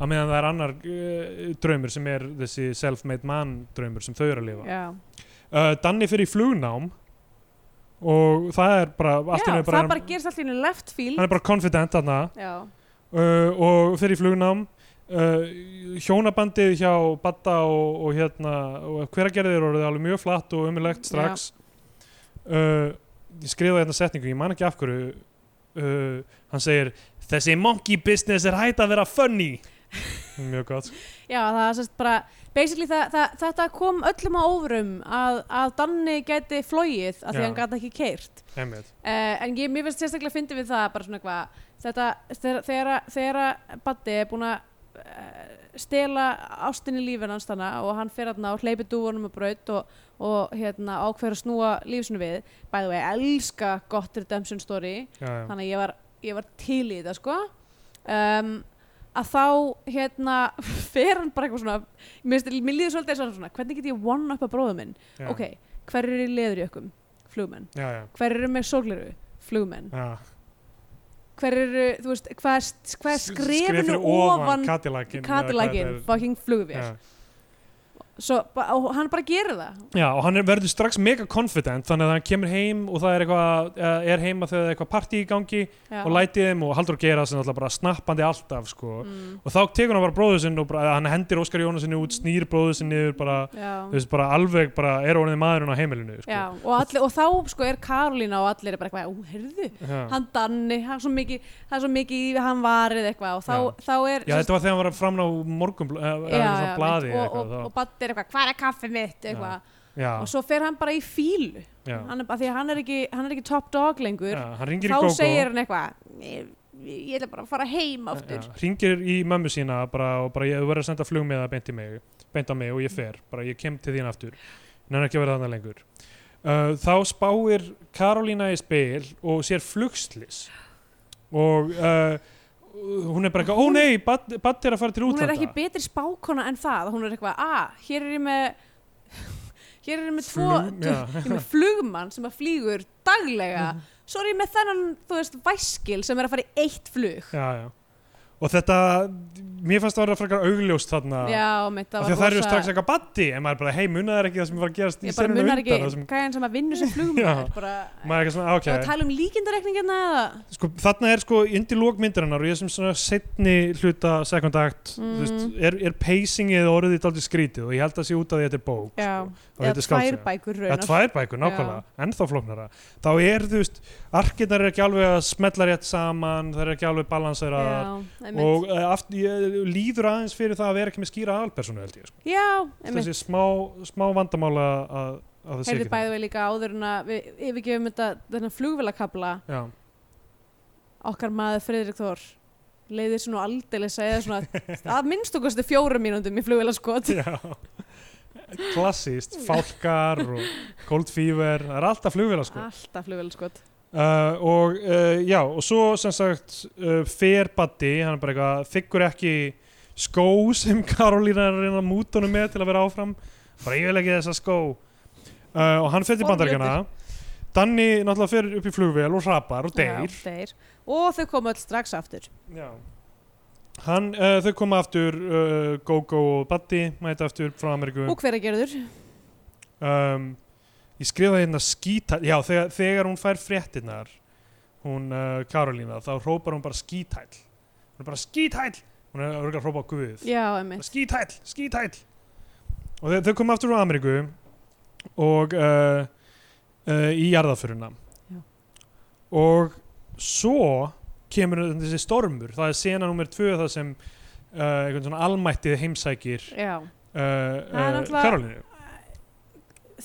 Speaker 3: að meðan það er annar uh, draumur sem er þessi self-made man draumur sem þau eru að lifa
Speaker 2: já.
Speaker 3: uh, Danni fyrir í flugnám og það er bara,
Speaker 2: Já,
Speaker 3: allt í einu
Speaker 2: það
Speaker 3: er bara,
Speaker 2: bara gerst allir í left field.
Speaker 3: hann er bara confident þarna
Speaker 2: Já,
Speaker 3: uh, og fyrir í flugnám uh, hjónabandið hjá Batta og, og hérna og hveragerðir voruð alveg mjög flatt og umilegt strax uh, ég skrifaði hérna setningu, ég man ekki af hverju uh, hann segir þessi monkey business er hægt að vera funny mjög gott
Speaker 2: já, það er sérst bara, basically það, það, þetta kom öllum á óvrum að, að Danni gæti flóið að því
Speaker 3: Já.
Speaker 2: hann gæti ekki keirt.
Speaker 3: Einmitt.
Speaker 2: Uh, en ég, mér finnst sérstaklega að fyndi við það bara svona hvað þetta, þegar, þegar, þegar að Baddi er búin að uh, stela ástinni lífin hans þannig og hann fer hann og hleypi dúfunum að braut og, og hérna, ákveður að snúa lífsinu við bæði og ég elska gott redemption story
Speaker 3: já, já.
Speaker 2: þannig að ég var, ég var til í þetta sko um, að þá hérna fer hann bara eitthvað svona mér, finnst- mér líður svolítið eins og hann svona hvernig get ég one up að bróðum minn
Speaker 3: já.
Speaker 2: ok, hver eru í leður í ökkum? flugmenn
Speaker 3: já, já.
Speaker 2: hver eru með sólgleru? flugmenn
Speaker 3: Já.
Speaker 2: hver eru, þú veist, hvað er, hvað er
Speaker 3: S-
Speaker 2: skrefinu ofan
Speaker 3: Cadillacin eða hvað
Speaker 2: Cadillacin,
Speaker 3: þetta er.
Speaker 2: fucking flugvél
Speaker 3: Já.
Speaker 2: svo, ba- og hann bara gerir það
Speaker 3: Já, og hann er, verður strax mega confident þannig að hann kemur heim og það er eitthvað eh, er heima þegar það er eitthvað partí í gangi
Speaker 2: Já.
Speaker 3: og lætið þeim og haldur að gera sem alltaf bara snappandi alltaf sko.
Speaker 2: mm,
Speaker 3: og þá tekur hann bara bróður sinn og bara, eða hann hendir Óskar Jónasinni út, snýr bróður sinn niður bara,
Speaker 2: já,
Speaker 3: þú veist, bara alveg bara er orðið maðurinn á heimilinu sko.
Speaker 2: já, og, allir, og þá sko er Karolina og allir er bara eitthvað, ú, heyrðu
Speaker 3: Já.
Speaker 2: hann danni, hann svo mikið hann svo mikið, í- hann varið eitthvað og þá, þá er
Speaker 3: já, þetta var þegar hann var að framna á morgun eða
Speaker 2: já,
Speaker 3: svona
Speaker 2: já,
Speaker 3: blaði
Speaker 2: mitt,
Speaker 3: eða
Speaker 2: og, og,
Speaker 3: eitthvað,
Speaker 2: og Baddi er eitthvað, hvað er kaffið mitt eitthvað,
Speaker 3: þá- já,
Speaker 2: og svo fer hann bara í fílu
Speaker 3: já,
Speaker 2: hann er, bara- því að hann er ekki, hann er ekki top dog lengur
Speaker 3: já, hann ringir
Speaker 2: þá
Speaker 3: í Gogo
Speaker 2: segir hann eitthvað ég, ég ætla bara að fara heim aftur
Speaker 3: Já, hringir í mömmu sína bara, og bara ég þú verður að senda flugmiða beint, í mig, beint á mig og ég fer, bara ég kem til þín aftur nennar ekki að vera þannig lengur uh, þá spáir Karolína í spil og sér flugslis og uh, hún er bara eitthvað, ó nei, Baddi Bad er að fara til
Speaker 2: hún er
Speaker 3: útlanda
Speaker 2: ekki betri spákona en það hún er eitthvað, að, hér er ég með hér er ég með tvo
Speaker 3: Flug- já. Mhm.
Speaker 2: ég er með flugmann sem að flýgur daglega, svo er ég með þennan þú veist, væskil sem er að fara í eitt flug
Speaker 3: já, já. og þetta mér fannst það að vera frekar augljóst þarna
Speaker 2: já, mitt,
Speaker 3: af
Speaker 2: það
Speaker 3: því
Speaker 2: var
Speaker 3: að það eru strax eitthvað Baddi en maður er bara, hei, munaðar ekki það sem var að gerast í
Speaker 2: ég bara
Speaker 3: senunum
Speaker 2: munar
Speaker 3: undan, það sem-
Speaker 2: ekki, gæðan sem að vinna sem
Speaker 3: Já.
Speaker 2: flugmann er bara,
Speaker 3: maður er ekki svona, "Ah, ok
Speaker 2: okay. að tala um líkindarekningina eða
Speaker 3: sko, þarna er sko undir lókmyndarinnar og ég sem svona setni hluta second act,
Speaker 2: Mhm.
Speaker 3: þú veist, er, er pacingið orðið daldið skrítið og ég held að sé út af því að þetta er bók
Speaker 2: já,
Speaker 3: sko, og þetta
Speaker 2: eða
Speaker 3: er
Speaker 2: tvær
Speaker 3: skáldsaga.
Speaker 2: bækur
Speaker 3: Eða
Speaker 2: raunar
Speaker 3: tvær bækur, nákvæmlega, ennþá flóknara þá er, þú veist, arkirnar er ekki alveg að smetla rétt saman, það er ekki alveg balanseraðar
Speaker 2: já, einmitt.
Speaker 3: og uh, aft, ég, líður aðeins fyrir það að vera ekki með skýra aðalpersonu held ég, sko.
Speaker 2: já, einmitt.
Speaker 3: þessi smá, smá vandamála að, að það sé
Speaker 2: heyrði
Speaker 3: ekki það
Speaker 2: bæði við líka áður en að við yfirgefum þetta þennan flugvélakabla
Speaker 3: Já,
Speaker 2: okkar maður Friðrik Þór leiðir sér nú aldeilis að eða svona að minnst okkur stu fjórum mínúndum í flugvélaskot
Speaker 3: Já, klassist, fálkar og cold fever, það er alltaf flugvila sko.
Speaker 2: Ah. alltaf flugvélaskot
Speaker 3: Uh, Uh, og uh, já, og svo sem sagt uh, fer Buddy, hann er bara eitthvað þykkur ekki skó sem Karolína er að reyna að múta honum með til að vera áfram bara ég vil ekki þessa skó uh, og hann fer til
Speaker 2: Forljótur.
Speaker 3: bandaríkjana Danni náttúrulega fer upp í flugvél og hrapar og deyr
Speaker 2: Já, deyr. Og þau komu öll strax aftur.
Speaker 3: Já. Hann, uh, þau koma aftur uh, Gogo og Buddy mæta aftur frá Ameríku
Speaker 2: Og hver að gera þurr?
Speaker 3: um, ég skrifaði hérna skítæl já, þegar, þegar hún fær fréttinnar hún uh, Karolína þá hrópar hún bara skítæl hún er bara skítæl hún er örugglega að hrópa á guð
Speaker 2: Já, emmi.
Speaker 3: skítæl, skítæl og þau, þau koma aftur úr Ameríku og uh, uh, í jarðaföruna
Speaker 2: Já.
Speaker 3: og svo kemur þessi stormur það er sena nummer tvö það sem uh, einhvern svona almættið heimsækir
Speaker 2: Já.
Speaker 3: uh, uh,
Speaker 2: náttúrulega-
Speaker 3: Karolínu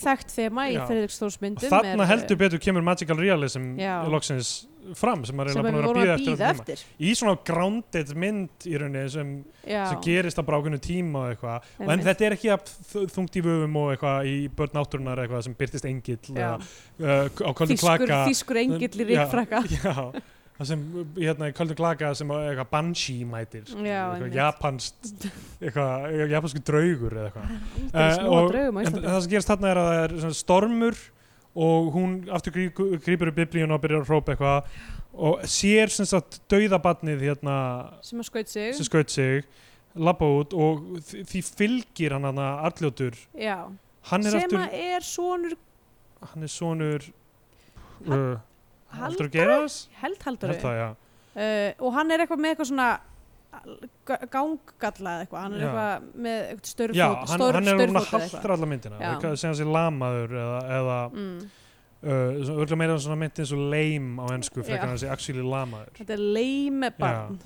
Speaker 2: Þekkt þema í
Speaker 3: Já.
Speaker 2: Fredriksdórsmyndum.
Speaker 3: og þarna heldur betur kemur Magical Realism
Speaker 2: eh, Já.
Speaker 3: loksins fram sem maður er
Speaker 2: eh, sem
Speaker 3: eiginlega
Speaker 2: við
Speaker 3: búin að
Speaker 2: vorum
Speaker 3: vera
Speaker 2: að
Speaker 3: að býða eftir,
Speaker 2: býða
Speaker 3: allan tíma.
Speaker 2: eftir.
Speaker 3: í svona grounded mynd í rauninni sem,
Speaker 2: Já,
Speaker 3: sem gerist á brákunum tíma og eitthvað og en
Speaker 2: einmitt.
Speaker 3: þetta er ekki jafn þ- þungt í vöfum og eitthvað í börn náttúrunar eitthvað sem byrtist engill
Speaker 2: Já.
Speaker 3: eða, uh, k- á kvöldum
Speaker 2: Þýskur,
Speaker 3: klaka
Speaker 2: þýskur engill í
Speaker 3: Já,
Speaker 2: ríkfrakka.
Speaker 3: já, það sem uh, hérna í kvöldum klaka sem á eitthvað banshee mætir
Speaker 2: Já, einmitt.
Speaker 3: eitthvað japanskt eitthvað japansku draugur eða eitthvað
Speaker 2: Það er
Speaker 3: Eh,
Speaker 2: snúa
Speaker 3: og-
Speaker 2: draugum á
Speaker 3: En
Speaker 2: Íslandi.
Speaker 3: það sem gerist þarna er að það er svona stormur og hún aftur grí- grípur upp biblíun og byrjar að hrópa eitthvað og sér sem sagt dauðabarnið hérna
Speaker 2: Sem að skaut sig.
Speaker 3: sem skaut sig labba út og þ- því fylgir hann hana arljótur
Speaker 2: Já.
Speaker 3: hann er
Speaker 2: Sem
Speaker 3: aftur,
Speaker 2: að er sonur
Speaker 3: hann er sonur uh,
Speaker 2: Halldór?
Speaker 3: Haldur Geras
Speaker 2: heldhaldur.
Speaker 3: held það já
Speaker 2: uh, og hann er eitthvað með eitthvað svona ga- ganggalla eða eitthvað hann er
Speaker 3: Já.
Speaker 2: eitthvað með eitthvað
Speaker 3: já,
Speaker 2: störfót
Speaker 3: hann,
Speaker 2: stór-
Speaker 3: hann er hún að
Speaker 2: stórfót eða
Speaker 3: haltra alla myndina
Speaker 2: Já.
Speaker 3: Hvað- sem hann sé lamaður eða, eða
Speaker 2: mm.
Speaker 3: uh, svona- örugglega meira svona mynd eins og lame á ennsku
Speaker 2: Já.
Speaker 3: frekar en hann sé actually lamaður
Speaker 2: þetta er leime barn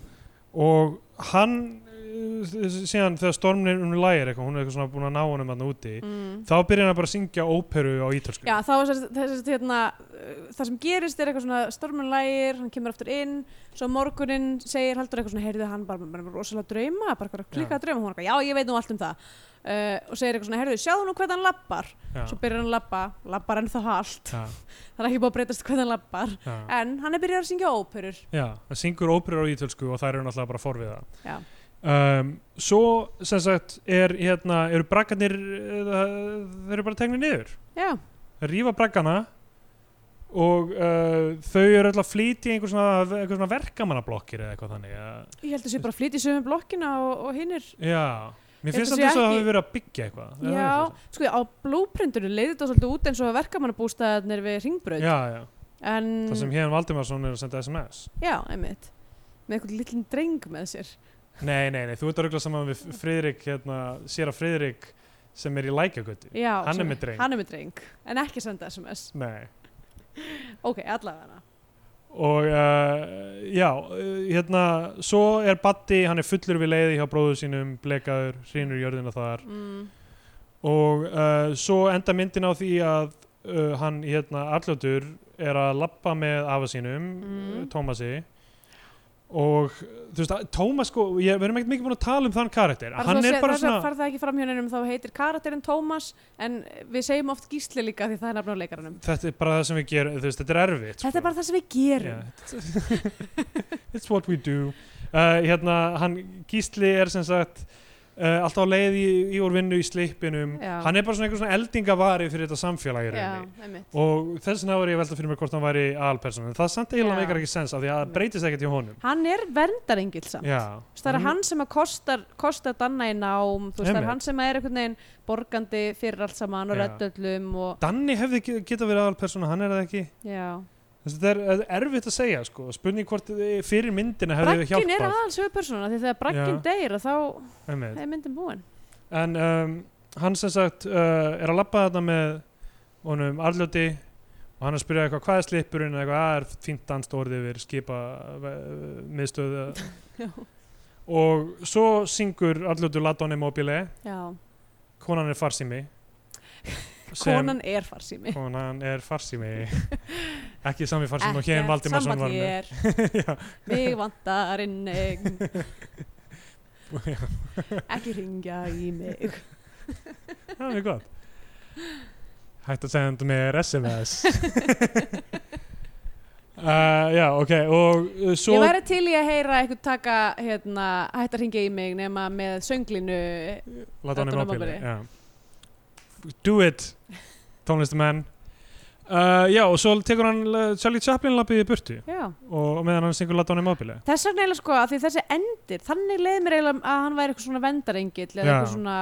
Speaker 3: og hann uh, síðan þegar stormin um lægir eitthvað, hún er eitthvað svona búin að ná honum hann úti
Speaker 2: já, mm.
Speaker 3: þá byrjar hann bara að syngja óperu á ítölsku
Speaker 2: já þá er þess að hérna, uh, það sem gerist er eitthvað svona stormunlægir hann kemur aftur inn, svo morgunin segir haldur eitthvað svona, heyrðu hann bara, bara, bara rosalega drauma, bara eitthvað klikkað drauma hún er eitthvað, já ég veit nú allt um það uh, og segir eitthvað svona, heyrðu sjáðu nú hvernig hann lappar
Speaker 3: já,
Speaker 2: svo byrjar hann að lappa, lappar ennþá halt
Speaker 3: já,
Speaker 2: það er ekki búið að breytast hvernig hann lappar
Speaker 3: já,
Speaker 2: en hann er byrjað að syngja óperur
Speaker 3: já, hann syngur óperu á ítölsku og þær eru náttúrulega bara forviða
Speaker 2: Já.
Speaker 3: um, svo sem sagt er hérna, eru braggarnir uh, þeir eru bara tegnir niður
Speaker 2: já,
Speaker 3: þeir rífa braggana og uh, þau eru alltaf að flytja í einhver svona, einhver svona verkamannablokkir eða eitthvað þannig að,
Speaker 2: Ég held að sé bara að flytja í sömu blokkina og, og hinnir.
Speaker 3: já, mér
Speaker 2: Þetta
Speaker 3: finnst
Speaker 2: sé
Speaker 3: alltaf þess að
Speaker 2: ekki-
Speaker 3: það hafi verið að byggja eitthvað eða eitthvað
Speaker 2: Já, sko, á blóprindunum leiði þetta svolítið út eins og verkamannabústæðarnir við ringbraut.
Speaker 3: já, já.
Speaker 2: En,
Speaker 3: það sem hérna Valdimarsson er að senda SMS
Speaker 2: já, einmitt. Með einhvern lillin dreng með sér.
Speaker 3: nei, nei, nei, þú ert að ruggla saman við Friðrik hérna, sér að Friðrik sem er í lækjagötu
Speaker 2: Já,
Speaker 3: Hann er
Speaker 2: sem-
Speaker 3: með dreng.
Speaker 2: Hann er með dreng, en ekki senda SMS.
Speaker 3: nei,
Speaker 2: Ok, allavega hana.
Speaker 3: og uh, já, uh, hérna svo er Batti, hann er fullur við leiði hjá bróður sínum, blekaður, hrýnur jörðina þar
Speaker 2: Mm,
Speaker 3: og uh, svo enda myndin á því að uh, hann, hérna, alljótur er að lappa með afa sínum
Speaker 2: Mm.
Speaker 3: Tómasi og þú veist, að- Tómas sko ég, við erum ekkert mikið búin að tala um þann karakter hann er bara svona
Speaker 2: Farð það ekki fram hjá nefnum, þá heitir karakterinn Tómas, en við segjum oft gísli líka því það er nafn á leikaranum.
Speaker 3: þetta er bara það sem við gerum, þú veist, þetta er erfitt sko.
Speaker 2: Þetta er bara það sem við gerum.
Speaker 3: yeah. It's what we do uh, Hérna, hann Gísli er sem sagt uh, alltaf á leið í, í úr vinnu í sleipinum
Speaker 2: Já.
Speaker 3: hann er bara svona einhver svona eldingavari fyrir þetta samfélagi í rauninni.
Speaker 2: Já, einmitt.
Speaker 3: og þess vegna var ég að velta fyrir mér hvort hann væri alperson, en það samt eiginlega
Speaker 2: Já.
Speaker 3: meikar ekki sens af því að það breytist ekkert hjá honum
Speaker 2: Hann er verndarengil samt.
Speaker 3: Já,
Speaker 2: Þú veist, Það er hann sem að kostar, kostar Danna í nám, þú veist, það
Speaker 3: Mhm. Einmitt.
Speaker 2: er hann sem að er einhvern veginn borgandi fyrir allt saman og
Speaker 3: Já.
Speaker 2: reddöllum og,
Speaker 3: Danni hefði ge- getað verið aðalpersona, hann er það ekki
Speaker 2: já.
Speaker 3: Þess, þetta er þetta er erfitt að segja sko, spurning hvort eh, fyrir myndina hefði
Speaker 2: Bragginn er
Speaker 3: hjálpað
Speaker 2: aðals höfupersona því þegar bragginn
Speaker 3: Já.
Speaker 2: deyr að þá
Speaker 3: Einmitt.
Speaker 2: er myndin búin.
Speaker 3: en um, hann sem sagt uh, er að labba þetta með honum Arljóti og hann er að spyrja eitthvað hvað er slipurinn eitthvað "Ah, er fínt danst orðið yfir skipa uh, miðstöð
Speaker 2: Já.
Speaker 3: og svo syngur Arljóti Ladoni Mobile
Speaker 2: Já,
Speaker 3: konan er farsími
Speaker 2: konan er farsými.
Speaker 3: konan er farsími ekki sami farsími og hér Valdimarsson var með
Speaker 2: hér, mig vantar innig,
Speaker 3: Já,
Speaker 2: ekki ringja í mig.
Speaker 3: það er gott hægt að senda mér SMS Uh, já, ok, og uh, svo
Speaker 2: Ég væri til í að heyra eitthvað taka hérna, hætt að ringja í mig nema með sönglinu
Speaker 3: Láta hann
Speaker 2: Láta
Speaker 3: um
Speaker 2: hann í
Speaker 3: ábyrði Do it Tónlistamenn uh, Já, og svo tekur hann uh, Charlie Chaplin lappið í burtu
Speaker 2: Já,
Speaker 3: og og meðan hann syngur Láta hann um ábyrði
Speaker 2: þess vegna eiginlega sko að því þessi endir, þannig leið mér eiginlega að hann væri eitthvað svona vendarengill eða
Speaker 3: Já.
Speaker 2: eitthvað svona,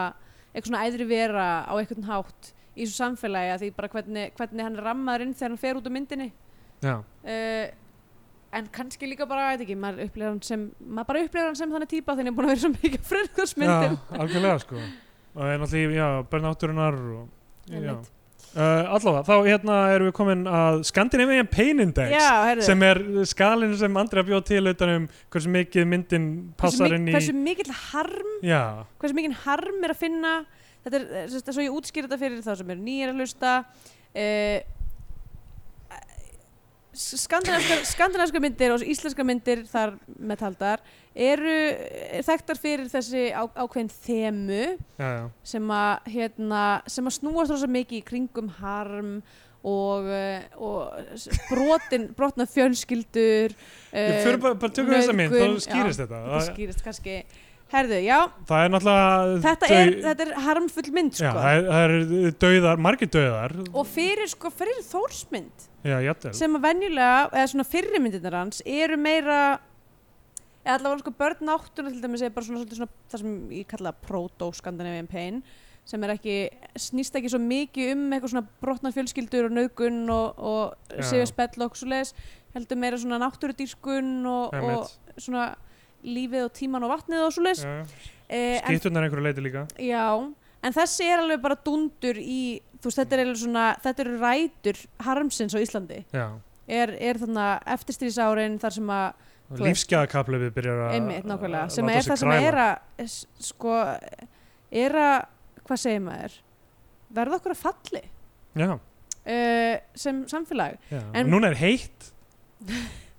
Speaker 2: eitthvað svona æðri vera á eitthvað hátt í þessu samfélagi að því bara hvernig, hvernig hann er rammaður inn þegar hann fer út úr myndinni
Speaker 3: Já,
Speaker 2: uh, en kannski líka bara, ég veit ekki, maður upplifir hann sem maður bara upplifir hann sem þannig típa þegar hann er búin að vera svo mikið
Speaker 3: já
Speaker 2: fröðkvæmsmyndum
Speaker 3: algjörlega sko og er náttúrulega, já, bernátturinnar og, já.
Speaker 2: Einmitt.
Speaker 3: Uh, allavega, þá hérna erum við komin að Scandinavian Pain Index
Speaker 2: Já, heyrðu.
Speaker 3: sem er skalinn sem Andrea bjóð til utan um hversu mikið myndin
Speaker 2: Hversu
Speaker 3: passar
Speaker 2: mik-
Speaker 3: inn í
Speaker 2: hversu mikill harm
Speaker 3: Já,
Speaker 2: hversu mikinn harm er að finna þetta er, eh, sem sagt, svo ég útskýr þetta fyrir þá sem eru nýjir að hlusta uh, skandinaviskar, skandinaviskar myndir og íslenskar myndir þar með taldar eru eh, þekktar fyrir þessi á, ákveðin þemu
Speaker 3: já, já
Speaker 2: sem að, hérna, sem að snúast rosa mikið í kringum harm og, eh, og s- brotin, brotna fjölskyldur
Speaker 3: Ég
Speaker 2: eh,
Speaker 3: fyrir bara, bara tökum þessa mynd,
Speaker 2: nauðgun,
Speaker 3: þá skýrist
Speaker 2: já,
Speaker 3: þetta
Speaker 2: þetta
Speaker 3: það,
Speaker 2: skýrist kannski herðu, já,
Speaker 3: það er náttúrulega
Speaker 2: þetta
Speaker 3: þau-
Speaker 2: er, þetta er harmfull mynd
Speaker 3: Já,
Speaker 2: sko.
Speaker 3: það er- það eru er dauðar, margir dauðar
Speaker 2: og fyrir, sko, fyrir þórsmynd
Speaker 3: Já, jættel
Speaker 2: sem að venjulega, eða svona fyrri myndirnar hans eru meira eða allavega sko börn náttúrulega til dæmis er bara svona, svona, svona það sem ég kalla proto-Scandinavian pain sem er ekki, snýst ekki svo mikið um eitthvað svona brotnar fjölskyldur og naugun og, og
Speaker 3: Já.
Speaker 2: sifja spell og okkur leis, heldur meira svona náttúrudýrkun og, og svona lífið og tíman og vatnið og svo leis en
Speaker 3: Skýttunar einhverju leiti líka
Speaker 2: Já, en þessi er alveg bara dundur í, þú veist, þetta er alveg svona, þetta eru rætur harmsins á Íslandi.
Speaker 3: Já,
Speaker 2: Er, er þarna eftirstrísárin þar sem að, Þú veist.
Speaker 3: lífsgæðakaplöfi byrjar að
Speaker 2: einmitt nákvæmlega,
Speaker 3: að
Speaker 2: sem
Speaker 3: uh, láta
Speaker 2: er
Speaker 3: sig
Speaker 2: það sem
Speaker 3: kræla.
Speaker 2: er að, s- sko, er að, hvað segir maður, verða okkur að falli
Speaker 3: Já,
Speaker 2: uh, sem samfélag.
Speaker 3: já,
Speaker 2: En-
Speaker 3: en núna er heitt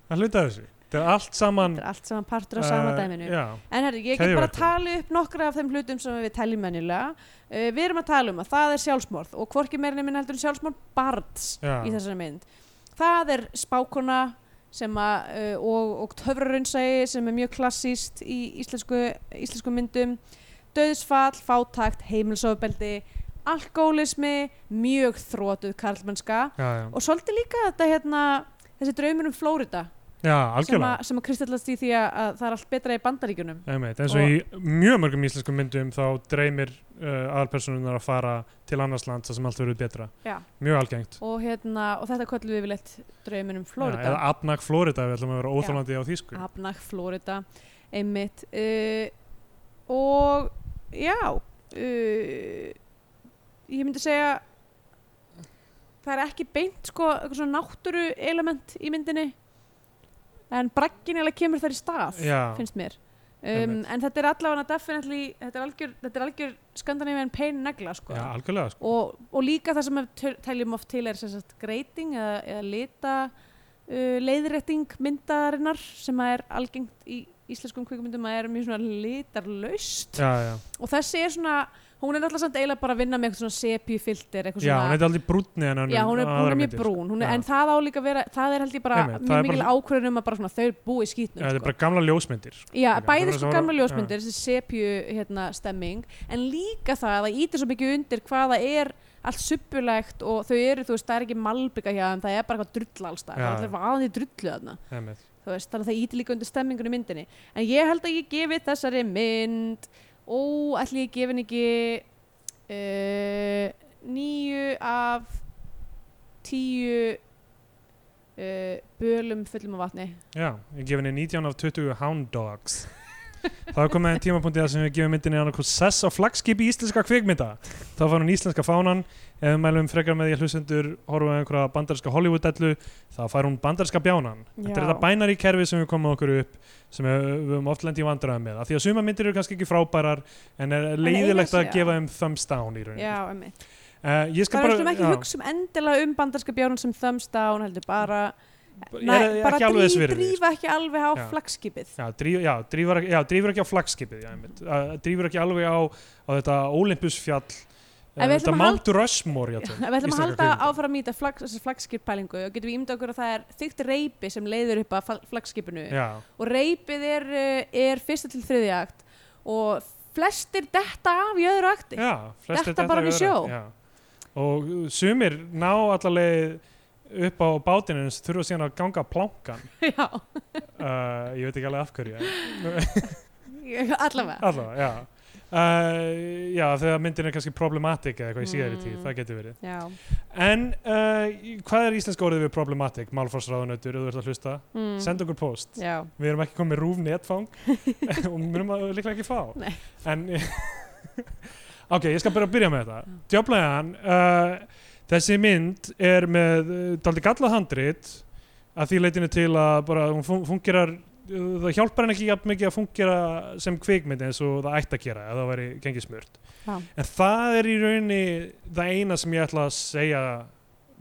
Speaker 3: að hluta af þessu Þetta er allt saman
Speaker 2: Þetta er allt saman partur af sama
Speaker 3: eh,
Speaker 2: dæminu.
Speaker 3: Já,
Speaker 2: En herri, ég get bara
Speaker 3: Keðjuverkun.
Speaker 2: talið upp nokkra af þeim hlutum sem við teljum mennilega. Uh, við erum að tala um að það er sjálfsmorð og hvorki meirinni minn heldur en sjálfsmorð barns
Speaker 3: já,
Speaker 2: í þessari mynd. Það er spákona sem að, uh, og, og töfrarunnsægi sem er mjög klassíst í íslensku, íslensku myndum, döðsfall, fátakt, heimilsofbeldi, alkoholismi, mjög þrótuð karlmennska
Speaker 3: já, já,
Speaker 2: og svolítið líka þetta hérna, þessi draumur um Flórida
Speaker 3: já,
Speaker 2: sem,
Speaker 3: algjörlega
Speaker 2: að- sem að kristallast í því að, að það er allt betra í bandaríkjunum.
Speaker 3: Einmitt, eins og
Speaker 2: Og-
Speaker 3: í mjög mörgum íslenskum myndum þá dreymir uh, aðalpersonunar að fara til annars land þar sem allt verður betra
Speaker 2: Já.
Speaker 3: mjög algengt
Speaker 2: Og, hérna, og þetta köllum við yfirleitt draumur um
Speaker 3: Já,
Speaker 2: Flórida.
Speaker 3: eða Abnag Florida, við ætlum að vera óþálandi á þýsku
Speaker 2: Abnag, Florida, einmitt uh, og já uh, ég myndi segja það er ekki beint sko eitthvað svona náttúru element í myndinni en braggin eða kemur þar í stað
Speaker 3: Já.
Speaker 2: finnst mér um,
Speaker 3: Einmitt.
Speaker 2: en þetta er allavega definitely þetta er algjör, þetta er algjör skandinavian pain negla sko
Speaker 3: Já, algjörlega sko.
Speaker 2: og, og líka það sem við töl- teljum oft til er sem sagt greiting eða, eða lita uh, leiðrétting myndarinnar sem að er algengt í íslenskum kvikmyndum að er mjög svona litarlaust
Speaker 3: Já, já,
Speaker 2: og þessi er svona, hún er alltaf samt eiginlega bara að vinna með eitthvað svona sepjufilter eitthvað
Speaker 3: já, hún
Speaker 2: svona
Speaker 3: er aldrei brúnni en önnur-
Speaker 2: Já, hún er, hún
Speaker 3: aðrar
Speaker 2: er mjög
Speaker 3: myndir. sko.
Speaker 2: brún, hún er,
Speaker 3: Já.
Speaker 2: en það á líka að vera, það er held ég bara
Speaker 3: Einmitt, það
Speaker 2: mjög
Speaker 3: er
Speaker 2: mikil
Speaker 3: bara-
Speaker 2: ákvörðun um að bara svona þau búi sko. í
Speaker 3: Já,
Speaker 2: skýtnum.
Speaker 3: þetta er bara gamla ljósmyndir sko.
Speaker 2: Já,
Speaker 3: Líka,
Speaker 2: bæði
Speaker 3: bara
Speaker 2: sko
Speaker 3: svo-
Speaker 2: gamla
Speaker 3: já.
Speaker 2: ljósmyndir, þessi sepju hérna, stemming, en líka það að það ítir svo mikið undir hvað það er allt suppulegt og þau eru, þú veist, það er ekki malbygga hjá þeim, það er bara eitthvað drull alls það,
Speaker 3: Já,
Speaker 2: það er vaðan í drullu þarna,
Speaker 3: Einmitt.
Speaker 2: þú veist, þannig að það ítir líka undir stemmingunni í myndinni. En ég held að ég gefi þessari mynd, ó, ætli ég gefi henni ekki uh, níu af tíu uh, bölum fullum af vatni.
Speaker 3: Já, ég gef henni 19 af 20 Hound Dogs Það er komið en tímapunktið þar sem við gefum myndinni annarkoð sess á flagskipi íslenska kvikmynda þá fær hún íslenska fánan ef við mælum frekar með því að hlustendur horfum við einhverja bandarska Hollywood-dellu þá fær hún bandarska bjánan Þetta er
Speaker 2: Já.
Speaker 3: þetta bænari kerfi sem við komum okkur upp sem við, við höfum oft lent í vandræðum með af því að suma myndir eru kannski ekki frábærar en er leiðilegt að
Speaker 2: segja.
Speaker 3: gefa þeim thumbs down í rauninni
Speaker 2: Já, emmi.
Speaker 3: uh, Ég
Speaker 2: Það
Speaker 3: skal
Speaker 2: er
Speaker 3: bara
Speaker 2: ekki ekki
Speaker 3: já,
Speaker 2: hugsa um endilega um bandarska bjárn sem thumbs down heldur bara,
Speaker 3: ég er
Speaker 2: bara
Speaker 3: ekki alveg þess
Speaker 2: drí-
Speaker 3: virði
Speaker 2: drífa ekki alveg á
Speaker 3: Já.
Speaker 2: flagskipið.
Speaker 3: Já, dríf, já, drífur, ekki- já, drífur ekki á flagskipið já, einmitt. Uh, drífur ekki alveg á, á þetta Olympusfjall
Speaker 2: En við ætlum
Speaker 3: Þetta
Speaker 2: að
Speaker 3: Mount Rushmore
Speaker 2: Ef
Speaker 3: jafnvel,
Speaker 2: við ætlum að
Speaker 3: íslenskra
Speaker 2: halda
Speaker 3: kvikmynda.
Speaker 2: áfram í þetta flags, flagskipppælingu og getum við ímynda okkur að það er þykkt reypi sem leiður upp að flagskipinu
Speaker 3: Já,
Speaker 2: og reypið er, eh, er fyrsta til þriðja akt og flestir detta af í öðru akti
Speaker 3: já flestir
Speaker 2: Detta bara
Speaker 3: í
Speaker 2: ofan í
Speaker 3: öðru,
Speaker 2: sjó.
Speaker 3: já. Og uh, sumir ná allaveg upp á bátinu en þurfa síðan að ganga plankan
Speaker 2: Já,
Speaker 3: uh, Ég veit ekki alveg af hverju en-
Speaker 2: allavega
Speaker 3: Allavega, já Uh, já, þegar myndin er kannski problematik eða eitthvað í síðari tíð,
Speaker 2: Mm.
Speaker 3: það getur verið
Speaker 2: Já,
Speaker 3: En uh, hvað er íslenska orðið við problematik? Málforsráðunautur, ef þú ert að hlusta
Speaker 2: mm.
Speaker 3: Send okkur post,
Speaker 2: Já,
Speaker 3: við erum ekki komið rúf netfang og við erum að líklega ekki fá
Speaker 2: Nei.
Speaker 3: En Ok, ég skal bara byrja með þetta Djöflaðan, uh, þessi mynd er með uh, daldi gallað handrit að því leitinu til að bara hún fun- fungerar uh, það hjálpar henni ekki jafn mikið að fungera sem kvikmynd eins og það ætti að gera ef það væri gengið smurt
Speaker 2: Já.
Speaker 3: en það er í rauninni það eina sem ég ætla að segja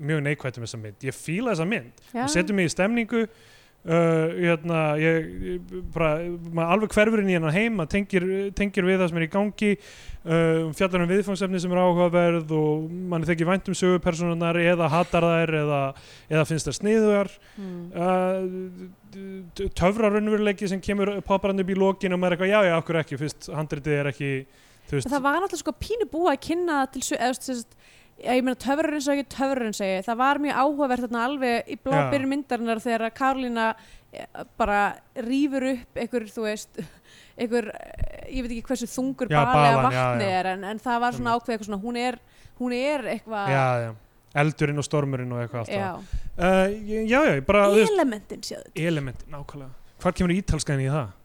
Speaker 3: mjög neikvætt um þessa mynd ég fíla þessa mynd
Speaker 2: já.
Speaker 3: og setur mig í stemningu uh, hérna, ég, ég bara, maður alveg hverfurinn í hennan heim maður tengir, tengir við það sem er í gangi uh, fjallar um viðfangsefni sem er áhugaverð og mann þekki vænt um sögupersonunar eða hatar þær eða, eða finnst þær sniðugar
Speaker 2: mm.
Speaker 3: uh, töfrarunveruleiki sem kemur popparandi upp í lokin og maður er eitthvað, já, já, okkur ekki fyrst handritið er ekki, þú veist
Speaker 2: Það var náttúrulega sko pínu búið að kynna það til svo, eða þú veist, ég meina töfrarinn segi, töfrarinn segi, það var mjög áhugavert þarna alveg í
Speaker 3: Já.
Speaker 2: blábyrjun myndarinnar þegar að Karolína eh, bara rýfur upp einhver, þú veist, einhver, eh, ég veit ekki hversu þungur
Speaker 3: Já,
Speaker 2: bali að
Speaker 3: balan, já,
Speaker 2: vatni
Speaker 3: já.
Speaker 2: er, en, en það var svona ákveð eitthvað svona, hún er, hún er eitthvað,
Speaker 3: já, já, eldurinn og stormurinn og eitthvað
Speaker 2: já.
Speaker 3: alltaf uh, já, já, ég bara, þú veist
Speaker 2: elementin sjáðu.
Speaker 3: elementi, nákvæmlega hvar kemur ítalskaðin í það?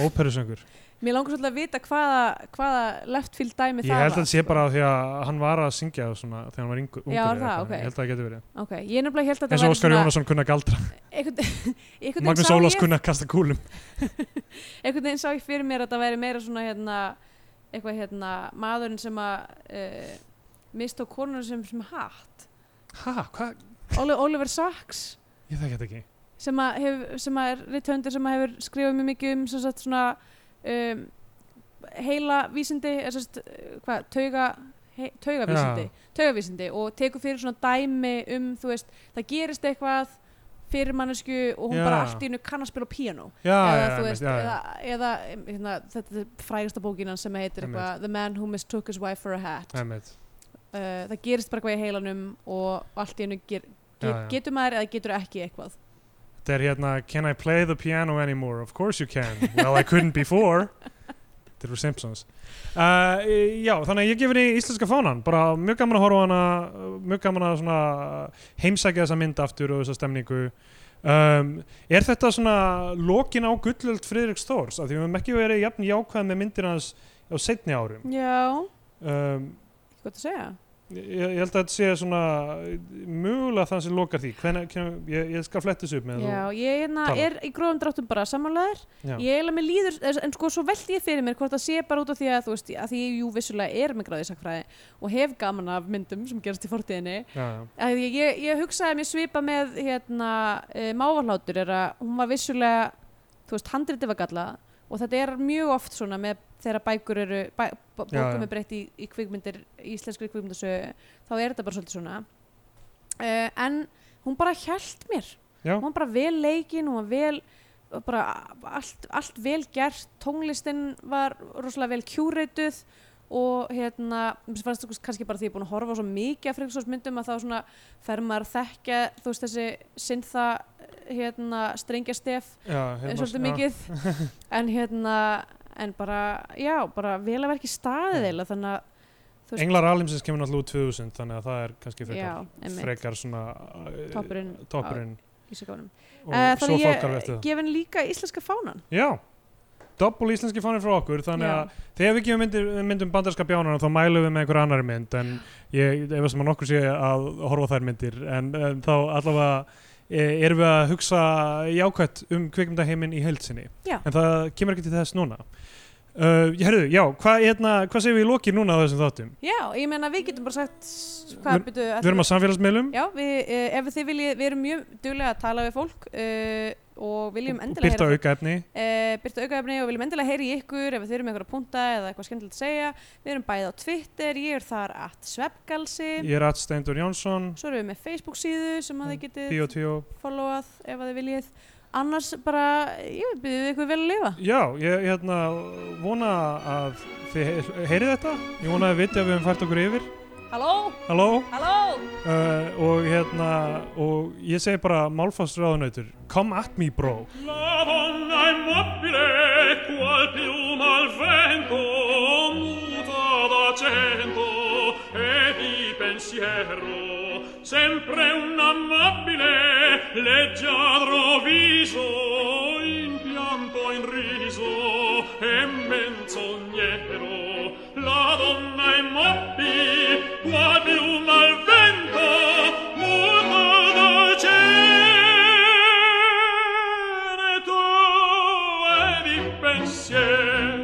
Speaker 3: og óperusöngur
Speaker 2: Mér langar svolítið að vita hvaða, hvaða left field dæmi
Speaker 3: ég
Speaker 2: það
Speaker 3: held að
Speaker 2: var,
Speaker 3: það sé
Speaker 2: sko.
Speaker 3: bara því að hann var að syngja og svona, þegar hann var yngur, ungur
Speaker 2: Já, er
Speaker 3: eða
Speaker 2: það? Ok.
Speaker 3: eitthvað. ég held að það getur verið
Speaker 2: Ok, ég nefnilega held að
Speaker 3: eins
Speaker 2: það
Speaker 3: og
Speaker 2: væri
Speaker 3: Óskar Jónasson kunna galdra
Speaker 2: einhvern, einhvern veginn
Speaker 3: Magnús
Speaker 2: sá
Speaker 3: Ólafs
Speaker 2: ég
Speaker 3: kunna kasta kúlum
Speaker 2: einhvern veginn sá ég fyrir mér að það væri meira svona hérna, eitthvað hérna maðurinn sem að uh, mistók konur sem, sem hatt
Speaker 3: ha, hvað?
Speaker 2: Oli, Oliver Sacks
Speaker 3: ég þekki þetta ekki
Speaker 2: sem að, hef, sem að er rithöndur sem að hefur skrifað mjög mikið um sem sagt, svona um, heila vísindi eða sem sagt, eh, hvað, tauga hei, taugavísindi, taugavísindi og tekur fyrir svona dæmi um þú veist, það gerist eitthvað fyrir mannesku og hún
Speaker 3: Já.
Speaker 2: bara allt í hennu kann að spila á píanó eða,
Speaker 3: já, já, já,
Speaker 2: þú
Speaker 3: einmitt,
Speaker 2: veist,
Speaker 3: já, já.
Speaker 2: eða, eða em, hérna, þetta er frægasta bókinan sem heitir
Speaker 3: Einmitt.
Speaker 2: eitthvað The Man Who Mistook His Wife for a Hat uh,
Speaker 3: Einmitt.
Speaker 2: það gerist bara eitthvað í heilanum og allt í hennu ger,
Speaker 3: Já,
Speaker 2: ger,
Speaker 3: já.
Speaker 2: getur maður eða getur ekki eitthvað
Speaker 3: þetta er hérna can I play the piano anymore? of course you can well I couldn't before þetta eru Simpsons uh, e, já, þannig að ég gefur í íslenska fánan bara mjög gaman að horfa á hana uh, mjög gaman að svona heimsækja þessa mynd aftur og þessa stemningu um, er þetta svona lokin á gullöld Friðrik Stórs af því við höfum ekki verið jafn jákvæð með myndir hans á setni árum
Speaker 2: já,
Speaker 3: um,
Speaker 2: ekki gott að segja
Speaker 3: ég, ég held að þetta sé svona mögulega þann sem lokar því Hvenær, hvenær, ég, ég skal fletta þessu upp með
Speaker 2: já, ég hérna,
Speaker 3: talar.
Speaker 2: er í gróðum dráttum bara samanlegaður
Speaker 3: Já.
Speaker 2: ég eiginlega mér líður, en sko svo veldi ég fyrir mér hvort það sé bara út af því að þú veist að því ég jú vissulega er með gráði sakfræði og hef gaman af myndum sem gerast í fortíðinni
Speaker 3: Já, já.
Speaker 2: að ég, ég, ég hugsaði mér svipa með hérna, e, mávarhlátur er að hún var vissulega þú veist, handriti var galla og þetta er mjög oft svona með þegar bækur eru bæ, bó-
Speaker 3: Já, já.
Speaker 2: bókum er breytt í, í kvikmyndir í íslenskri kvikmyndasögu þá er þetta bara svolítið svona e, en hún bara hjælt mér
Speaker 3: Já.
Speaker 2: hún var bara vel leikin hún var vel bara allt, allt vel gert tónlistin var rosalega vel kjúreituð og hérna mér fannst það kannski bara því ég er búin að horfa á svo mikið af Frenksons myndum að þá svona fer maður að þekkja þú veist þessi syntha hérna strengjastef
Speaker 3: Já, hérna,
Speaker 2: svolítið
Speaker 3: já.
Speaker 2: mikið en hérna en bara já bara vel að vera ekki staðið eða þannig að þú veist-
Speaker 3: Englar Alimsins kemur náttúrulega út 2000 þannig að það er kannski
Speaker 2: já,
Speaker 3: frekar,
Speaker 2: einmitt,
Speaker 3: frekar svona eh,
Speaker 2: toppurinn
Speaker 3: toppurinn
Speaker 2: í sigáðunum
Speaker 3: og
Speaker 2: uh,
Speaker 3: svo
Speaker 2: þannig
Speaker 3: fálkar við eftir
Speaker 2: ég gef henni líka íslenska fánan
Speaker 3: það Já, doppul íslenski fánir frá okkur þannig
Speaker 2: Já.
Speaker 3: að þegar við gefum myndum, myndum bandarska bjánana þá mælum við með einhver annari mynd en ég efast sem að nokkur sé að horfa á þær myndir en, en þá allavega eh, erum við að hugsa jákvætt um kvikmyndaheimin í heilsinni
Speaker 2: Já.
Speaker 3: en það kemur ekki til þess núna uh, Herðu, já, hvað hérna, hva segir við í lokin núna á þessum þáttum?
Speaker 2: já ég meina við getum bara sagt s- hvað
Speaker 3: Við-
Speaker 2: byrju
Speaker 3: Við erum á samfélagsmiðlum
Speaker 2: eh, Já, við, uh, ef þið viljið, við erum mjög duglega að tala við fólk uh, og viljum endilega
Speaker 3: Byrta
Speaker 2: heyra
Speaker 3: aukaefni
Speaker 2: uh, byrta aukaefni og viljum endilega heyra í ykkur ef þið eru með eitthvað punta eða eitthvað skemmtilegt að segja við erum bæði á Twitter, ég er þar at svefgalsi,
Speaker 3: Ég er Atsteindur Jónsson
Speaker 2: svo erum við með Facebook síðu sem að þið getið
Speaker 3: Tíu og tíu
Speaker 2: followað ef að þið viljið annars bara, ég byrðið ykkur vel að lifa
Speaker 3: Já, ég hérna vona að þið he- heyrið þetta Ég vona að þið vitið að við höfum fært okkur yfir
Speaker 2: Halló,
Speaker 3: Halló
Speaker 2: halló
Speaker 3: uh, og hérna og ég segi bara málfast ráðunautur Come at me bro
Speaker 4: La donna immobile, qual piuma al vento, muta d'acento e di pensiero, sempre un amabile, leggiadro viso, in pianto in riso e menzognero. La donna immobile, qual piuma al vento, muta d'acento e di pensier.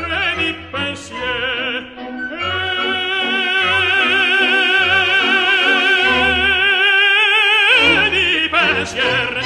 Speaker 4: E di pensier. E di pensier.